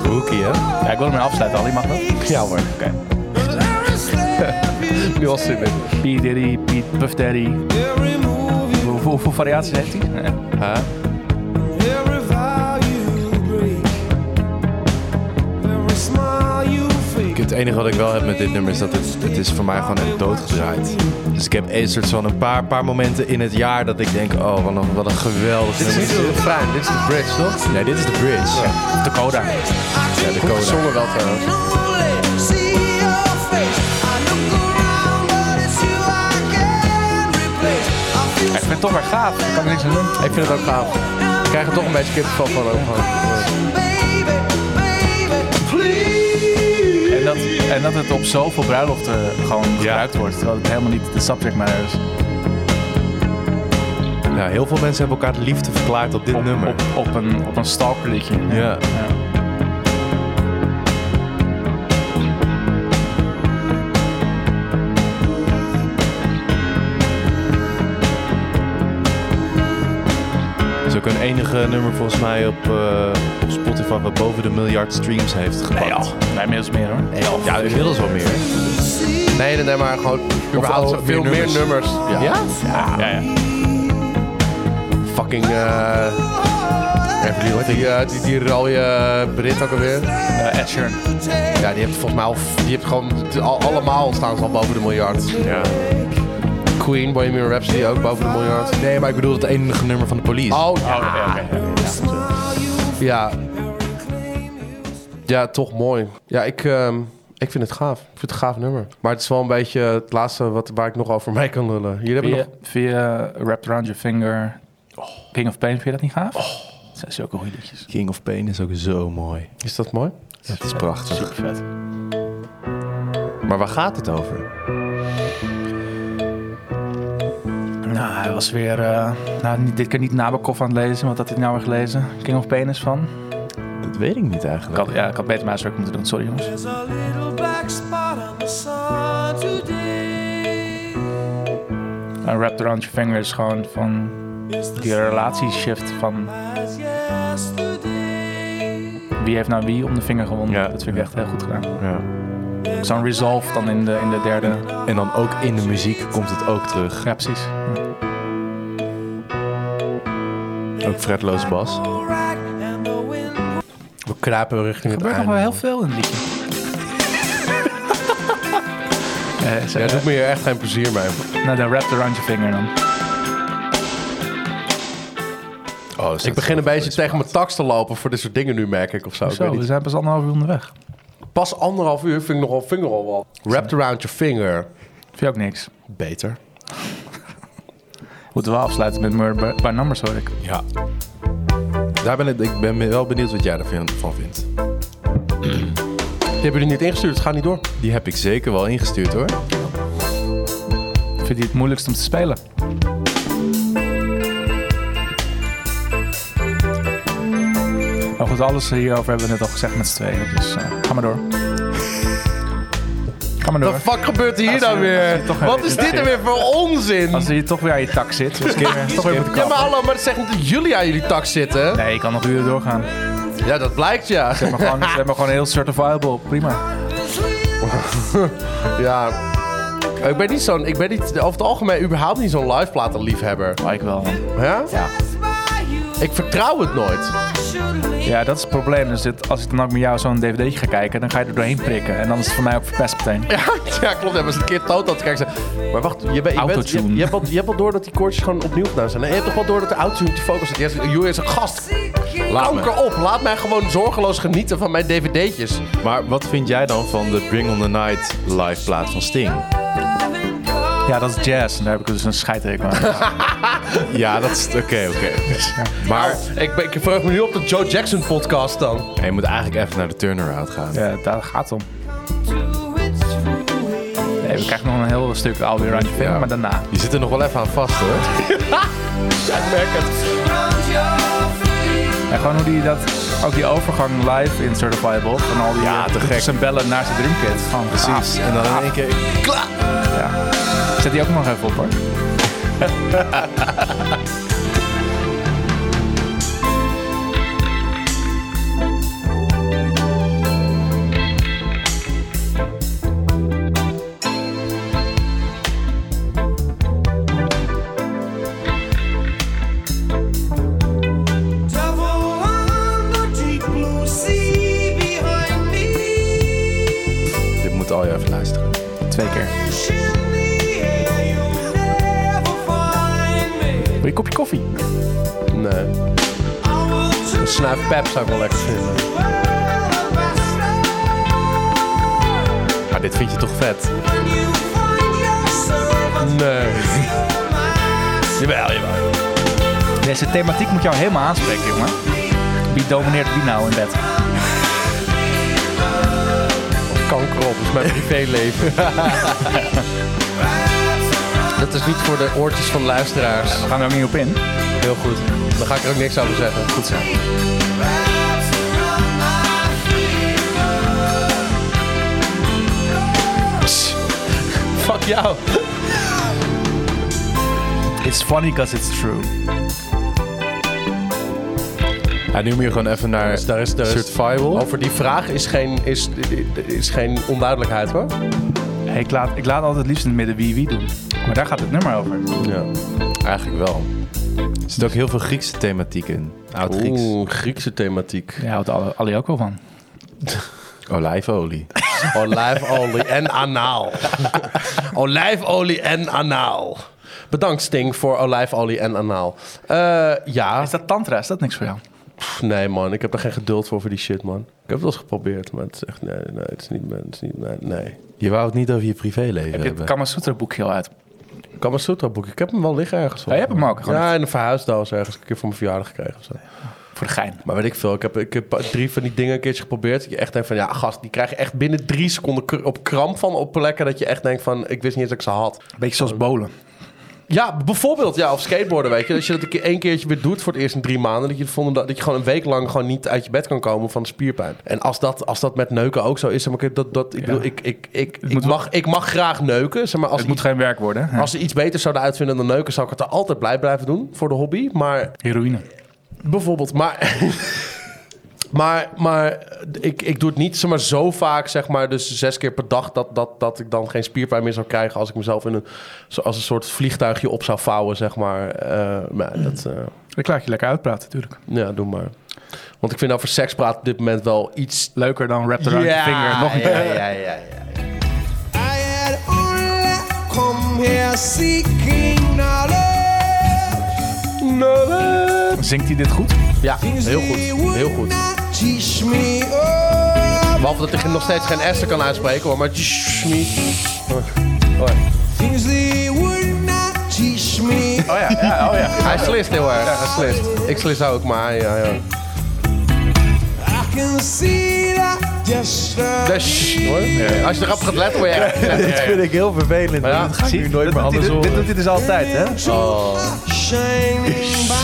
[SPEAKER 4] Hoekie, hè?
[SPEAKER 2] Ja, ik wil ermee afsluiten, Ali, mag dat?
[SPEAKER 3] Ja hoor.
[SPEAKER 2] Oké.
[SPEAKER 3] Nu was het in.
[SPEAKER 2] P. Diddy, P. Puff Daddy. Hoe- hoeveel variaties heeft hij? Eh,
[SPEAKER 4] Huh? Ik- Het enige wat ik wel heb met dit nummer is dat het, het is voor mij gewoon echt doodgedraaid. Dus ik heb een soort van een paar, paar momenten in het jaar dat ik denk, oh, wat een, wat een geweldig
[SPEAKER 3] Dit is niet
[SPEAKER 4] nummer.
[SPEAKER 3] het refrein, dit is de bridge, toch?
[SPEAKER 4] Nee, dit is de bridge.
[SPEAKER 2] Dakota.
[SPEAKER 4] Ja, de
[SPEAKER 3] Goed
[SPEAKER 4] coda.
[SPEAKER 3] gezongen wel trouwens.
[SPEAKER 2] Ja, ik vind het toch maar gaaf. Ik kan er niks aan doen.
[SPEAKER 3] Ik vind het ook gaaf. Ik krijg er toch een beetje kippenvel van ook gewoon.
[SPEAKER 2] En dat, en dat het op zoveel bruiloften gewoon gebruikt wordt. Terwijl het helemaal niet de subject matter is.
[SPEAKER 4] Ja, heel veel mensen hebben elkaar de liefde verklaard op dit
[SPEAKER 2] Op,
[SPEAKER 4] nummer.
[SPEAKER 2] op, op een, op een stalkerliedje.
[SPEAKER 4] Ja. is ook een enige nummer volgens mij op, eh, op Spotify wat boven de miljard streams
[SPEAKER 2] Nee,
[SPEAKER 4] heeft gepakt.
[SPEAKER 2] joh. Nee, inmiddels meer hoor.
[SPEAKER 4] ja, inmiddels wel meer.
[SPEAKER 3] Nee, nee, nee, maar gewoon überhaupt
[SPEAKER 4] al
[SPEAKER 3] zo- veel
[SPEAKER 4] meer
[SPEAKER 3] meer nummers. Ja.
[SPEAKER 2] Ja, ja.
[SPEAKER 3] Fucking... eh even die, die, eh, die, die rode Brit ook alweer.
[SPEAKER 2] Eh, Ed Sheeran.
[SPEAKER 3] Ja, die heeft volgens mij al... Die heeft gewoon... al- allemaal staan ze al boven de miljard.
[SPEAKER 4] Ja.
[SPEAKER 3] Queen, Bohemian Rhapsody ook boven de miljard.
[SPEAKER 4] Nee, maar ik bedoel het enige nummer van de police.
[SPEAKER 3] Oh, ja.
[SPEAKER 2] Oh, oké, oké.
[SPEAKER 3] Ja, ja toch mooi. Ja, ik, ehm, ik vind het gaaf. Ik vind het een gaaf nummer. Maar het is wel een beetje het laatste wat, waar ik nog over mee kan lullen. Jullie hebben
[SPEAKER 2] Via,
[SPEAKER 3] nog...
[SPEAKER 2] via Wrapped Around Your Finger. King of Pain, vind je dat niet gaaf? Dat zijn zulke goede liedjes.
[SPEAKER 4] King of Pain is ook zo mooi.
[SPEAKER 3] Is dat mooi?
[SPEAKER 4] Het is prachtig.
[SPEAKER 2] Super vet.
[SPEAKER 4] Maar waar gaat het over?
[SPEAKER 2] Nou, hij was weer... eh, nou, niet- dit kan niet Nabokov aan het lezen. Wat had hij nou weer gelezen? King of Pain is van...
[SPEAKER 4] Dat weet ik
[SPEAKER 2] Ik
[SPEAKER 4] niet eigenlijk.
[SPEAKER 2] had, ja, ik had beter mijn huiswerk moeten doen. Sorry jongens.
[SPEAKER 1] There's a little black spot on the sun today.
[SPEAKER 2] Uh, Wrapped Around Your Finger is gewoon van
[SPEAKER 1] It's the
[SPEAKER 2] die
[SPEAKER 1] same
[SPEAKER 2] relatieshift van
[SPEAKER 1] as yesterday.
[SPEAKER 2] wie heeft nou wie om de vinger gewonnen.
[SPEAKER 4] Ja.
[SPEAKER 2] Dat vind ik echt heel goed gedaan.
[SPEAKER 4] Ja.
[SPEAKER 2] Zo'n resolve dan in de, in de derde.
[SPEAKER 4] En dan ook in de muziek komt het ook terug.
[SPEAKER 2] Ja, precies. Ja.
[SPEAKER 4] Ook fretloos bas.
[SPEAKER 1] Rack and the wind
[SPEAKER 3] We kruipen richting
[SPEAKER 2] Er
[SPEAKER 3] het
[SPEAKER 2] gebeurt nog
[SPEAKER 3] einde.
[SPEAKER 2] wel heel veel in het liedje. Eh, ze-
[SPEAKER 3] Ja, doet me hier echt geen plezier mee.
[SPEAKER 2] nou, dan wrapped around your finger dan.
[SPEAKER 4] Oh, dus
[SPEAKER 3] Ik begin een beetje tegen mijn tax te lopen voor dit soort dingen nu, merk ik of zo. Ik
[SPEAKER 2] Zo,
[SPEAKER 3] weet
[SPEAKER 2] we
[SPEAKER 3] niet.
[SPEAKER 2] zijn pas anderhalf uur onderweg.
[SPEAKER 3] Pas anderhalf uur vind ik nogal vinger al wat. Wrapped around your finger.
[SPEAKER 2] Vind je ook niks.
[SPEAKER 3] Beter.
[SPEAKER 2] Moeten we afsluiten met Murder by Numbers hoor ik.
[SPEAKER 4] Ja. Daar ben ik, ik ben wel benieuwd wat jij ervan vindt.
[SPEAKER 3] Die hebben jullie niet ingestuurd, het gaat niet door.
[SPEAKER 4] Die heb ik zeker wel ingestuurd hoor.
[SPEAKER 2] Vind je die het moeilijkst om te spelen? Maar Nou goed, alles hierover hebben we net al gezegd met z'n tweeën. Dus eh, ga maar door. Ga maar door.
[SPEAKER 3] Wat de fuck gebeurt hier
[SPEAKER 2] Als je-
[SPEAKER 3] nou
[SPEAKER 2] als je
[SPEAKER 3] weer?
[SPEAKER 2] toch
[SPEAKER 3] Wat
[SPEAKER 2] weer
[SPEAKER 3] is
[SPEAKER 2] in de
[SPEAKER 3] dit er
[SPEAKER 2] zit.
[SPEAKER 3] weer voor onzin?
[SPEAKER 2] Als je toch weer aan je tak zit, dus kun je toch weer moeten
[SPEAKER 3] Ja, maar
[SPEAKER 2] kappen.
[SPEAKER 3] hallo, maar dat zegt niet dat jullie aan jullie tax zitten.
[SPEAKER 2] Nee, je kan nog uren doorgaan.
[SPEAKER 3] Ja, dat blijkt ja.
[SPEAKER 2] Zet maar gewoon, zet maar gewoon heel certifiable op. Prima.
[SPEAKER 3] Ja. Ik ben niet zo'n, ik ben niet, over het algemeen überhaupt niet zo'n liveplatenliefhebber.
[SPEAKER 2] Maar Oh, ik wel. man.
[SPEAKER 3] Ja?
[SPEAKER 5] by you.
[SPEAKER 3] Ik vertrouw het nooit.
[SPEAKER 5] I should leave.
[SPEAKER 2] Ja, dat is het probleem. Dus dit, als ik dan ook met jou zo'n dvd'tje ga kijken, dan ga je er doorheen prikken. En dan is het voor mij ook verpest meteen.
[SPEAKER 3] Ja, ja klopt. Ja, maar als een keer Toto te kijken zei, Maar wacht, je, bent je, bent, je,
[SPEAKER 2] Autotune.
[SPEAKER 3] je hebt wel, je hebt wel door dat die koortjes gewoon opnieuw gedaan zijn. En je hebt toch wel door dat de autotune op die focus zit. Je zegt, Joe is een gast.
[SPEAKER 4] Laat me.
[SPEAKER 3] Kanker op. Laat mij gewoon zorgeloos genieten van mijn dvd'tjes.
[SPEAKER 4] Maar wat vind jij dan van de Bring on the Night live plaat van Sting?
[SPEAKER 2] Ja, dat is jazz. En daar heb ik dus een scheidteken aan.
[SPEAKER 4] Ja, dat is... Oké, oké. Maar
[SPEAKER 3] Ik, ben, ik verheug me nu op de Joe Jackson podcast dan.
[SPEAKER 4] je moet eigenlijk even naar de turnaround gaan.
[SPEAKER 2] Ja, eh, daar gaat het om. Nee, we krijgen nog een heel stuk I'll Be Around Your Finger,
[SPEAKER 4] Ja.
[SPEAKER 2] maar daarna.
[SPEAKER 4] Je zit er nog wel even aan vast hoor.
[SPEAKER 2] En gewoon hoe die dat, ook die overgang live in Certifiable. Van al die
[SPEAKER 4] Ja, te
[SPEAKER 2] eh,
[SPEAKER 4] gek.
[SPEAKER 2] cymbalen naar zijn drumkit. Gewoon
[SPEAKER 4] Precies.
[SPEAKER 2] gaaf.
[SPEAKER 4] En dan in één keer...
[SPEAKER 2] Ja. Zet die ook nog even op hoor.
[SPEAKER 1] Devil on the deep blue sea behind me.
[SPEAKER 4] Dit moet al je even luisteren.
[SPEAKER 2] Twee keer.
[SPEAKER 1] Fish in the air, you'll never find me.
[SPEAKER 2] Wil je een kopje koffie?
[SPEAKER 3] Nee.
[SPEAKER 1] I will
[SPEAKER 3] Een
[SPEAKER 1] choose
[SPEAKER 3] snuif pep zou ik wel lekker vinden.
[SPEAKER 1] the best of.
[SPEAKER 4] Maar dit vind je toch vet?
[SPEAKER 1] When you find yourself a
[SPEAKER 3] Nee.
[SPEAKER 1] true match,
[SPEAKER 4] Jawel, jawel.
[SPEAKER 2] Deze thematiek moet jou helemaal aanspreken, jongen. Wie domineert wie nou in bed?
[SPEAKER 3] Kanker op. Dat is mijn privéleven. dat is niet voor de oortjes van luisteraars.
[SPEAKER 2] We gaan er ook niet op in.
[SPEAKER 3] Heel goed. Dan ga ik er ook niks over zeggen. Goed zo.
[SPEAKER 1] that's around my
[SPEAKER 3] Fuck jou.
[SPEAKER 2] It's funny because it's true.
[SPEAKER 4] Ja, nu moet je gewoon even naar
[SPEAKER 3] Dus daar is, Oh. daar is-
[SPEAKER 4] Certifiable.
[SPEAKER 3] Over die vraag is geen, is, is geen onduidelijkheid hoor.
[SPEAKER 2] Hey, ik, laat, ik laat altijd het liefst in het midden wie wie doen. Maar daar gaat het nummer over.
[SPEAKER 3] Ja.
[SPEAKER 4] Eigenlijk wel. Er zit ook heel veel Griekse thematiek in. Oud-Grieks.
[SPEAKER 3] Oeh, Griekse thematiek.
[SPEAKER 2] Jij houdt alle, alle ook wel van.
[SPEAKER 4] Olijfolie.
[SPEAKER 3] Olijfolie en anaal. olijfolie en anaal. Bedankt Sting voor olijfolie en anaal. Eh, ja,
[SPEAKER 2] Is dat tantra? Is dat niks voor jou?
[SPEAKER 3] pff, nee man, ik heb daar geen geduld voor voor die shit man. Ik heb het wel eens geprobeerd, maar het is echt, nee, nee, het is niet, het is niet, nee. nee.
[SPEAKER 4] Je wou het niet over je privéleven
[SPEAKER 2] Heb je het
[SPEAKER 4] hebben.
[SPEAKER 2] Kama Sutra boekje al uit?
[SPEAKER 3] Kama Sutra boek, ik heb hem wel liggen ergens.
[SPEAKER 2] Ja, je hebt hem ook gewoon.
[SPEAKER 3] Ja, in een verhuisdoos ergens, een keer voor mijn verjaardag gekregen of zo.
[SPEAKER 2] Voor de gein.
[SPEAKER 3] Maar weet ik veel, ik heb, ik heb drie van die dingen een keertje geprobeerd. Dat je echt denkt van, ja gast, die krijg je echt binnen drie seconden kr- op kramp van op plekken dat je echt denkt van, ik wist niet eens dat ik ze had.
[SPEAKER 2] Beetje zoals bolen.
[SPEAKER 3] Ja, bijvoorbeeld, ja, of skateboarden, weet je. Als je dat een keer- één keertje weer doet voor het eerst in drie maanden... dat je, de volgende, dag- dat je gewoon een week lang gewoon niet uit je bed kan komen van de spierpijn. En als dat, als dat met neuken ook zo is, zeg maar, ik- dat, dat, ik, bedoel, ik, ik, ik, ik,
[SPEAKER 2] moet wel-
[SPEAKER 3] mag, ik mag graag neuken. Zeg maar, als,
[SPEAKER 2] Het moet
[SPEAKER 3] ze
[SPEAKER 2] geen werk worden.
[SPEAKER 3] iets-
[SPEAKER 2] hè?
[SPEAKER 3] als ze iets beter zouden uitvinden dan neuken... zou ik het er altijd blij blijven doen voor de hobby. Maar
[SPEAKER 2] Heroïne.
[SPEAKER 3] Bijvoorbeeld, maar. Maar, maar ik, ik doe het niet zeg maar, zo vaak, zeg maar, dus zes keer per dag, dat, dat, dat ik dan geen spierpijn meer zou krijgen als ik mezelf in een, zo- als een soort vliegtuigje op zou vouwen, zeg maar. Eh, maar dat, eh,
[SPEAKER 2] Ik laat je lekker uitpraten, natuurlijk.
[SPEAKER 3] ja, doe maar. Want ik vind over seks praten op dit moment wel iets...
[SPEAKER 2] Leuker dan wrapped around
[SPEAKER 3] Ja,
[SPEAKER 2] your finger. Nog een keer.
[SPEAKER 3] ja, ja, ja, ja.
[SPEAKER 1] I had only come here seeking knowledge.
[SPEAKER 2] Zingt hij dit goed?
[SPEAKER 3] Ja,
[SPEAKER 1] Things
[SPEAKER 3] heel
[SPEAKER 1] they
[SPEAKER 3] goed,
[SPEAKER 1] would
[SPEAKER 3] heel goed.
[SPEAKER 1] not Teach me of
[SPEAKER 3] Behalve dat ik nog steeds geen S kan uitspreken, hoor, maar...
[SPEAKER 1] things they would not teach me.
[SPEAKER 2] Oh ja, ja, oh ja.
[SPEAKER 3] Hij slist heel erg, hij slist. Ik slis ook, maar ja, ja.
[SPEAKER 1] I can see that destiny.
[SPEAKER 3] Dus, hoor. Als je erop gaat letten, word je echt...
[SPEAKER 7] Dit vind ik heel vervelend.
[SPEAKER 3] ja,
[SPEAKER 7] dit ga ik nu nooit meer
[SPEAKER 2] Dat doet
[SPEAKER 7] anders
[SPEAKER 2] hij-
[SPEAKER 7] horen.
[SPEAKER 2] dit doet hij dus altijd, hè?
[SPEAKER 1] Shining by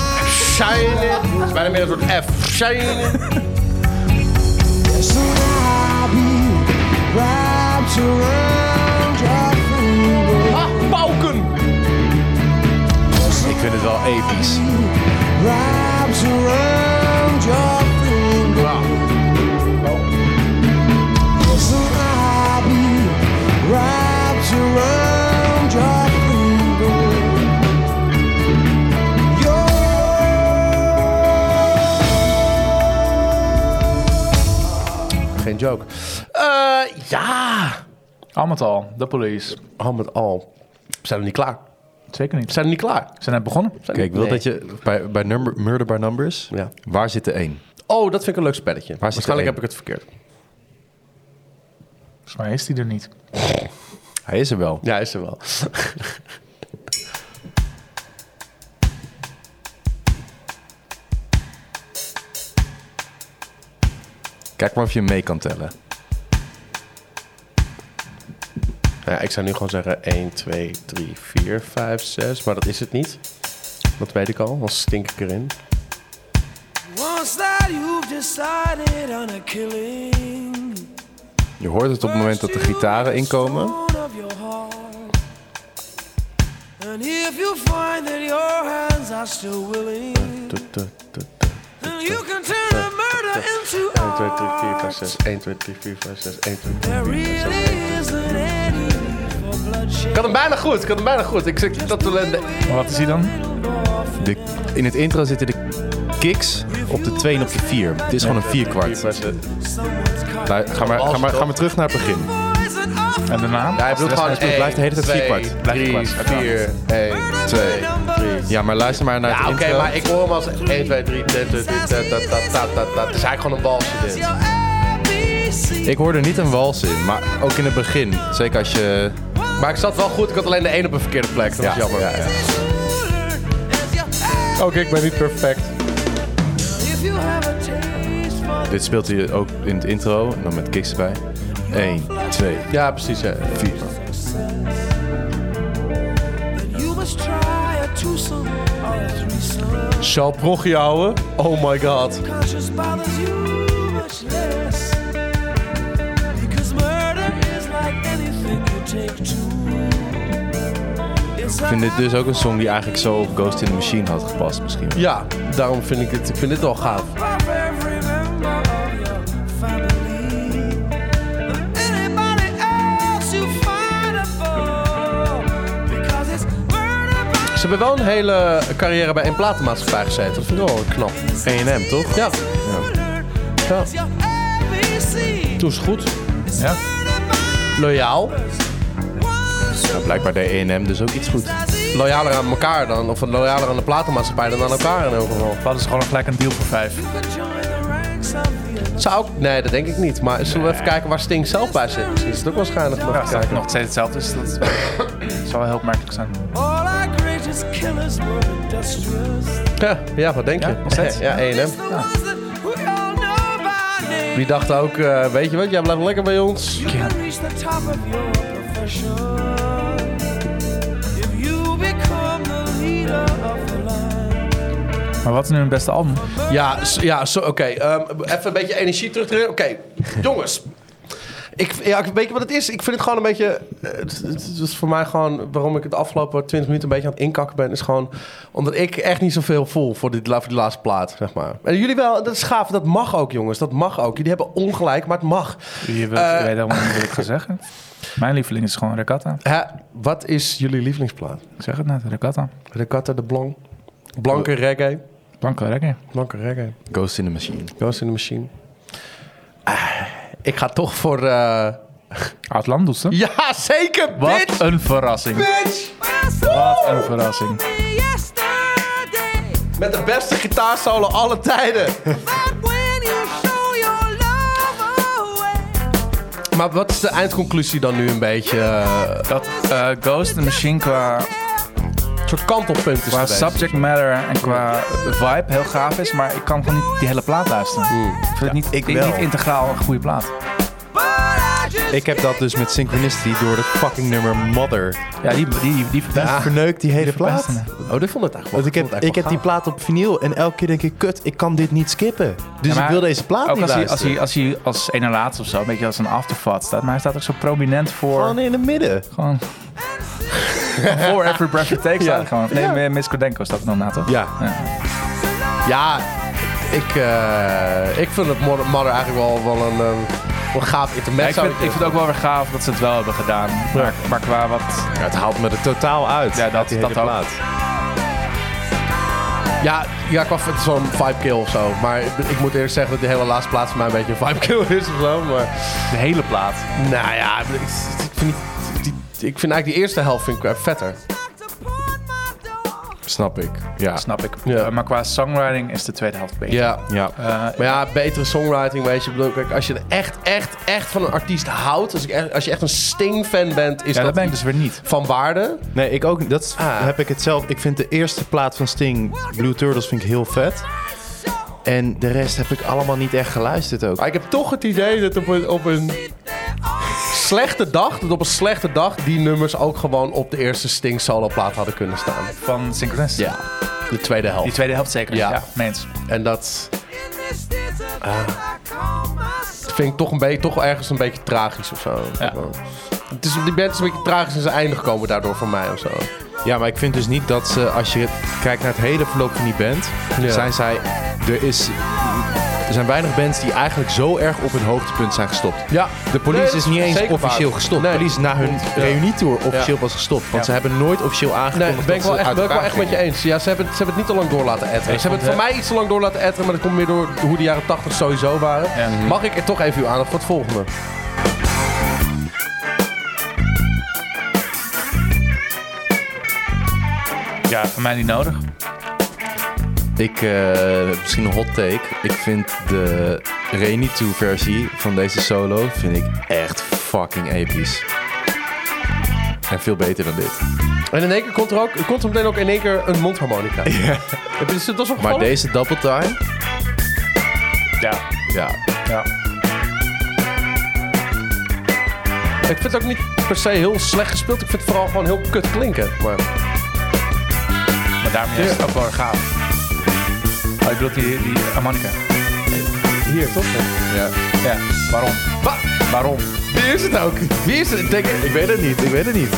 [SPEAKER 3] Shining. Het is bijna meer een soort F. Shining.
[SPEAKER 1] soon I'll be wrapped around your finger.
[SPEAKER 3] Ah, pauken.
[SPEAKER 4] Ik vind het wel episch.
[SPEAKER 1] Wrapped around your finger. Soon I'll be wrapped around your finger.
[SPEAKER 3] Geen joke. Eh, ja.
[SPEAKER 2] Al met al, de police.
[SPEAKER 3] Al met al. We zijn er niet klaar.
[SPEAKER 2] Zeker niet.
[SPEAKER 3] We zijn er niet klaar.
[SPEAKER 2] Ze zijn net begonnen.
[SPEAKER 4] Kijk, ik wil dat je bij, bij number, Murder by Numbers,
[SPEAKER 3] Ja.
[SPEAKER 4] waar zit de één?
[SPEAKER 3] Oh, dat vind ik een leuk spelletje.
[SPEAKER 4] Waar zit de
[SPEAKER 3] Waarschijnlijk heb
[SPEAKER 4] één?
[SPEAKER 3] ik het verkeerd.
[SPEAKER 2] Volgens mij is die er niet.
[SPEAKER 4] Hij is er wel.
[SPEAKER 3] Ja, is er wel.
[SPEAKER 4] Kijk maar of je hem mee kan tellen.
[SPEAKER 3] Ja, ik zou nu gewoon zeggen 1, 2, 3, 4, 5, 6. Maar dat is het niet. Dat weet ik al, anders stink ik erin.
[SPEAKER 5] Once that you've decided on a killing,
[SPEAKER 4] Je hoort het op het moment dat de gitaren inkomen.
[SPEAKER 5] And if you find that your hands are still willing,
[SPEAKER 3] Tu, tu, tu, tu.
[SPEAKER 5] then you can turn the murder into
[SPEAKER 3] 1, 2, 3, 4, 5,
[SPEAKER 5] art.
[SPEAKER 3] 6. 1, 2, 3, 4, 5, 6. 1, 2, 3,
[SPEAKER 5] There
[SPEAKER 3] 4, 5, 6.
[SPEAKER 5] really isn't any for bloodshed.
[SPEAKER 3] Ik had hem bijna goed, ik had hem bijna goed. Ik zeg dat we...
[SPEAKER 2] Maar wat is hij dan?
[SPEAKER 4] De, in het intro zitten de kicks op de 2 en op de 4. Het is gewoon een vierkwart. Nou, ga, maar, ga, maar, ga maar terug naar het begin.
[SPEAKER 5] Poison of
[SPEAKER 2] En de naam?
[SPEAKER 3] Ja, hij bedoelt gewoon...
[SPEAKER 4] Het blijft de hele tijd vierkwart.
[SPEAKER 2] Blijft kwart.
[SPEAKER 3] 4, 1, 2, 3.
[SPEAKER 4] Ja, maar luister maar naar het
[SPEAKER 3] Ja, Ah, oké,
[SPEAKER 4] intro.
[SPEAKER 3] maar ik hoor hem als 1, 2, 3, da, da, da, da, da, da, da, da, da. Het is eigenlijk gewoon een balsje dit.
[SPEAKER 5] your ABC.
[SPEAKER 4] Ik hoor er niet een wals in, maar ook in het begin. Zeker als je...
[SPEAKER 3] Maar ik zat wel goed, ik had alleen de 1 op een verkeerde plek. Dat is
[SPEAKER 4] Ja,
[SPEAKER 3] jammer.
[SPEAKER 4] ja, ja.
[SPEAKER 3] Oké, Oh, ik ben niet perfect.
[SPEAKER 5] If you have a taste for
[SPEAKER 4] Dit speelt hij ook in het intro, en dan met kicks erbij. 1, 2,
[SPEAKER 3] Ja, precies. Hè.
[SPEAKER 4] 4.
[SPEAKER 5] You must try a twosome or a threesome.
[SPEAKER 3] Sjaal Prochie houden. Oh my god.
[SPEAKER 5] Conscience bothers you much less. Because murder is like anything you take to. It's
[SPEAKER 4] Ik vind dit dus ook een song die eigenlijk zo op Ghost in the Machine had gepast misschien.
[SPEAKER 3] Ja, daarom vind ik dit, ik vind dit wel gaaf.
[SPEAKER 5] perfect
[SPEAKER 3] Ze hebben wel een hele carrière bij één platenmaatschappij gezeten. Dat vind ik wel knap.
[SPEAKER 4] E&M, toch?
[SPEAKER 3] Ja,
[SPEAKER 5] That's your ABC.
[SPEAKER 3] toen is het goed.
[SPEAKER 2] Ja.
[SPEAKER 3] Loyaal.
[SPEAKER 4] Nou, blijkbaar deed E&M dus ook iets goed.
[SPEAKER 3] Loyaler aan elkaar dan. Of loyaler aan de platenmaatschappij dan aan elkaar in elk geval.
[SPEAKER 2] Wat is gewoon gelijk een deal voor vijf?
[SPEAKER 3] Zou ook... Nee, dat denk ik niet. Maar zullen we even kijken waar Sting zelf bij zit? Misschien is het ook waarschijnlijk nog
[SPEAKER 2] Ja,
[SPEAKER 3] te
[SPEAKER 2] als dat
[SPEAKER 3] kijken.
[SPEAKER 2] nog steeds hetzelfde is, dat zou wel heel opmerkelijk zijn.
[SPEAKER 5] All our greatest killers were industrious.
[SPEAKER 3] Ja, ja, wat denk je?
[SPEAKER 2] Ja, nog steeds.
[SPEAKER 3] Ja,
[SPEAKER 5] It's
[SPEAKER 3] E&M.
[SPEAKER 5] the ones that we all know by name.
[SPEAKER 3] Die dacht ook, eh, weet je wat, jij blijft lekker bij ons.
[SPEAKER 5] You can reach the top of your profession if you become the leader of the line.
[SPEAKER 2] Maar wat is nu hun beste album?
[SPEAKER 3] Ja, s- ja zo, oké. ehm, even een beetje energie terugdringen. Oké, jongens. Ik, ja, ik- weet je wat het is? Ik vind het gewoon een beetje... eh, Het, het is voor mij gewoon... Waarom ik het afgelopen 20 minuten een beetje aan het inkakken ben... is gewoon omdat ik echt niet zoveel voel voor, dit, la- voor die laatste plaat, zeg maar. En jullie wel, dat is gaaf. Dat mag ook, jongens. Dat mag ook. Jullie hebben ongelijk, maar het mag.
[SPEAKER 2] Je wilt,
[SPEAKER 3] Eh,
[SPEAKER 2] ik weet helemaal niet wat ik ga zeggen. Mijn lieveling is gewoon Regatta.
[SPEAKER 3] Hè, wat is jullie lievelingsplaat?
[SPEAKER 2] Ik zeg het net, Regatta.
[SPEAKER 3] Regatta de Blanc. Blanke reggae.
[SPEAKER 2] Blanco Reggae.
[SPEAKER 3] Blanke reggae.
[SPEAKER 4] Ghost in the Machine.
[SPEAKER 3] Ghost in the Machine. Ah, ik ga toch voor... eh,
[SPEAKER 2] Outlandus, hè?
[SPEAKER 3] Ja, zeker,
[SPEAKER 2] Wat een verrassing.
[SPEAKER 3] Bitch!
[SPEAKER 2] Wat een verrassing.
[SPEAKER 5] Yesterday,
[SPEAKER 3] Met de beste gitaarsolo alle tijden.
[SPEAKER 5] but when you show your love away,
[SPEAKER 3] Maar wat is de eindconclusie dan nu een beetje? eh,
[SPEAKER 2] Dat eh, Ghost in the Machine qua,
[SPEAKER 3] een soort kantelpunt is
[SPEAKER 2] qua
[SPEAKER 3] geweest?
[SPEAKER 2] subject matter en qua vibe heel gaaf is, maar ik kan gewoon niet die hele plaat luisteren. Ik vind het niet, ik
[SPEAKER 4] wel.
[SPEAKER 2] niet integraal een goede plaat.
[SPEAKER 5] but I just
[SPEAKER 4] Ik heb dat dus met Synchronicity door dat fucking nummer Mother.
[SPEAKER 2] Ja, die, die, die verpest me.
[SPEAKER 4] Verneukt die hele
[SPEAKER 2] Die verpest
[SPEAKER 4] plaat.
[SPEAKER 2] me.
[SPEAKER 3] Oh, dit vond het eigenlijk wel.
[SPEAKER 4] Want ik heb,
[SPEAKER 3] vond het
[SPEAKER 4] ik
[SPEAKER 3] eigenlijk
[SPEAKER 4] heb die
[SPEAKER 3] wel
[SPEAKER 4] plaat op vinyl en elke keer denk ik, kut, ik kan dit niet skippen. Dus
[SPEAKER 2] Ja,
[SPEAKER 4] ik
[SPEAKER 2] maar
[SPEAKER 4] wil deze plaat
[SPEAKER 2] ook
[SPEAKER 4] niet
[SPEAKER 2] als hij, als
[SPEAKER 4] luisteren.
[SPEAKER 2] hij als hij als ene laatste of zo, een beetje als een afterthought staat, maar hij staat ook zo prominent voor.
[SPEAKER 4] Gewoon in het midden.
[SPEAKER 2] Gewoon. Voor Every Breath You Take staat gewoon. Nee, Miss Miss Kodenko staat er dan na, toch?
[SPEAKER 4] Ja.
[SPEAKER 3] gaaf. Ja, ik, eh, ik vind het Mother Mother eigenlijk wel, wel een, eh, wel een gaaf
[SPEAKER 2] Ja, ik,
[SPEAKER 3] intermezzo.
[SPEAKER 2] vind, ik vind het ook wel weer gaaf dat ze het wel hebben gedaan. Maar, maar qua wat...
[SPEAKER 4] Ja, het haalt me er totaal uit.
[SPEAKER 2] Ja, dat-
[SPEAKER 4] uit die hele
[SPEAKER 2] dat ook.
[SPEAKER 4] plaat.
[SPEAKER 3] Ja, ja ik was het is zo'n vibe kill of zo. Maar ik, ik moet eerlijk zeggen dat die hele laatste plaats voor mij een beetje een vibe kill is of zo. Maar,
[SPEAKER 2] De hele plaat.
[SPEAKER 3] nou ja, ik, ik vind, die, die- ik vind eigenlijk die eerste helft vind ik eh, vetter.
[SPEAKER 5] knocked upon my door.
[SPEAKER 4] Snap ik. Ja.
[SPEAKER 2] Snap ik.
[SPEAKER 3] Ja.
[SPEAKER 2] Uh, maar qua songwriting is de tweede helft beter.
[SPEAKER 3] Ja.
[SPEAKER 4] Ja.
[SPEAKER 2] Eh,
[SPEAKER 3] Maar ja, betere songwriting, weet je. Ik bedoel, kijk, als je er echt, echt, echt van een artiest houdt. Als, ik, echt- als je echt een Sting-fan bent, is
[SPEAKER 2] ja, dat
[SPEAKER 3] dat,
[SPEAKER 2] ben ik dus weer niet.
[SPEAKER 3] van waarde.
[SPEAKER 4] Nee, ik ook. Dat is-
[SPEAKER 3] Ah.
[SPEAKER 4] heb ik het zelf. Ik vind de eerste plaat van Sting, Blue Turtles, vind ik heel vet. En de rest heb ik allemaal niet echt geluisterd ook.
[SPEAKER 3] Maar ik heb toch het idee dat op een, op een slechte dag, dat op een slechte dag, die nummers ook gewoon op de eerste Sting solo-plaat hadden kunnen staan.
[SPEAKER 2] Van Synchronicity.
[SPEAKER 3] Ja, de tweede
[SPEAKER 2] Die
[SPEAKER 3] helft.
[SPEAKER 2] tweede helft zeker.
[SPEAKER 3] Ja.
[SPEAKER 2] Ja, mens.
[SPEAKER 3] En dat
[SPEAKER 5] In this desert I call myself.
[SPEAKER 3] vind ik toch, een beetje, toch ergens een beetje tragisch of zo.
[SPEAKER 2] Ja.
[SPEAKER 3] Het is, die band is een beetje tragisch in zijn einde gekomen daardoor voor mij of zo.
[SPEAKER 4] Ja, maar ik vind dus niet dat ze, als je kijkt naar het hele verloop van die band,
[SPEAKER 3] Ja.
[SPEAKER 4] zijn zij. Er, is, er zijn weinig bands die eigenlijk zo erg op hun hoogtepunt zijn gestopt.
[SPEAKER 3] Ja,
[SPEAKER 4] De police
[SPEAKER 3] Nee, dat
[SPEAKER 4] is niet
[SPEAKER 3] is
[SPEAKER 4] eens
[SPEAKER 3] zeker
[SPEAKER 4] officieel
[SPEAKER 3] waar.
[SPEAKER 4] gestopt.
[SPEAKER 3] Nee.
[SPEAKER 4] De police is na hun reunietour officieel
[SPEAKER 3] Ja.
[SPEAKER 4] pas gestopt. Want
[SPEAKER 2] Ja.
[SPEAKER 4] ze hebben nooit officieel
[SPEAKER 3] Nee,
[SPEAKER 4] aangekondigd
[SPEAKER 3] dat ben ik
[SPEAKER 4] dat
[SPEAKER 3] wel echt,
[SPEAKER 4] ze uit
[SPEAKER 3] ben ik wel echt
[SPEAKER 4] elkaar
[SPEAKER 3] met je
[SPEAKER 4] gingen.
[SPEAKER 3] eens. Ja, ze hebben, het- ze hebben het niet te lang door laten etteren. Ze hebben het voor mij iets te lang door laten etteren, maar dat komt meer door hoe de jaren 80 sowieso waren.
[SPEAKER 2] Ja. Mhm.
[SPEAKER 3] Mag ik er toch even uw aandacht voor het volgende?
[SPEAKER 2] Ja, voor mij niet nodig.
[SPEAKER 4] Ik, eh, misschien een hot take. Ik vind de reunietour versie van deze solo vind ik echt fucking episch. En veel beter dan dit.
[SPEAKER 3] En in één keer komt er ook, komt er meteen ook in één keer een mondharmonica. Ja. Heb je, is het dat zo
[SPEAKER 4] Maar
[SPEAKER 3] opgevallen?
[SPEAKER 4] deze double time,
[SPEAKER 2] Ja.
[SPEAKER 4] ja,
[SPEAKER 2] ja.
[SPEAKER 3] Ik vind het ook niet per se heel slecht gespeeld. Ik vind het vooral gewoon heel kut klinken. Maar
[SPEAKER 2] Maar daarmee is het ook wel gaaf. Oh, ik bedoel die, die harmonica.
[SPEAKER 3] hier, toch?
[SPEAKER 4] Ja.
[SPEAKER 2] Ja, waarom? Waarom?
[SPEAKER 3] Wie is het ook? Wie is het? Ik denk,
[SPEAKER 4] Ik weet het niet, ik weet het niet.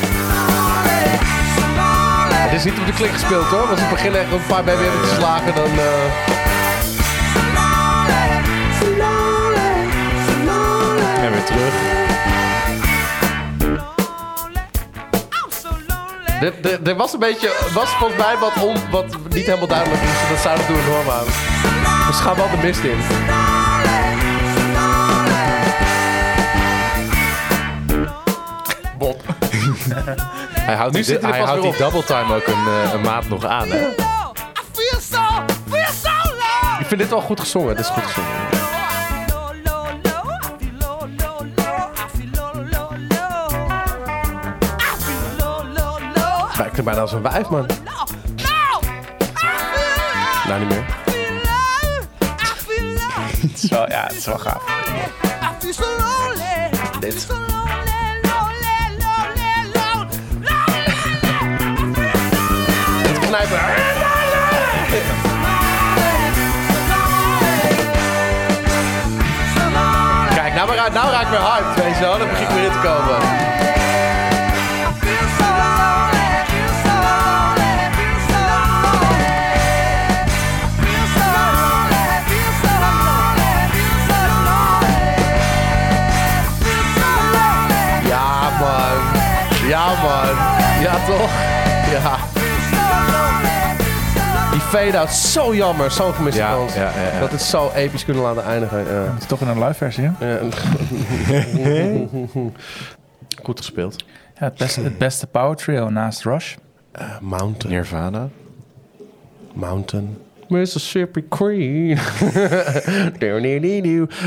[SPEAKER 3] het is niet op de klik gespeeld hoor. Want als het begin echt een paar bij hebben te slagen, dan... eh,
[SPEAKER 4] En weer terug.
[SPEAKER 5] I'm so lonely.
[SPEAKER 3] Er- Er er was een beetje, was volgens mij wat, on, wat niet helemaal duidelijk is. Dat zouden we door norm aan. Dus ze gaan wel de mist in. Bob.
[SPEAKER 4] Hij houdt,
[SPEAKER 3] Nu
[SPEAKER 4] die,
[SPEAKER 3] zit hij er
[SPEAKER 4] hij
[SPEAKER 3] pas
[SPEAKER 4] houdt
[SPEAKER 3] weer
[SPEAKER 4] die double time ook een, eh, een maand nog aan. Hè?
[SPEAKER 3] Ik vind dit wel goed gezongen. Dit is goed gezongen. Lijkt er bijna als een wijf, man. Nou, niet meer.
[SPEAKER 2] Het is wel, ja, het is wel gaaf.
[SPEAKER 5] Dit. Dit
[SPEAKER 3] Het knijpen. Kijk, nou, maar, nou raak ik weer hyped, weet je wel. Dan begin ik weer in te komen. Ja, man. Ja, man. Ja, toch? Ja. Die fade-out, zo jammer. Zo'n gemiste
[SPEAKER 4] Ja,
[SPEAKER 3] kans.
[SPEAKER 4] ja, ja, ja.
[SPEAKER 3] Dat het zo episch kunnen laten eindigen. Ja.
[SPEAKER 2] Het is toch in een live versie, hè?
[SPEAKER 3] Ja. Goed gespeeld.
[SPEAKER 2] Ja, het, beste, het beste power trio naast Rush.
[SPEAKER 3] Mountain.
[SPEAKER 4] Nirvana.
[SPEAKER 3] Mountain. Mississippi Queen.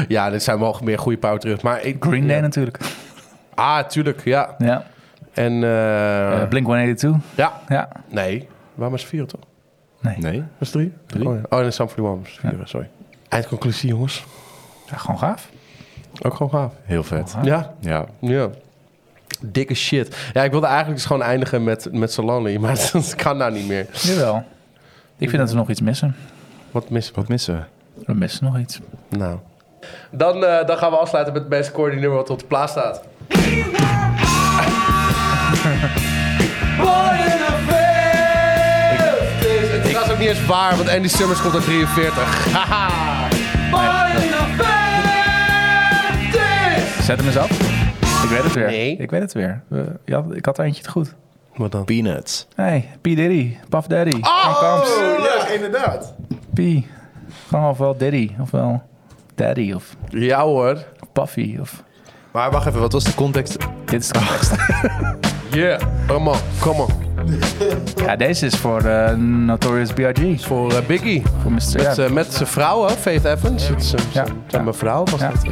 [SPEAKER 3] ja, dit zijn wel meer goede power terug. Maar ik,
[SPEAKER 2] Green Day natuurlijk.
[SPEAKER 3] Ah, tuurlijk, ja.
[SPEAKER 2] Ja.
[SPEAKER 3] En eh,
[SPEAKER 2] Eh, Blink-182.
[SPEAKER 3] ja,
[SPEAKER 2] Ja.
[SPEAKER 3] nee. Waarom is het vier toch?
[SPEAKER 4] Nee.
[SPEAKER 3] Was het drie?
[SPEAKER 4] Drie.
[SPEAKER 3] Oh, ja. oh en Sam 41 was het vier, sorry. Eindconclusie, jongens.
[SPEAKER 2] ja, gewoon gaaf.
[SPEAKER 3] Ook gewoon gaaf.
[SPEAKER 4] Heel vet.
[SPEAKER 3] Ja,
[SPEAKER 4] Ja.
[SPEAKER 3] ja. Dikke shit. Ja, ik wilde eigenlijk dus gewoon eindigen met, met Solange, maar dat kan nou niet meer.
[SPEAKER 2] Jawel. Ik vind dat we nog iets missen.
[SPEAKER 3] Wat mis
[SPEAKER 4] Wat missen we?
[SPEAKER 2] We missen nog iets.
[SPEAKER 3] Nou. Dan, eh, dan gaan we afsluiten met het beste coördinummer wat op de plaats staat. Het is trouwens ook niet eens waar, want Andy Summers komt uit 43. Haha.
[SPEAKER 2] Zet hem eens af. Ik weet het weer.
[SPEAKER 3] Nee.
[SPEAKER 2] Ik weet het weer. We- je had- ik had er eentje te goed.
[SPEAKER 3] Wat dan?
[SPEAKER 4] Peanuts.
[SPEAKER 2] Nee, P. Diddy. Puff Daddy. Oh,
[SPEAKER 7] Ja, inderdaad.
[SPEAKER 2] P. Gewoon ofwel Diddy, ofwel Daddy, of
[SPEAKER 3] Ja hoor.
[SPEAKER 2] Puffy, of...
[SPEAKER 4] Maar wacht even, wat was de context?
[SPEAKER 2] Dit is de context.
[SPEAKER 3] Yeah. Come on, come on.
[SPEAKER 2] Ja, deze is voor eh, Notorious B.I.G.
[SPEAKER 3] Voor eh, Biggie.
[SPEAKER 2] Voor Mr.
[SPEAKER 3] Met,
[SPEAKER 2] ja.
[SPEAKER 3] eh, met zijn vrouw, hè? Faith Evans. Het is, eh,
[SPEAKER 2] Ja.
[SPEAKER 3] zijn-
[SPEAKER 2] Ja.
[SPEAKER 3] Zijn mevrouw was
[SPEAKER 2] Ja.
[SPEAKER 3] dat.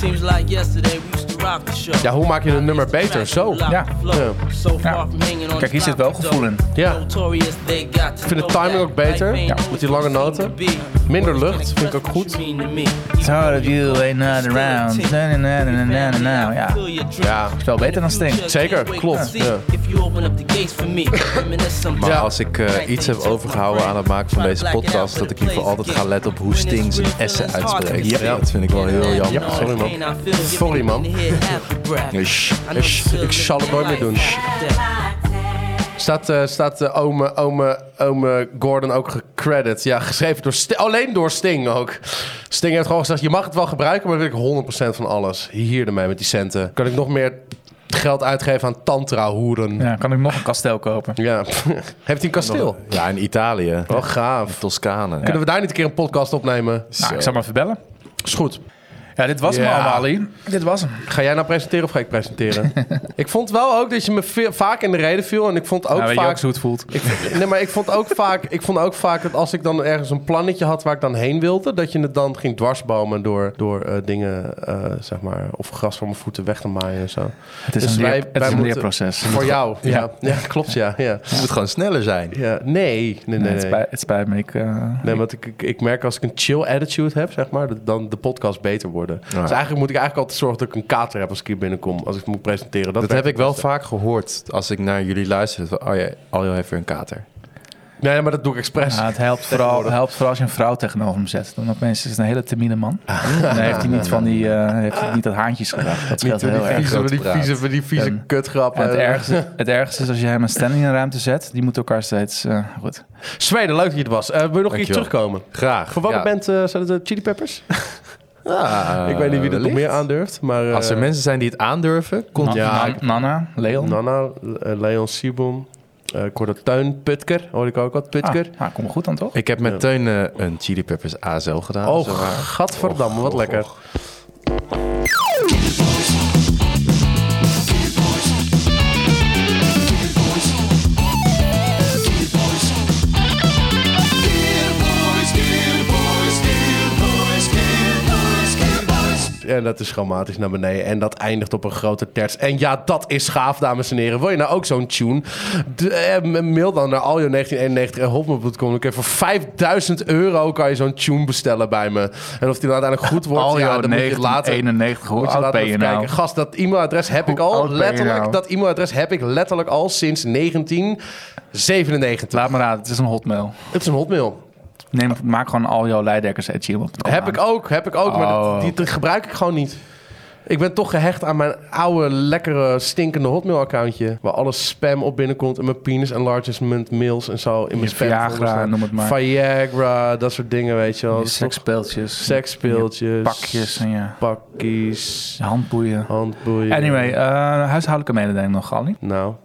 [SPEAKER 8] Seems like yesterday we used to rock the show.
[SPEAKER 3] Ja, hoe maak je een nummer beter? Zo.
[SPEAKER 8] So
[SPEAKER 2] Ja. Ja.
[SPEAKER 8] far from hanging on
[SPEAKER 2] Kijk, hier
[SPEAKER 8] the
[SPEAKER 2] zit wel
[SPEAKER 8] block,
[SPEAKER 2] gevoel in.
[SPEAKER 3] Ja.
[SPEAKER 8] Notorious, they got to
[SPEAKER 3] vind de
[SPEAKER 8] know
[SPEAKER 3] timing
[SPEAKER 8] that
[SPEAKER 3] ook beter.
[SPEAKER 8] life
[SPEAKER 3] Ja.
[SPEAKER 8] ain't
[SPEAKER 3] Met die lange
[SPEAKER 8] always
[SPEAKER 3] noten.
[SPEAKER 8] what it seemed to be.
[SPEAKER 3] Minder lucht, vind ik ook goed.
[SPEAKER 2] It's hard if you ain't not around. Na, na, na, na, na, na, na. Ja,
[SPEAKER 3] Ja.
[SPEAKER 2] is wel beter dan Sting.
[SPEAKER 3] Zeker, klopt, ja.
[SPEAKER 8] If you open up the gates for me, reminisce some-
[SPEAKER 4] Maar
[SPEAKER 3] Ja.
[SPEAKER 4] als ik eh, iets heb overgehouden aan het maken van deze podcast, dat ik in ieder geval altijd ga letten op hoe Sting zijn essen uitspreekt.
[SPEAKER 8] Ja.
[SPEAKER 4] Dat vind ik wel heel jammer.
[SPEAKER 3] Ja, sorry, man. Sorry, man.
[SPEAKER 4] Ja, shh.
[SPEAKER 3] Ik zal het nooit meer doen. Staat, eh, staat eh, ome, ome, ome Gordon ook gecredit? Ja, geschreven door Sti- alleen door Sting ook. Sting heeft gewoon gezegd, je mag het wel gebruiken, maar wil ik 100% van alles. Hier ermee met die centen. Kan ik nog meer geld uitgeven aan tantra-hoeren? Ja.
[SPEAKER 2] Ja, kan ik nog een kasteel kopen?
[SPEAKER 3] Heeft hij een kasteel?
[SPEAKER 4] Ja, in Italië.
[SPEAKER 3] Wel gaaf.
[SPEAKER 4] Toscane.
[SPEAKER 3] Kunnen we daar niet een keer een podcast opnemen?
[SPEAKER 2] Nou, ik zal maar verbellen.
[SPEAKER 3] Is goed.
[SPEAKER 2] Ja, dit was
[SPEAKER 3] Ja.
[SPEAKER 2] hem allemaal, Ali. Dit was hem.
[SPEAKER 3] Ga jij nou presenteren of ga ik presenteren? ik vond wel ook dat je me ve- vaak in de reden viel. En ik vond ook
[SPEAKER 2] Nou, weet je ook
[SPEAKER 3] vaak...
[SPEAKER 2] hoe het voelt.
[SPEAKER 3] Ik, nee, maar ik vond, ook vaak, ik vond ook vaak dat als ik dan ergens een plannetje had waar ik dan heen wilde, dat je het dan ging dwarsbomen door, door eh, dingen, eh, zeg maar, of gras van mijn voeten weg te maaien en zo.
[SPEAKER 2] Het is
[SPEAKER 3] Dus
[SPEAKER 2] een,
[SPEAKER 3] wij-
[SPEAKER 2] leer,
[SPEAKER 3] wij
[SPEAKER 2] het is een
[SPEAKER 3] moeten-
[SPEAKER 2] leerproces.
[SPEAKER 3] Voor jou, ja. ja.
[SPEAKER 2] Ja.
[SPEAKER 3] klopt, ja. ja.
[SPEAKER 4] Het moet gewoon sneller zijn.
[SPEAKER 3] ja nee, nee,
[SPEAKER 2] Nee,
[SPEAKER 3] nee.
[SPEAKER 2] het,
[SPEAKER 3] nee.
[SPEAKER 2] spijt, het spijt me. Ik, eh,
[SPEAKER 3] Nee, want ik, ik, ik merk als ik een chill attitude heb, zeg maar, dat dan de podcast beter worden. Dus eigenlijk moet ik eigenlijk altijd zorgen dat ik een kater heb als ik hier binnenkom, als ik moet presenteren. Dat,
[SPEAKER 4] Dat
[SPEAKER 3] werkt
[SPEAKER 4] heb ik wel
[SPEAKER 2] dus
[SPEAKER 3] het beste.
[SPEAKER 4] vaak gehoord als ik naar jullie luister. Dat we- Oh ja, Aljo heeft weer een kater.
[SPEAKER 3] Nee, maar dat doe ik expres.
[SPEAKER 2] ja, het helpt vooral, helpt vooral als je een vrouw tegenover hem zet. Dan opeens is het een hele termine man. Dan heeft hij niet, van die, eh, heeft hij niet dat haantjes gedacht. Dat
[SPEAKER 3] Niet
[SPEAKER 2] scheelt
[SPEAKER 3] door
[SPEAKER 2] heel
[SPEAKER 3] die
[SPEAKER 2] erg.
[SPEAKER 3] vieze, die
[SPEAKER 4] praat.
[SPEAKER 3] vieze, die vieze eh.
[SPEAKER 2] En-
[SPEAKER 3] kutgrappen.
[SPEAKER 2] En het, ergste, het ergste is als je hem een stand in een ruimte zet. Die moeten elkaar steeds... eh, goed.
[SPEAKER 3] Zweden, leuk dat je het was. Eh, wil je nog een keer
[SPEAKER 4] Dankjewel.
[SPEAKER 3] terugkomen?
[SPEAKER 4] Graag.
[SPEAKER 3] Voor wat
[SPEAKER 4] Ja. Ah,
[SPEAKER 3] bent, zijn het de Chili eh, Peppers? ik weet niet wie dat nog meer aandurft. Maar, eh, Nou.
[SPEAKER 4] Als er mensen zijn die het aandurven, komt
[SPEAKER 2] Na-
[SPEAKER 4] ja.
[SPEAKER 2] Na- Nana, Leon.
[SPEAKER 3] Nana, eh, Leon Sibon, eh ik hoorde Tuin Putker, hoorde ik ook wat,
[SPEAKER 2] ah,
[SPEAKER 3] Putker.
[SPEAKER 2] ah, komt goed dan toch?
[SPEAKER 4] Ik heb met Teun eh, een Chili Peppers ASL gedaan.
[SPEAKER 3] oh,
[SPEAKER 4] zo waar.
[SPEAKER 3] gadverdamme, wat lekker. En dat is dramatisch naar beneden. En dat eindigt op een grote terts. En ja, dat is gaaf, dames en heren. Wil je nou ook zo'n tune? De- eh, mail dan naar aljo1991.hopman.com. Dan kun je voor 5000 euro kan je zo'n tune bestellen bij me. En of die dan uiteindelijk goed wordt,
[SPEAKER 2] Aljo
[SPEAKER 3] ja, dan moet je later...
[SPEAKER 2] 1991, hoe
[SPEAKER 3] moet je
[SPEAKER 2] oud
[SPEAKER 3] later
[SPEAKER 2] ben
[SPEAKER 3] even
[SPEAKER 2] je nou?
[SPEAKER 3] kijken. Gast, dat e-mailadres heb
[SPEAKER 2] Hoe
[SPEAKER 3] ik al.
[SPEAKER 2] oud ben je
[SPEAKER 3] Letterlijk,
[SPEAKER 2] nou?
[SPEAKER 3] dat e-mailadres heb ik letterlijk al sinds 1997.
[SPEAKER 2] Laat me raden, Nou, het is een hotmail.
[SPEAKER 3] Het is een hotmail.
[SPEAKER 2] Neem, maak gewoon al jouw leidekkers edgy op.
[SPEAKER 3] Heb ik ook, heb ik ook. Maar
[SPEAKER 2] Oh.
[SPEAKER 3] dat, die, die gebruik ik gewoon niet. Ik ben toch gehecht aan mijn oude, lekkere, stinkende Hotmail-accountje. Waar alle spam op binnenkomt. En mijn penis enlargement mails en zo. In mijn spam
[SPEAKER 2] Viagra, noem het maar.
[SPEAKER 3] Viagra, dat soort dingen, weet je wel.
[SPEAKER 2] Je
[SPEAKER 3] Dat is toch-
[SPEAKER 2] Seksspeeltjes.
[SPEAKER 3] Seksspeeltjes.
[SPEAKER 2] je Pakjes en je
[SPEAKER 3] Pakkies.
[SPEAKER 2] handboeien.
[SPEAKER 3] Handboeien.
[SPEAKER 2] Anyway, eh, huishoudelijke mededeling nog, Galli.
[SPEAKER 3] Nou,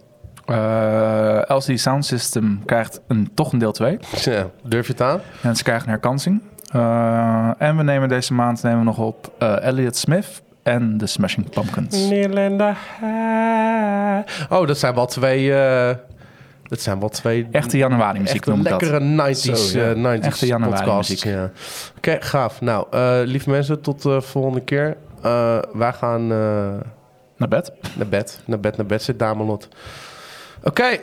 [SPEAKER 2] Eh LCD Sound System krijgt een, toch een deel 2.
[SPEAKER 3] ja, durf je het aan?
[SPEAKER 2] En ze krijgen een herkansing. Eh, en we nemen deze maand nemen we nog op eh, Elliot Smith en de Smashing
[SPEAKER 3] Mm.
[SPEAKER 2] Pumpkins.
[SPEAKER 3] Oh, dat zijn wel twee... eh, dat zijn wel twee
[SPEAKER 2] Echte januari muziek
[SPEAKER 3] Echt een
[SPEAKER 2] noem ik dat.
[SPEAKER 3] lekkere 90s,
[SPEAKER 4] Zo, ja.
[SPEAKER 3] eh, 90s
[SPEAKER 2] Echte januari
[SPEAKER 3] podcast.
[SPEAKER 2] muziek.
[SPEAKER 3] Ja. Oké, gaaf. Nou, eh, lieve mensen, tot de volgende keer. Eh, wij gaan eh,
[SPEAKER 2] Naar bed.
[SPEAKER 3] naar bed. Naar bed, naar bed zit Damelot. Oké,